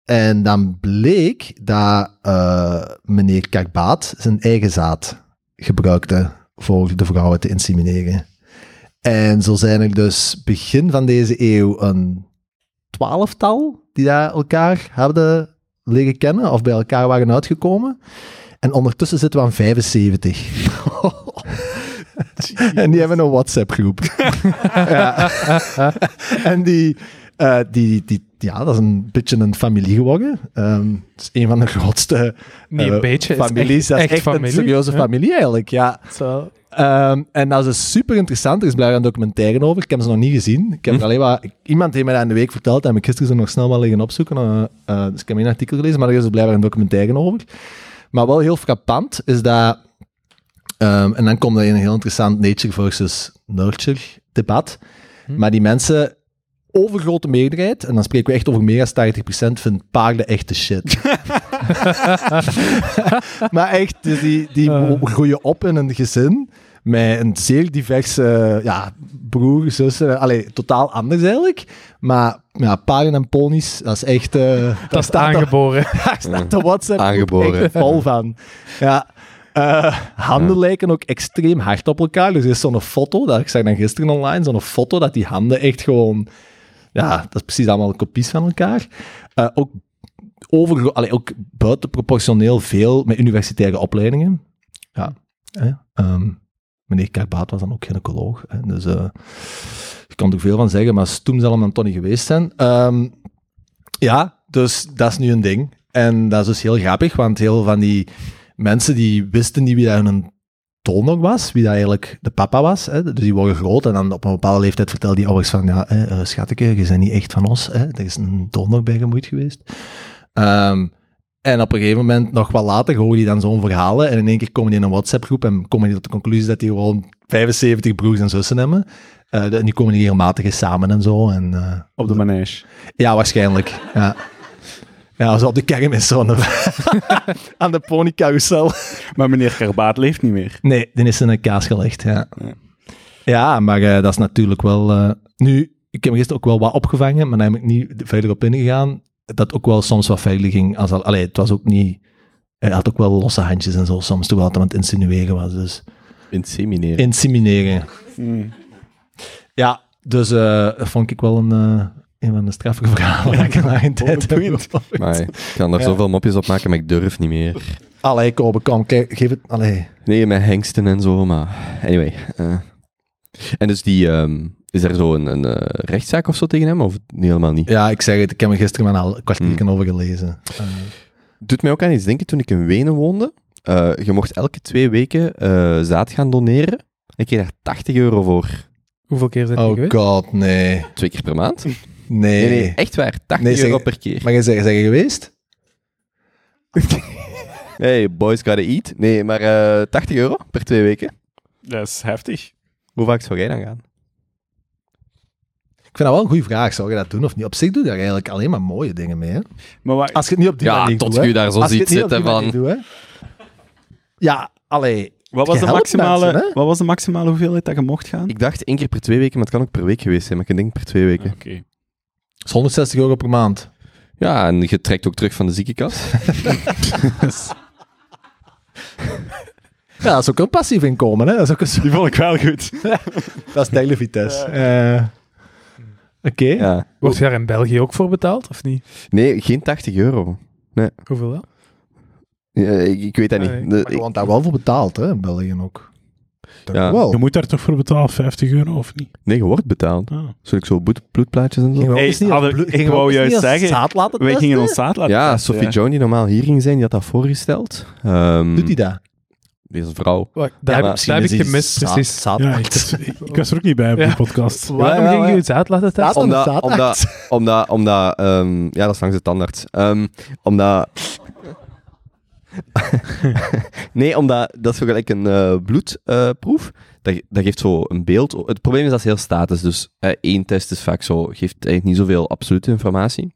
En dan bleek dat eh, meneer Karbaat zijn eigen zaad gebruikte voor de vrouwen te insemineren. En zo zijn er dus begin van deze eeuw een twaalftal die daar elkaar hadden leren kennen of bij elkaar waren uitgekomen. En ondertussen zitten we aan 75. en die hebben een WhatsApp-groep. ja. en die, eh, die, die, ja, dat is een beetje een familie geworden. Ehm het is een van de grootste Niet een eh, beetje, het is families. echt- dat is echt echt familie, een serieuze ja. familie eigenlijk, ja. Ehm, en dat is super interessant. Er is blijkbaar een documentaire over. Ik heb ze nog niet gezien. Ik heb er alleen maar, ik- iemand heeft mij dat in de week verteld. En ik gisteren zo nog snel wel liggen opzoeken. Eh, eh, dus ik heb een artikel gelezen. Maar er is dus blijkbaar een documentaire over. Maar wel heel frappant is dat. ehm, en dan komt er een heel interessant nature versus nurture debat. Maar die mensen, overgrote meerderheid, en dan spreken we echt over meer dan 80%, vindt paarden echt de shit. maar echt, dus die, die groeien op in een gezin met een zeer diverse ja, broer, zussen. Allee, totaal anders eigenlijk. Maar ja, paarden en ponies, dat is echt... eh, Dat is aangeboren. daar staat de WhatsApp Aangeboren. echt vol van. Ja. Eh, handen lijken ook extreem hard op elkaar. Dus er is zo'n foto, dat, ik zag dan gisteren online, zo'n foto dat die handen echt gewoon... Ja, dat is precies allemaal kopies van elkaar. Eh, ook, over, allee, ook buitenproportioneel veel met universitaire opleidingen. Ja. hè. Ehm, meneer Karbaat was dan ook gynaecoloog. Hè, dus eh je kan er veel van zeggen, maar stoem zal hem dan toch niet geweest zijn. Ehm, ja, dus dat is nu een ding. En dat is dus heel grappig, want heel veel van die mensen die wisten niet wie dat hun donor was, wie dat eigenlijk de papa was. Hè. Dus die worden groot en dan op een bepaalde leeftijd vertellen die ouders van, ja, hè, eh, schatje, je bent niet echt van ons. Hè. Er is een donor bij gemoeid geweest. Ehm, en op een gegeven moment, nog wat later, horen die dan zo'n verhalen en in één keer komen die in een WhatsApp-groep en komen die tot de conclusie dat die gewoon 75 broers en zussen hebben. Eh, en die komen die regelmatig eens samen en zo. En, eh, Op de manege. ja, waarschijnlijk. Ja. Ja, zo op de kermis zo aan de, aan de ponycarousel. Maar meneer Karbaat leeft niet meer. Nee, dan is ze een kaas gelegd, ja. Ja, maar eh, dat is natuurlijk wel... eh, nu, ik heb gisteren ook wel wat opgevangen, maar daar heb ik niet verder op ingegaan. dat ook wel soms wat veilig ging. Als al, allee, het was ook niet... Hij had ook wel losse handjes en zo soms, toen hij aan het insinueren was. Dus Insemineren. insemineren. Mm. Hmm. Ja, dus eh, dat vond ik wel een, eh, een van de straffige verhalen dat ik in mijn tijd heb gehoord. Maar ik kan daar Ja. zoveel mopjes op maken, maar ik durf niet meer. Allee, Kobe, kom, kijk, geef het... Allee. Nee, met hengsten en zo, maar anyway. eh. En dus die, ehm, is er zo een, een eh, rechtszaak of zo tegen hem? Of nee, helemaal niet? Ja, ik zeg het, ik heb er gisteren maar al een kwartier over gelezen. Hmm. Eh, Doet mij ook aan iets denken toen ik in Wenen woonde. eh, je mocht elke twee weken eh, zaad gaan doneren. Ik kreeg daar 80 euro voor. Hoeveel keer zijn die oh geweest? god, nee. Twee keer per maand? Nee, Nee. nee, echt waar. 80 Nee, zeg- euro per keer. Maar je zegt, zijn je geweest? Hey, boys gotta eat. Nee, maar eh 80 euro per twee weken. Dat is heftig. Hoe vaak zou jij dan gaan? Ik vind dat wel een goede vraag. Zou je dat doen of niet? Op zich doe je daar eigenlijk alleen maar mooie dingen mee. Hè? Maar waar, Als je het niet op die manier doet. hè. daar Als je het niet op die manier doet, hè. Ja, allee. wat, was je de helpt maximale, mensen, hè? wat was de maximale hoeveelheid dat je mocht gaan? Ik dacht één keer per twee weken, maar het kan ook per week geweest zijn. Maar ik denk per twee weken. Oké. Dat is 160 euro per maand. Ja, en je trekt ook terug van de ziekenkast. Ja, dat is ook een passief inkomen. Hè? Dat, is ook een, soort- Die vond ik wel goed. dat is de Vitesse. Eh, Oké. Ja. Wordt je daar in België ook voor betaald, of niet? Nee, geen 80 euro. Hoeveel wel? Eh, ik, ik weet dat niet. Nee, De- Maar je wordt daar wel voor betaald, hè? In België ook. Toch Ja. wel. Je moet daar toch voor betalen, 50 euro of niet? ik- nee, je wordt betaald. Ah. Zul ik zo bloed- bloedplaatjes en zo? Gingen we ook Hey, eens niet als Adel, bloed- ik gingen we wou ook eens juist niet als zeggen, zaad laten Wij testen? gingen ons zaad laten Ja, testen, Sophie Joan, die normaal hier ging zijn, die had dat voorgesteld. Ehm, Doet hij dat? Deze vrouw. Daar maar heb, ik- Misschien daar heb is ik hij gemist, dus zaad- precies. zaad- Ah. Ja, ik, was- ik was er ook niet bij op Ja. die podcast. Waarom Ja, ja, ging je ja. het zaad laten testen? Zaad- Omdat, een omdat, omdat, omdat, ehm, ja, dat is langs de tandarts. Ehm, omdat, nee, omdat, dat is zo gelijk een eh, bloedproef. dat, ge- dat geeft zo een beeld. Het probleem is dat is heel statisch, dus eh, één test is vaak zo, geeft eigenlijk niet zoveel absolute informatie.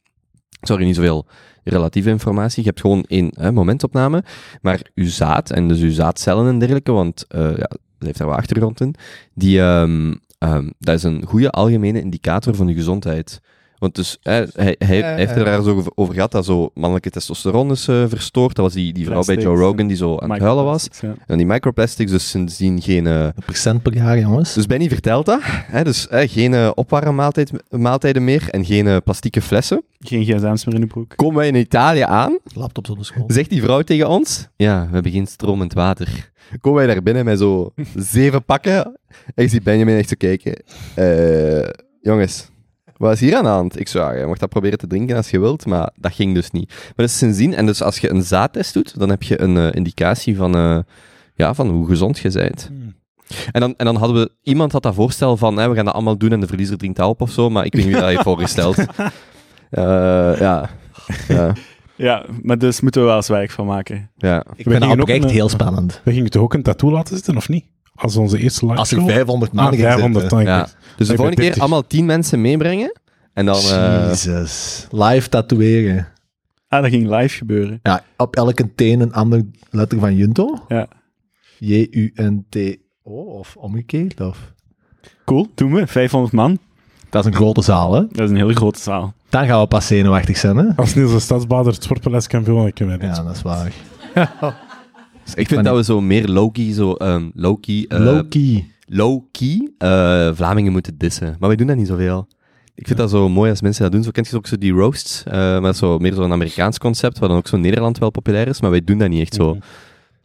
Sorry, niet zoveel relatieve informatie. Je hebt gewoon één hè, momentopname, maar uw zaad, en dus uw zaadcellen en dergelijke, want eh, ja, dat heeft daar wel achtergrond in, die, ehm, ehm, dat is een goede algemene indicator van je gezondheid. Want dus, hè, hij, hij Eh, heeft er eh. daar zo over- over gehad dat zo mannelijke testosteron is eh, verstoord. Dat was die, die vrouw bij Joe Plastics, Rogan die zo aan het huilen was. Microplastics, ja. En die microplastics, dus sindsdien geen... eh, procent per jaar, jongens. dus Benny vertelt dat. Hè, dus hè, geen eh, opwarmmaaltijd- maaltijden meer en geen eh, plastieke flessen. Geen gsm's meer in de broek. Komen wij in Italië aan, Laptop zonder school. zegt die vrouw tegen ons. Ja, we hebben geen stromend water. Komen wij daar binnen met zo zeven pakken. En ik zie Benjamin echt zo kijken. Eh, jongens, wat is hier aan de hand? Ik zou, je mocht dat proberen te drinken als je wilt, maar dat ging dus niet. Maar dus sindsdien, en dus als je een zaadtest doet, dan heb je een eh, indicatie van, eh, ja, van hoe gezond je bent. Hmm. En dan, en dan hadden we, iemand had dat voorstel van, hè, we gaan dat allemaal doen en de verliezer drinkt dat op of zo, maar ik weet niet wie dat heeft voorgesteld. Eh, ja. Ja. Ja, maar dus moeten we wel eens werk van maken. Ja. Ik vind gingen dat ook oprecht een- heel spannend. We gingen toch ook een tattoo laten zitten, of niet? Als onze eerste live Als er show? 500 Ah, man ging 500 zitten. dan. Ja. Dus de Ik ben volgende keer 30. allemaal tien mensen meebrengen. En dan... eh, Jezus. Live tatoeëren. Ah, dat ging live gebeuren. Ja, op elke teen een ander letter van Junto. Ja. J-U-N-T-O of omgekeerd. Of. Cool, doen we. 500 man. Dat is een grote zaal, hè? Dat is een hele grote zaal. Dan gaan we pas zenuwachtig zijn, hè? Als Niels de Stadsbader het sportpaleis kan vullen, dan kunnen wij dat. Ja, dat is waar. Dus ik vind dat we zo meer low-key, zo, ehm, low-key, eh, Low-key. low-key, eh, Vlamingen moeten dissen. Maar wij doen dat niet zoveel. Ik vind dat zo mooi als mensen dat doen. Zo kent je ook zo die roasts, eh, maar dat is zo, meer zo'n Amerikaans concept, waar dan ook zo Nederland wel populair is, maar wij doen dat niet echt zo.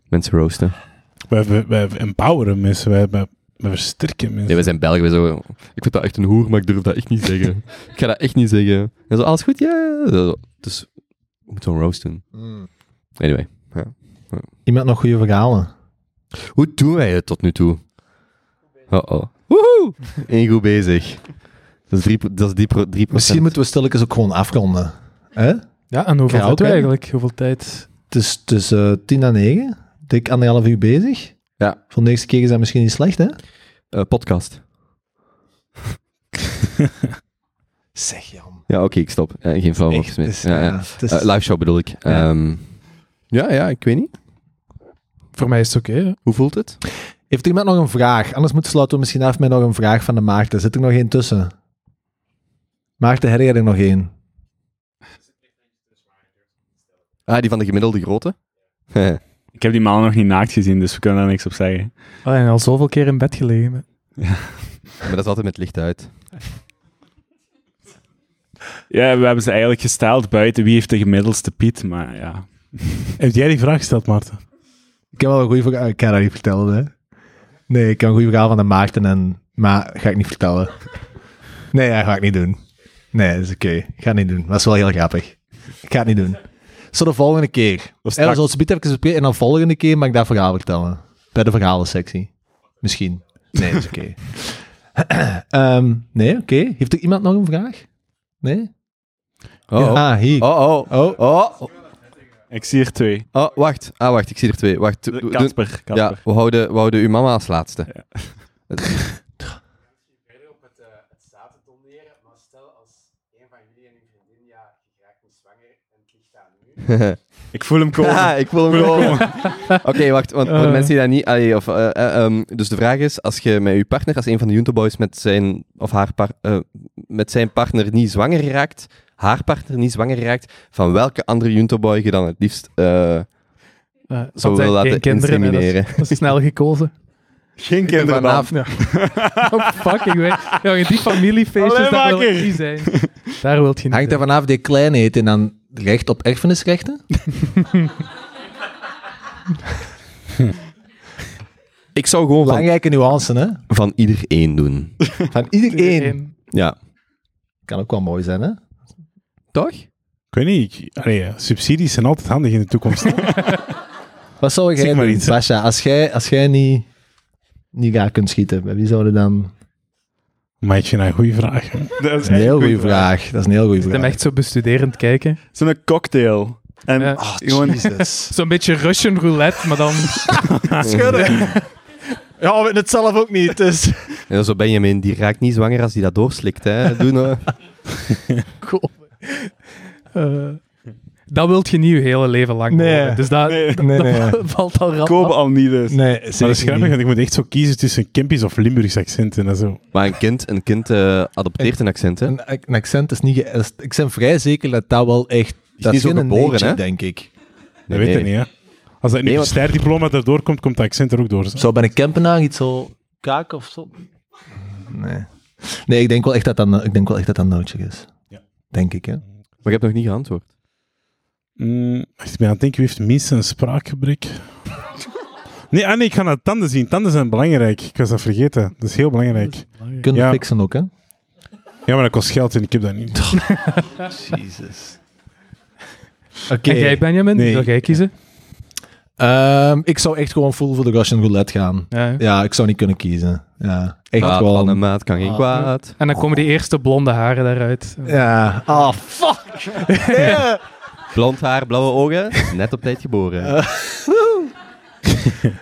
Mensen roosten. Hmm. Wij, wij, wij empoweren mensen, wij, wij, wij versterken mensen. Nee, wij zijn Belgen. Wij zo, ik vind dat echt een hoer, maar ik durf dat echt niet zeggen. ik ga dat echt niet zeggen. En zo, alles goed? Ja. Zo, Dus we moeten zo'n roast doen. Anyway. Iemand nog goede verhalen? Hoe doen wij het tot nu toe? Oh-oh. Woehoe! Eén goed bezig. Dat is 3%. Dat is die pro- 3%. Misschien moeten we stilletjes ook gewoon afronden. Hè? Ja, en hoeveel Ja, zitten we oké. eigenlijk? Hoeveel tijd? Het is eh, tussen 10 en 9. Dik anderhalf uur bezig. Ja. Voor de eerste keer is dat misschien niet slecht, hè? Eh, podcast. Zeg, Jan. Ja, oké, ik stop. Ja, geen flauw Echt, mopjes meer. het is- Oh, Ja, ja. ja, het is- Eh, live show bedoel ik. Ja. Ehm, ja, ja, ik weet niet. Voor mij is het oké. hè. Hoe voelt het? Heeft er iemand nog een vraag? Anders moeten sluiten we misschien af met nog een vraag van de Maarten. Zit er nog één tussen? Maarten, heb jij er nog één? Ah, die van de gemiddelde grootte? Ik heb die maal nog niet naakt gezien, dus we kunnen daar niks op zeggen. Oh, en al zoveel keer in bed gelegen. hè. maar dat is altijd met licht uit. Ja, we hebben ze eigenlijk gesteld buiten wie heeft de gemiddelste Piet, maar ja. Heb jij die vraag gesteld, Maarten? Ik heb wel een eh, goede vraag. Ik kan dat niet vertellen, hè. Nee, ik heb een goede verhaal van de Maarten, en, maar ga ik niet vertellen. Nee, dat ga ik niet doen. Nee, dat is oké. Ik ga het niet doen. Maar dat is wel heel grappig. Ik ga het niet doen. Zo de volgende keer. Of En straks- dan zal het zometeen even bespreken, en dan volgende keer mag ik dat verhaal vertellen. Bij de verhalensectie. Misschien. Nee, dat is oké. Ehm, nee, oké. Heeft er iemand nog een vraag? Nee? Oh, oh. Ah, hier. Oh, oh. Oh. Oh, Ik zie er twee. oh, wacht. Ah, wacht. Ik zie er twee. Wacht. Doe- De- doe- Kasper, Kasper. ja, we houden, we houden uw mama als laatste. Ik voel hem komen. Ja, ik wil hem gewoon. Oké, wacht, want voor de Eh. mensen die dat niet... allee, of, eh, eh, ehm, dus de vraag is, als je met je partner, als een van de Junto Boys met zijn, of haar par- eh, met zijn partner niet zwanger raakt, haar partner niet zwanger raakt, van welke andere Junto Boy je dan het liefst eh, Eh, want zou willen zij hebben laten geen kinderen, hè, dat is- insemineren? Dat is snel gekozen. Geen kinderen dan. Vanaf- Ja. oh, fucking weet. Ja, in die familiefeestjes, Allee, daar wil makker. je niet zijn. Daar wil je niet Hangt er zijn. vanaf die klein eet en dan recht op erfenisrechten? Ik zou gewoon van, Belangrijke nuance, hè? van ieder één doen. Van iedereen. Ja. Kan ook wel mooi zijn, hè? Toch? Ik weet niet. Ik, allee, eh, subsidies zijn altijd handig in de toekomst. Wat zou Zeg jij maar doen, iets. Basja? Als jij, als jij niet, niet raar kunt schieten, bij wie zouden dan... maar ik vind dat een goede vraag. hè. Dat Dat is een heel goede vraag. Dat is een heel goede Ik vraag. ben echt zo bestuderend kijken. Zo'n cocktail. En Ja. Oh, gewoon Jesus. Zo'n beetje Russian roulette, maar dan... ja, we weten het zelf ook niet, dus... En dan zo Benjamin, die raakt niet zwanger als die dat doorslikt, hè. Doe nou. Goh. Eh, dat wilt je niet je hele leven lang Nee. horen. Dus dat, Nee. Nee, nee. dat valt al rap koop af. al niet dus. Nee, Maar dat is zeker grappig, niet. want ik moet echt zo kiezen tussen Kempisch of Limburgs accent en dat zo. Maar een kind, een kind eh, adopteert een accent, hè. Een, een accent is niet... ge- is- Ik ben vrij zeker dat dat wel echt... Is dat niet zo geen geboren, nature, hè? denk ik. Dat weet ik niet, hè. Als Nee, dat want- universitair-diploma erdoor komt, komt dat accent er ook door. zo. Zo bij een campenaar iets zo kaak of zo. Nee. Nee, ik denk wel echt dat dat, ik denk wel echt dat, dat nootje is. Ja. Denk ik, hè. Maar je hebt nog niet geantwoord. Mm, wacht, ik ben aan het denken, wie heeft minstens een spraakgebrek? nee, ah nee, ik ga naar tanden zien. Tanden zijn belangrijk. Ik was dat vergeten. Dat is heel belangrijk. Kunnen Ja. fixen ook, hè. Ja, maar dat kost geld en ik heb dat niet. Jezus. Oké. En jij, Benjamin? Nee. Wil jij kiezen? Ehm, ik zou echt gewoon full voor de Russian roulette gaan. Ja. Ja, ik zou niet kunnen kiezen. Ja, echt Kwaad gewoon. van een maat kan geen Ah. kwaad. En dan komen die eerste blonde haren daaruit. Ja. Ah, fuck. Ja. Blond haar, blauwe ogen, net op tijd geboren.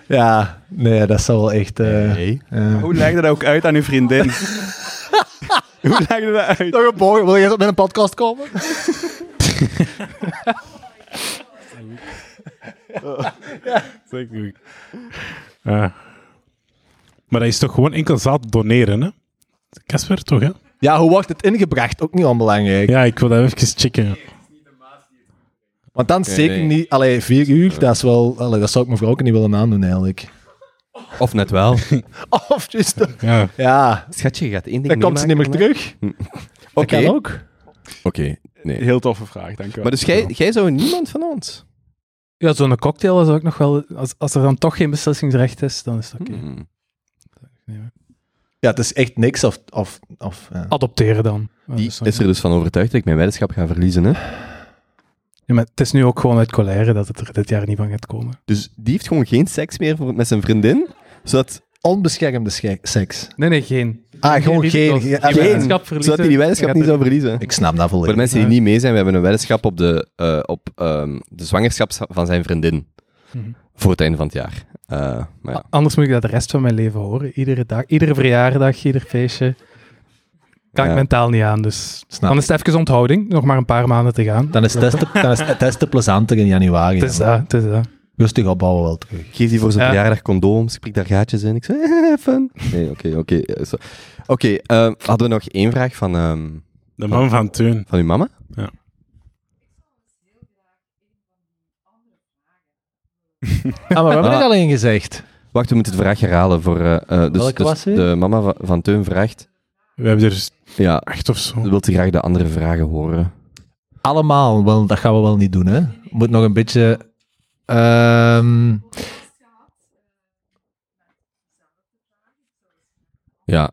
ja, nee, dat zou wel echt... eh Nee. eh. Hoe leg je dat ook uit aan uw vriendin? Hoe leg je dat uit? Dag, Borg, wil je eens met een podcast komen? Dat is echt goed. Ah. Maar dat is toch gewoon enkel zaad doneren, hè? Casper, toch, hè? Ja, hoe wordt het ingebracht? Ook niet onbelangrijk. Ja, ik wil dat even checken. Want dan zeker nee. niet... Allee, vier uur, dat is wel... Allee, dat zou ik mevrouw ook niet willen aandoen, eigenlijk. Of net wel. Oh, Of, juist. Ja. Ja, Schatje, je gaat één ding dan komt ze niet meer terug. Dat Oké. kan ook. Oké, nee. Heel toffe vraag, dank u wel. Maar dus jij, jij zou niemand van ons? Ja, zo'n cocktail is ook nog wel... Als, als er dan toch geen beslissingsrecht is, dan is Hm. dat oké. Hmm. Ja, het is echt niks of... of, of ja. Adopteren dan. Ja, Die dus dan- is er dus van overtuigd dat ik mijn weddenschap ga verliezen. Hè? Ja, maar het is nu ook gewoon uit colère dat het er dit jaar niet van gaat komen. Dus die heeft gewoon geen seks meer voor, met zijn vriendin. Zodat, Onbeschermde sche- seks. Nee, nee, geen. Ah, gewoon geen... risico's. geen- Die geen- weddenschap zodat hij die weddenschap niet verliezen, zou verliezen. Ik snap Voor dat de volledig. mensen die niet mee zijn, we hebben een weddenschap op de, eh, op, ehm, de zwangerschap van zijn vriendin. Mhm. Voor het einde van het jaar. Eh, maar ja. A- Anders moet ik dat de rest van mijn leven horen. Iedere dag, iedere verjaardag, ieder feestje. Kan Ja. ik mentaal niet aan, dus... Snap Dan is het even onthouding. Nog maar een paar maanden te gaan. Dan is testen, dan is testen plezanter in januari. Het is dat, het is dat. Rustig opbouwen wel terug. Ik Geef die voor zijn Ja. verjaardag condooms, ik prik daar gaatjes in. Ik zei, eh, fun. Nee, oké, oké. eh, zo. Oké, ehm, hadden we nog één vraag van, ehm, De man van Teun. van uw mama? Ja. Ah, maar we hebben Ah. het alleen gezegd. Wacht, we moeten de vraag herhalen. Voor, eh, eh, dus, Welke dus was die? de mama van, van Teun vraagt... We hebben er Ja, acht of zo. wilt hij graag de andere vragen horen? Allemaal, wel, dat gaan we wel niet doen, hè. Moet nog een beetje... ehm, Ja,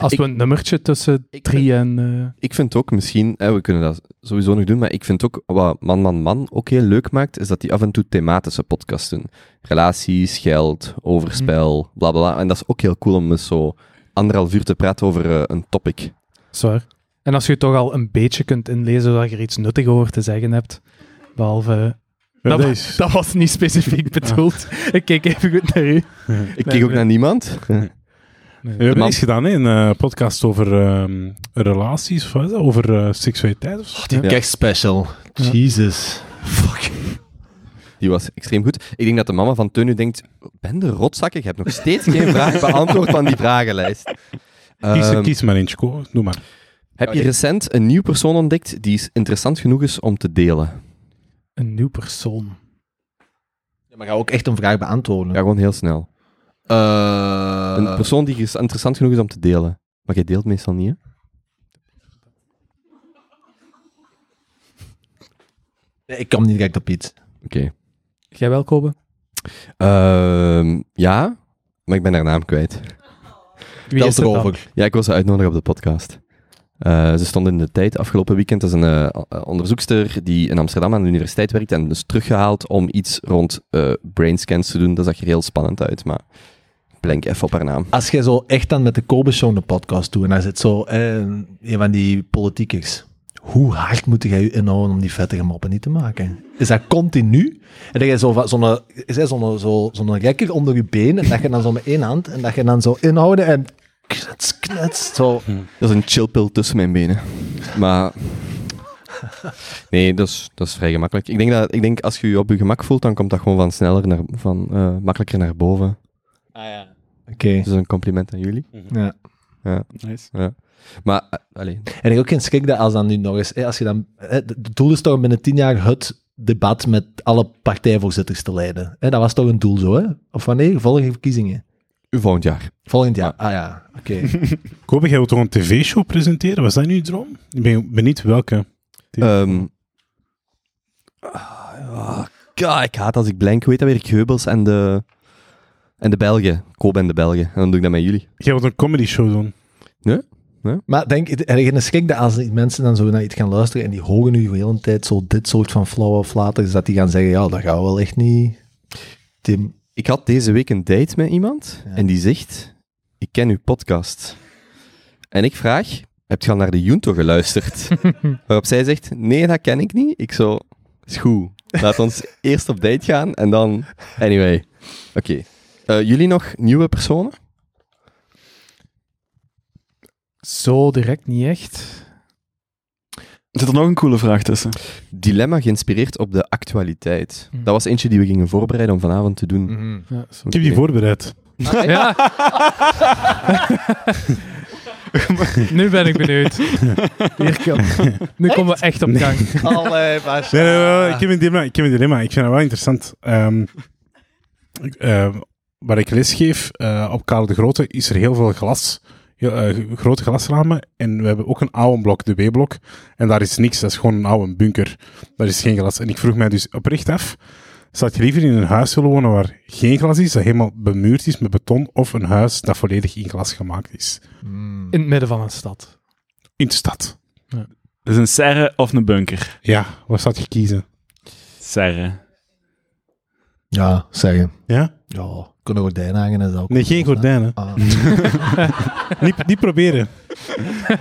Als Ik- we een nummertje tussen Ik drie en... eh, ik vind ook misschien... eh, we kunnen dat sowieso nog doen, maar ik vind ook wat Man Man Man ook heel leuk maakt, is dat die af en toe thematische podcasts doen. Relaties, geld, overspel, Mhm. bla bla bla. En dat is ook heel cool om eens zo anderhalf uur te praten over eh, een topic. zwaar. En als je het toch al een beetje kunt inlezen, zodat je er iets nuttig over te zeggen hebt, behalve... We dat, hebben wa- deze. dat was niet specifiek bedoeld. Ik keek even goed naar u. Ik Nee, kijk ook nee. naar niemand. We hebben Man- iets gedaan hè, een eh, podcast over ehm, relaties, of wat is dat? over eh, seksualiteit of zo. die Ja. kerstspecial. Ja. Jesus. Fuck. Die was extreem goed. Ik denk dat de mama van Teun nu denkt, ben de rotzak, ik heb nog steeds geen vraag beantwoord van die vragenlijst. Kies, Ehm, kies maar eentje, Ko. doe maar. Heb je recent een nieuw persoon ontdekt die is interessant genoeg is om te delen? Een nieuw persoon. Ja, maar ga ook echt een vraag beantwoorden. Ja, gewoon heel snel. Eh, Een persoon die is interessant genoeg is om te delen. Maar jij deelt meestal niet, hè? nee, ik kom niet direct op iets. Oké. Jij wel, Kobe? Ehm, ja, maar ik ben haar naam kwijt. Wie Telt is het dan? erover. Ja, ik wil ze uitnodigen op de podcast. Eh, ze stond in de tijd afgelopen weekend. Dat is een eh, eh, onderzoekster die in Amsterdam aan de universiteit werkt en is teruggehaald om iets rond eh, brainscans te doen. Dat zag er heel spannend uit, maar ik blank even op haar naam. Als jij zo echt dan met de Kobe Show een podcast doet en daar zit zo eh, een van die politiekers. Hoe hard moet jij je inhouden om die vettige moppen niet te maken? Is dat continu? En dat je zo va- zo'n eh, is dat zo'n zo, zo'n rekker onder je been en dat je dan zo met één hand en dat je dan zo inhouden en knets, knets, zo. Dat is een chillpil tussen mijn benen. Maar... Nee, dat is, dat is vrij gemakkelijk. Ik denk, dat, ik denk als je je op je gemak voelt, dan komt dat gewoon van sneller naar, van, eh, makkelijker naar boven. Oké. Dus een compliment aan jullie. Ja. Nice. Maar, eh, allee, En ik heb ook geen schrik dat als dan nu nog eens, hè, als je dan, hè, het het doel is toch om binnen tien jaar het debat met alle partijvoorzitters te leiden. Hè, dat was toch een doel zo, hè? Of wanneer? Volgende verkiezingen. volgend jaar. Volgend jaar. Ah ja, oké. Kobe, jij wilt toch een tv-show presenteren? Was dat nu je droom? Ik ben benieuwd welke. Ehm ah, ah, ka- ik haat als ik blank weet dat weer ik Heubels en de, en de Belgen. Koop en de Belgen. En dan doe ik dat met jullie. Jij wilt een comedy-show doen. Maar denk, er is een schrik dat als die mensen dan zo naar iets gaan luisteren en die horen nu de hele tijd zo dit soort van flauwe flaters, dat die gaan zeggen, ja, dat gaan we wel echt niet... Tim. Ik had deze week een date met iemand Ja. en die zegt: Ik ken uw podcast. En ik vraag: Heb je al naar de Junto geluisterd? Waarop zij zegt: Nee, dat ken ik niet. Ik zo: Is goed. Laat ons eerst op date gaan en dan. Anyway. Oké. Eh, jullie nog nieuwe personen? Zo direct niet echt. Zit er nog een coole vraag tussen? dilemma geïnspireerd op de actualiteit. Mm. Dat was eentje die we gingen voorbereiden om vanavond te doen. Hmm. Mhm. Ja, zo. Ik heb die Oké. voorbereid. Ah, Ja. nu ben ik benieuwd. Hier kan- Nu komen we echt op gang. Allee, maar... Nee, nee, nee, nee, ik, heb een dilemma, ik heb een dilemma. Ik vind dat wel interessant. Ehm, ik, eh, waar ik lesgeef eh, op Karel de Grote is er heel veel glas. Heel, eh, grote glasramen. En we hebben ook een oude blok, de W-blok. En daar is niks. Dat is gewoon een oude bunker. Daar is geen glas. En ik vroeg mij dus oprecht af. Zou je liever in een huis willen wonen waar geen glas is, dat helemaal bemuurd is met beton, of een huis dat volledig in glas gemaakt is? Mm. In het midden van een stad. In de stad. Dus een serre of een bunker? Ja, wat zou je kiezen? Serre. Ja, zeggen. Ja? Ja, kunnen gordijnen hangen en zo. Nee, geen gordijnen. Ah. Niet, niet proberen.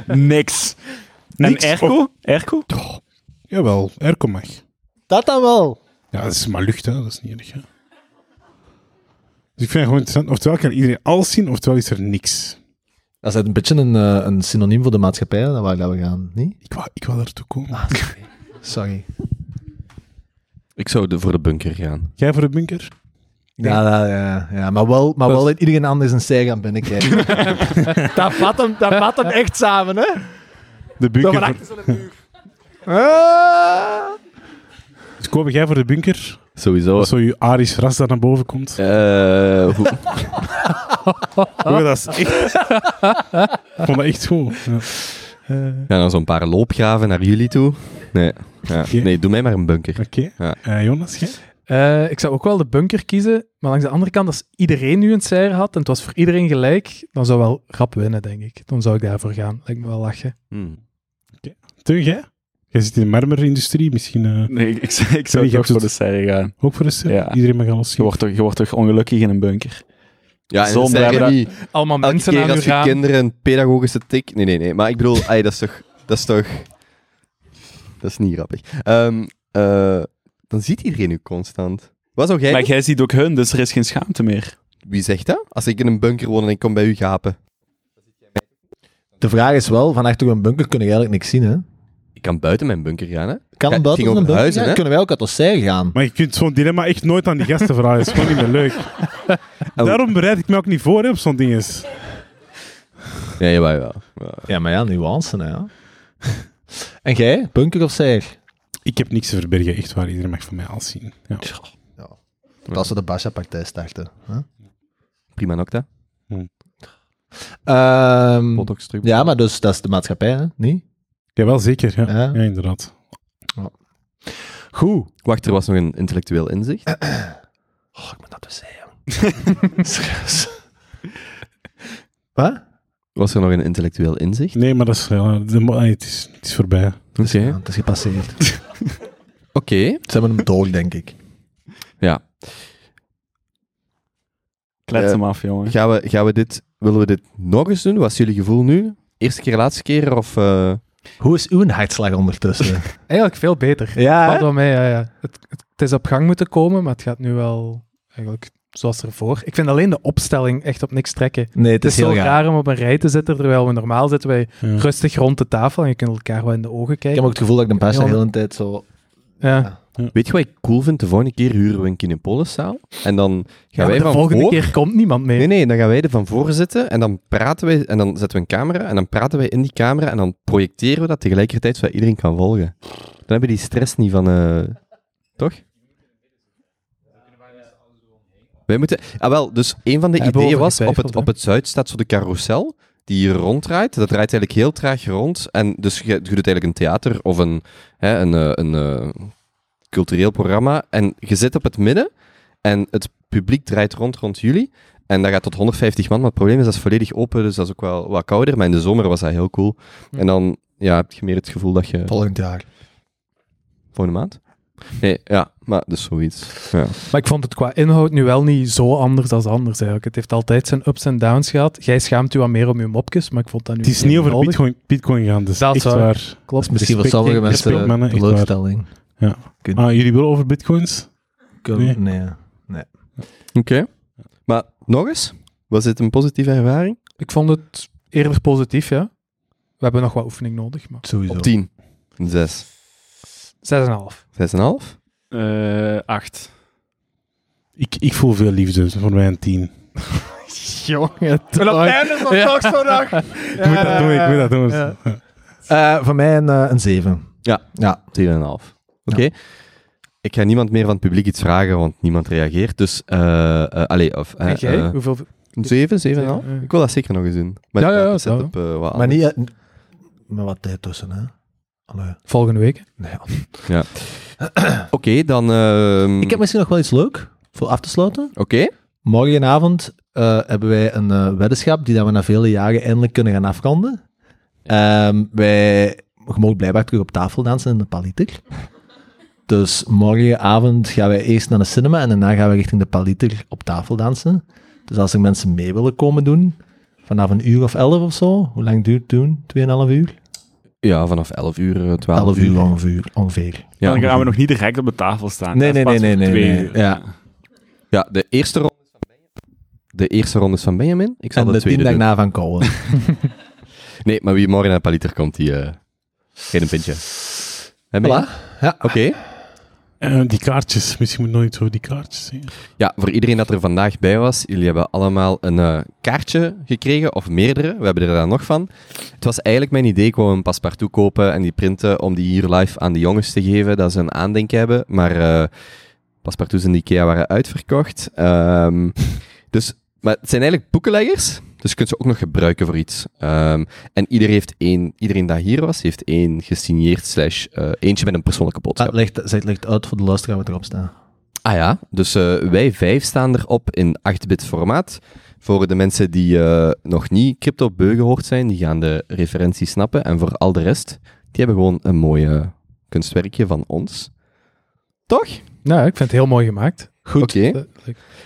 Niks. Oh. Niks. Oh, En airco? Airco? Jawel, airco mag. Dat dan wel! Ja, dat is maar lucht, hè. dat is niet erg. Hè. Dus ik vind het gewoon interessant. Oftewel kan iedereen alles zien, oftewel is er niks. Dat is een beetje een, eh, een synoniem voor de maatschappij, hè, waar dat we gaan, niet? Ik wou, ik wou daartoe komen. Sorry. Ik zou de, voor de bunker gaan. Jij voor de bunker? Ja, ja, ja, ja, maar wel, maar wel in iedereen anders een zij gaan binnenkijken. dat, vat hem, dat vat hem echt samen, hè? De bunker. maar voor- Dus Kobe, jij voor de bunker? Sowieso. Als zo je Arisch ras daar naar boven komt. Eh, hoe- Oeh, Oh, dat is echt... Ik vond dat echt goed. Ja. ja, dan zo'n paar loopgraven naar jullie toe. Nee, ja. Oké. nee doe mij maar een bunker. Oké. Ja. Eh, Jonas, jij? Eh, ik zou ook wel de bunker kiezen, maar langs de andere kant, als iedereen nu een serre had en het was voor iedereen gelijk, dan zou wel rap winnen, denk ik. Dan zou ik daarvoor gaan. Lijkt me wel lachen. Hmm. Teun, jij? Jij zit in de marmerindustrie, misschien eh, Nee, ik, ik, zou- ik Nee, zou je toch hebt voor de het. serre gaan. ook voor de ster? Ja. Iedereen mag alles Je zien. wordt, toch, je wordt toch ongelukkig in een bunker? Ja, en dan Zonder zeggen dat- niet Allemaal elke mensen aan keer uw als je raam. kinderen een pedagogische tik... Nee, nee, nee. Maar ik bedoel, ai, dat is toch... Dat is toch... Dat is niet grappig. Ehm, eh, dan ziet iedereen u constant. Wat zou jij... Maar doen? jij ziet ook hun, dus er is geen schaamte meer. Wie zegt dat? Als ik in een bunker woon en ik kom bij u gapen. De vraag is wel, van achter een bunker kun je eigenlijk niks zien, hè? Ik kan buiten mijn bunker gaan, hè? Kan Ja, het buiten ging een over bunker huizen, gaan, hè? kunnen wij ook uit Osseille gaan. Maar je kunt zo'n dilemma echt nooit aan die gasten vragen. Dat is gewoon niet meer leuk. Daarom bereid ik me ook niet voor hè, op zo'n ding eens. Ja, jawel, jawel. Ja. Ja, maar ja, nuance, hè. ja. en jij? Bunker of zeeg? Ik heb niks te verbergen, echt waar. Iedereen mag van mij alles zien. Ja. Als we de Basha-partij starten. Prima nocta. Ehm, ja, maar dus, dat is de maatschappij, hè? Niet? Jawel, zeker. Ja, Ja. ja. inderdaad. Goed. Wacht, er was nog een intellectueel inzicht. Eh. Oh, ik moet dat dus zeggen. Serieus. Wat? Was er nog een intellectueel inzicht? Nee, maar dat is, ja, de mo- nee, het, is, het is voorbij. Oké. Ja, het is gepasseerd. Oké. Ze hebben hem door, denk ik. Ja. Klets Ja. hem af, jongen. Gaan we, gaan we dit... Willen we dit nog eens doen? Wat is jullie gevoel nu? Eerste keer, laatste keer? Of... eh, Hoe is uw hartslag ondertussen? Eigenlijk veel beter. ja, Valt wel mee, ja, ja. Het, het, het is op gang moeten komen, maar het gaat nu wel eigenlijk zoals ervoor. Ik vind alleen de opstelling echt op niks trekken. Het Nee, het is, is, heel zo raar. raar om op een rij te zitten, terwijl we normaal zitten wij Ja. rustig rond de tafel en je kunt elkaar wel in de ogen Ik kijken. heb ook het gevoel dat ik de Basha Ja. de hele tijd zo... Ja. Ja. Weet je wat ik cool vind? De volgende keer huren we een Kinepoliszaal. En dan Ja, gaan maar wij de van volgende voor... keer komt niemand mee. Nee, nee, dan gaan wij er van voor zitten en dan praten wij... En dan zetten we een camera en dan praten wij in die camera en dan projecteren we dat tegelijkertijd zodat iedereen kan volgen. Dan hebben die stress niet van... eh, toch? Wij moeten... Ah, wel, dus een van de Ja, hebben we ideeën was, over op het, getwijfeld, op het zuid staat zo de carousel die hier ronddraait. Dat draait eigenlijk heel traag rond. En dus je, je doet eigenlijk een theater of een, hè, een, eh, een, eh, cultureel programma. En je zit op het midden en het publiek draait rond rond jullie. En dat gaat tot 150 man, maar het probleem is dat is volledig open, dus dat is ook wel wat kouder. Maar in de zomer was dat heel cool. Hm. En dan ja, heb je meer het gevoel dat je... Volgend jaar. Volgende maand? Nee, ja, maar dus zoiets. Ja. Maar ik vond het qua inhoud nu wel niet zo anders als anders eigenlijk. Het heeft altijd zijn ups en downs gehad. Jij schaamt u wat meer om je mopjes, maar ik vond dat nu Het is niet over nodig. Bitcoin, Bitcoin gaan, dus Dat echt is waar. waar. Klopt. Misschien voor Respect, sommige denk ik. mensen Respect, mannen, een echt teleurstelling. Ah, jullie willen over Bitcoins? Nee. nee. Oké. Maar nog eens, was dit een positieve ervaring? Ik vond het eerder positief, ja. We hebben nog wat oefening nodig, maar... Sowieso. Op 10. 6. 6,5. 6,5? Eh, acht. Ik, ik voel veel liefde, dus voor mij een 10. Ik Jongen, einde van Ja. toch zo'n dag. moet dat doen, ik moet dat doen. Ja. Ja. Eh, voor mij een, eh, een 7. Ja. ja. 10,5. Oké. Ik ga niemand meer van het publiek iets vragen, want niemand reageert. Dus, eh eh allee, of... eh, En jij? eh, Hoeveel... Zeven, zeven en een Zeven, half? ja. Ik wil dat zeker nog eens doen. Met Ja, ja, eh, ja, setup, eh, wat Maar anders. niet... eh, n- maar wat tijd tussen, hè? Allee. Volgende week. Nee, ja. Oké, dan... ehm, Ik heb misschien nog wel iets leuk voor af te sluiten. Oké. Morgenavond eh, hebben wij een eh, weddenschap die dat we na vele jaren eindelijk kunnen gaan afronden. Ehm, wij, je mag blijkbaar terug op tafel dansen in de Paliter. Dus morgenavond gaan wij eerst naar de cinema en daarna gaan we richting de Paliter op tafel dansen. Dus als er mensen mee willen komen doen, vanaf een uur of elf of zo, hoe lang duurt het toen? Tweeënhalf uur? Ja, vanaf 11 uur, eh, 12 Elf uur ongeveer. ongeveer. Ja, dan gaan we nog niet direct op de tafel staan. Nee, Dat is nee, pas nee, voor nee, twee nee, uur. nee. Ja. Ja, de eerste ronde is van Benjamin. De eerste ronde is van Benjamin. Ik zal En de, de tien tweede doen. daarna van Kolen. Nee, maar wie morgen naar Paliter komt, die... eh geen een pintje. Hè, Benjamin? Voilà. Oké. Eh, die kaartjes, misschien moet ik nooit over die kaartjes zeggen. Ja, voor iedereen dat er vandaag bij was, jullie hebben allemaal een eh, kaartje gekregen, of meerdere, we hebben er daar nog van. Het was eigenlijk mijn idee, ik wou een paspartout kopen en die printen om die hier live aan de jongens te geven, dat ze een aandenken hebben, maar eh, Paspartouts in de IKEA waren uitverkocht. Ehm, dus, maar het zijn eigenlijk boekenleggers, dus je kunt ze ook nog gebruiken voor iets. Ehm, en iedereen, heeft één, iedereen dat hier was, heeft één gesigneerd slash eh, eentje met een persoonlijke boodschap. Ah, legt, zij legt uit voor de luisteraar wat erop staat. Ah ja, dus eh, wij vijf staan erop in 8-bit formaat. Voor de mensen die eh, nog niet crypto beu gehoord zijn, die gaan de referentie snappen. En voor al de rest, die hebben gewoon een mooi eh, kunstwerkje van ons. Toch? Nou, ik vind het heel mooi gemaakt. Goed. Oké.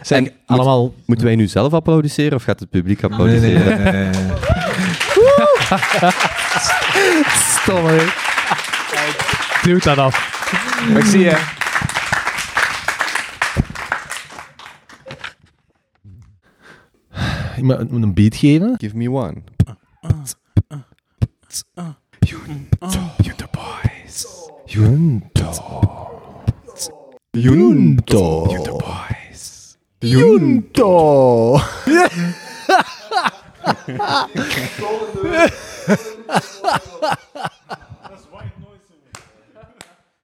Zijn En allemaal... Moeten wij nu zelf applaudisseren of gaat het publiek Nee, applaudisseren? nee, nee, nee, nee, nee. Stomme. Duwt dat af. Maar ik zie je. Je moet moet een beat geven. Give me one. Junto. Junto. Junto.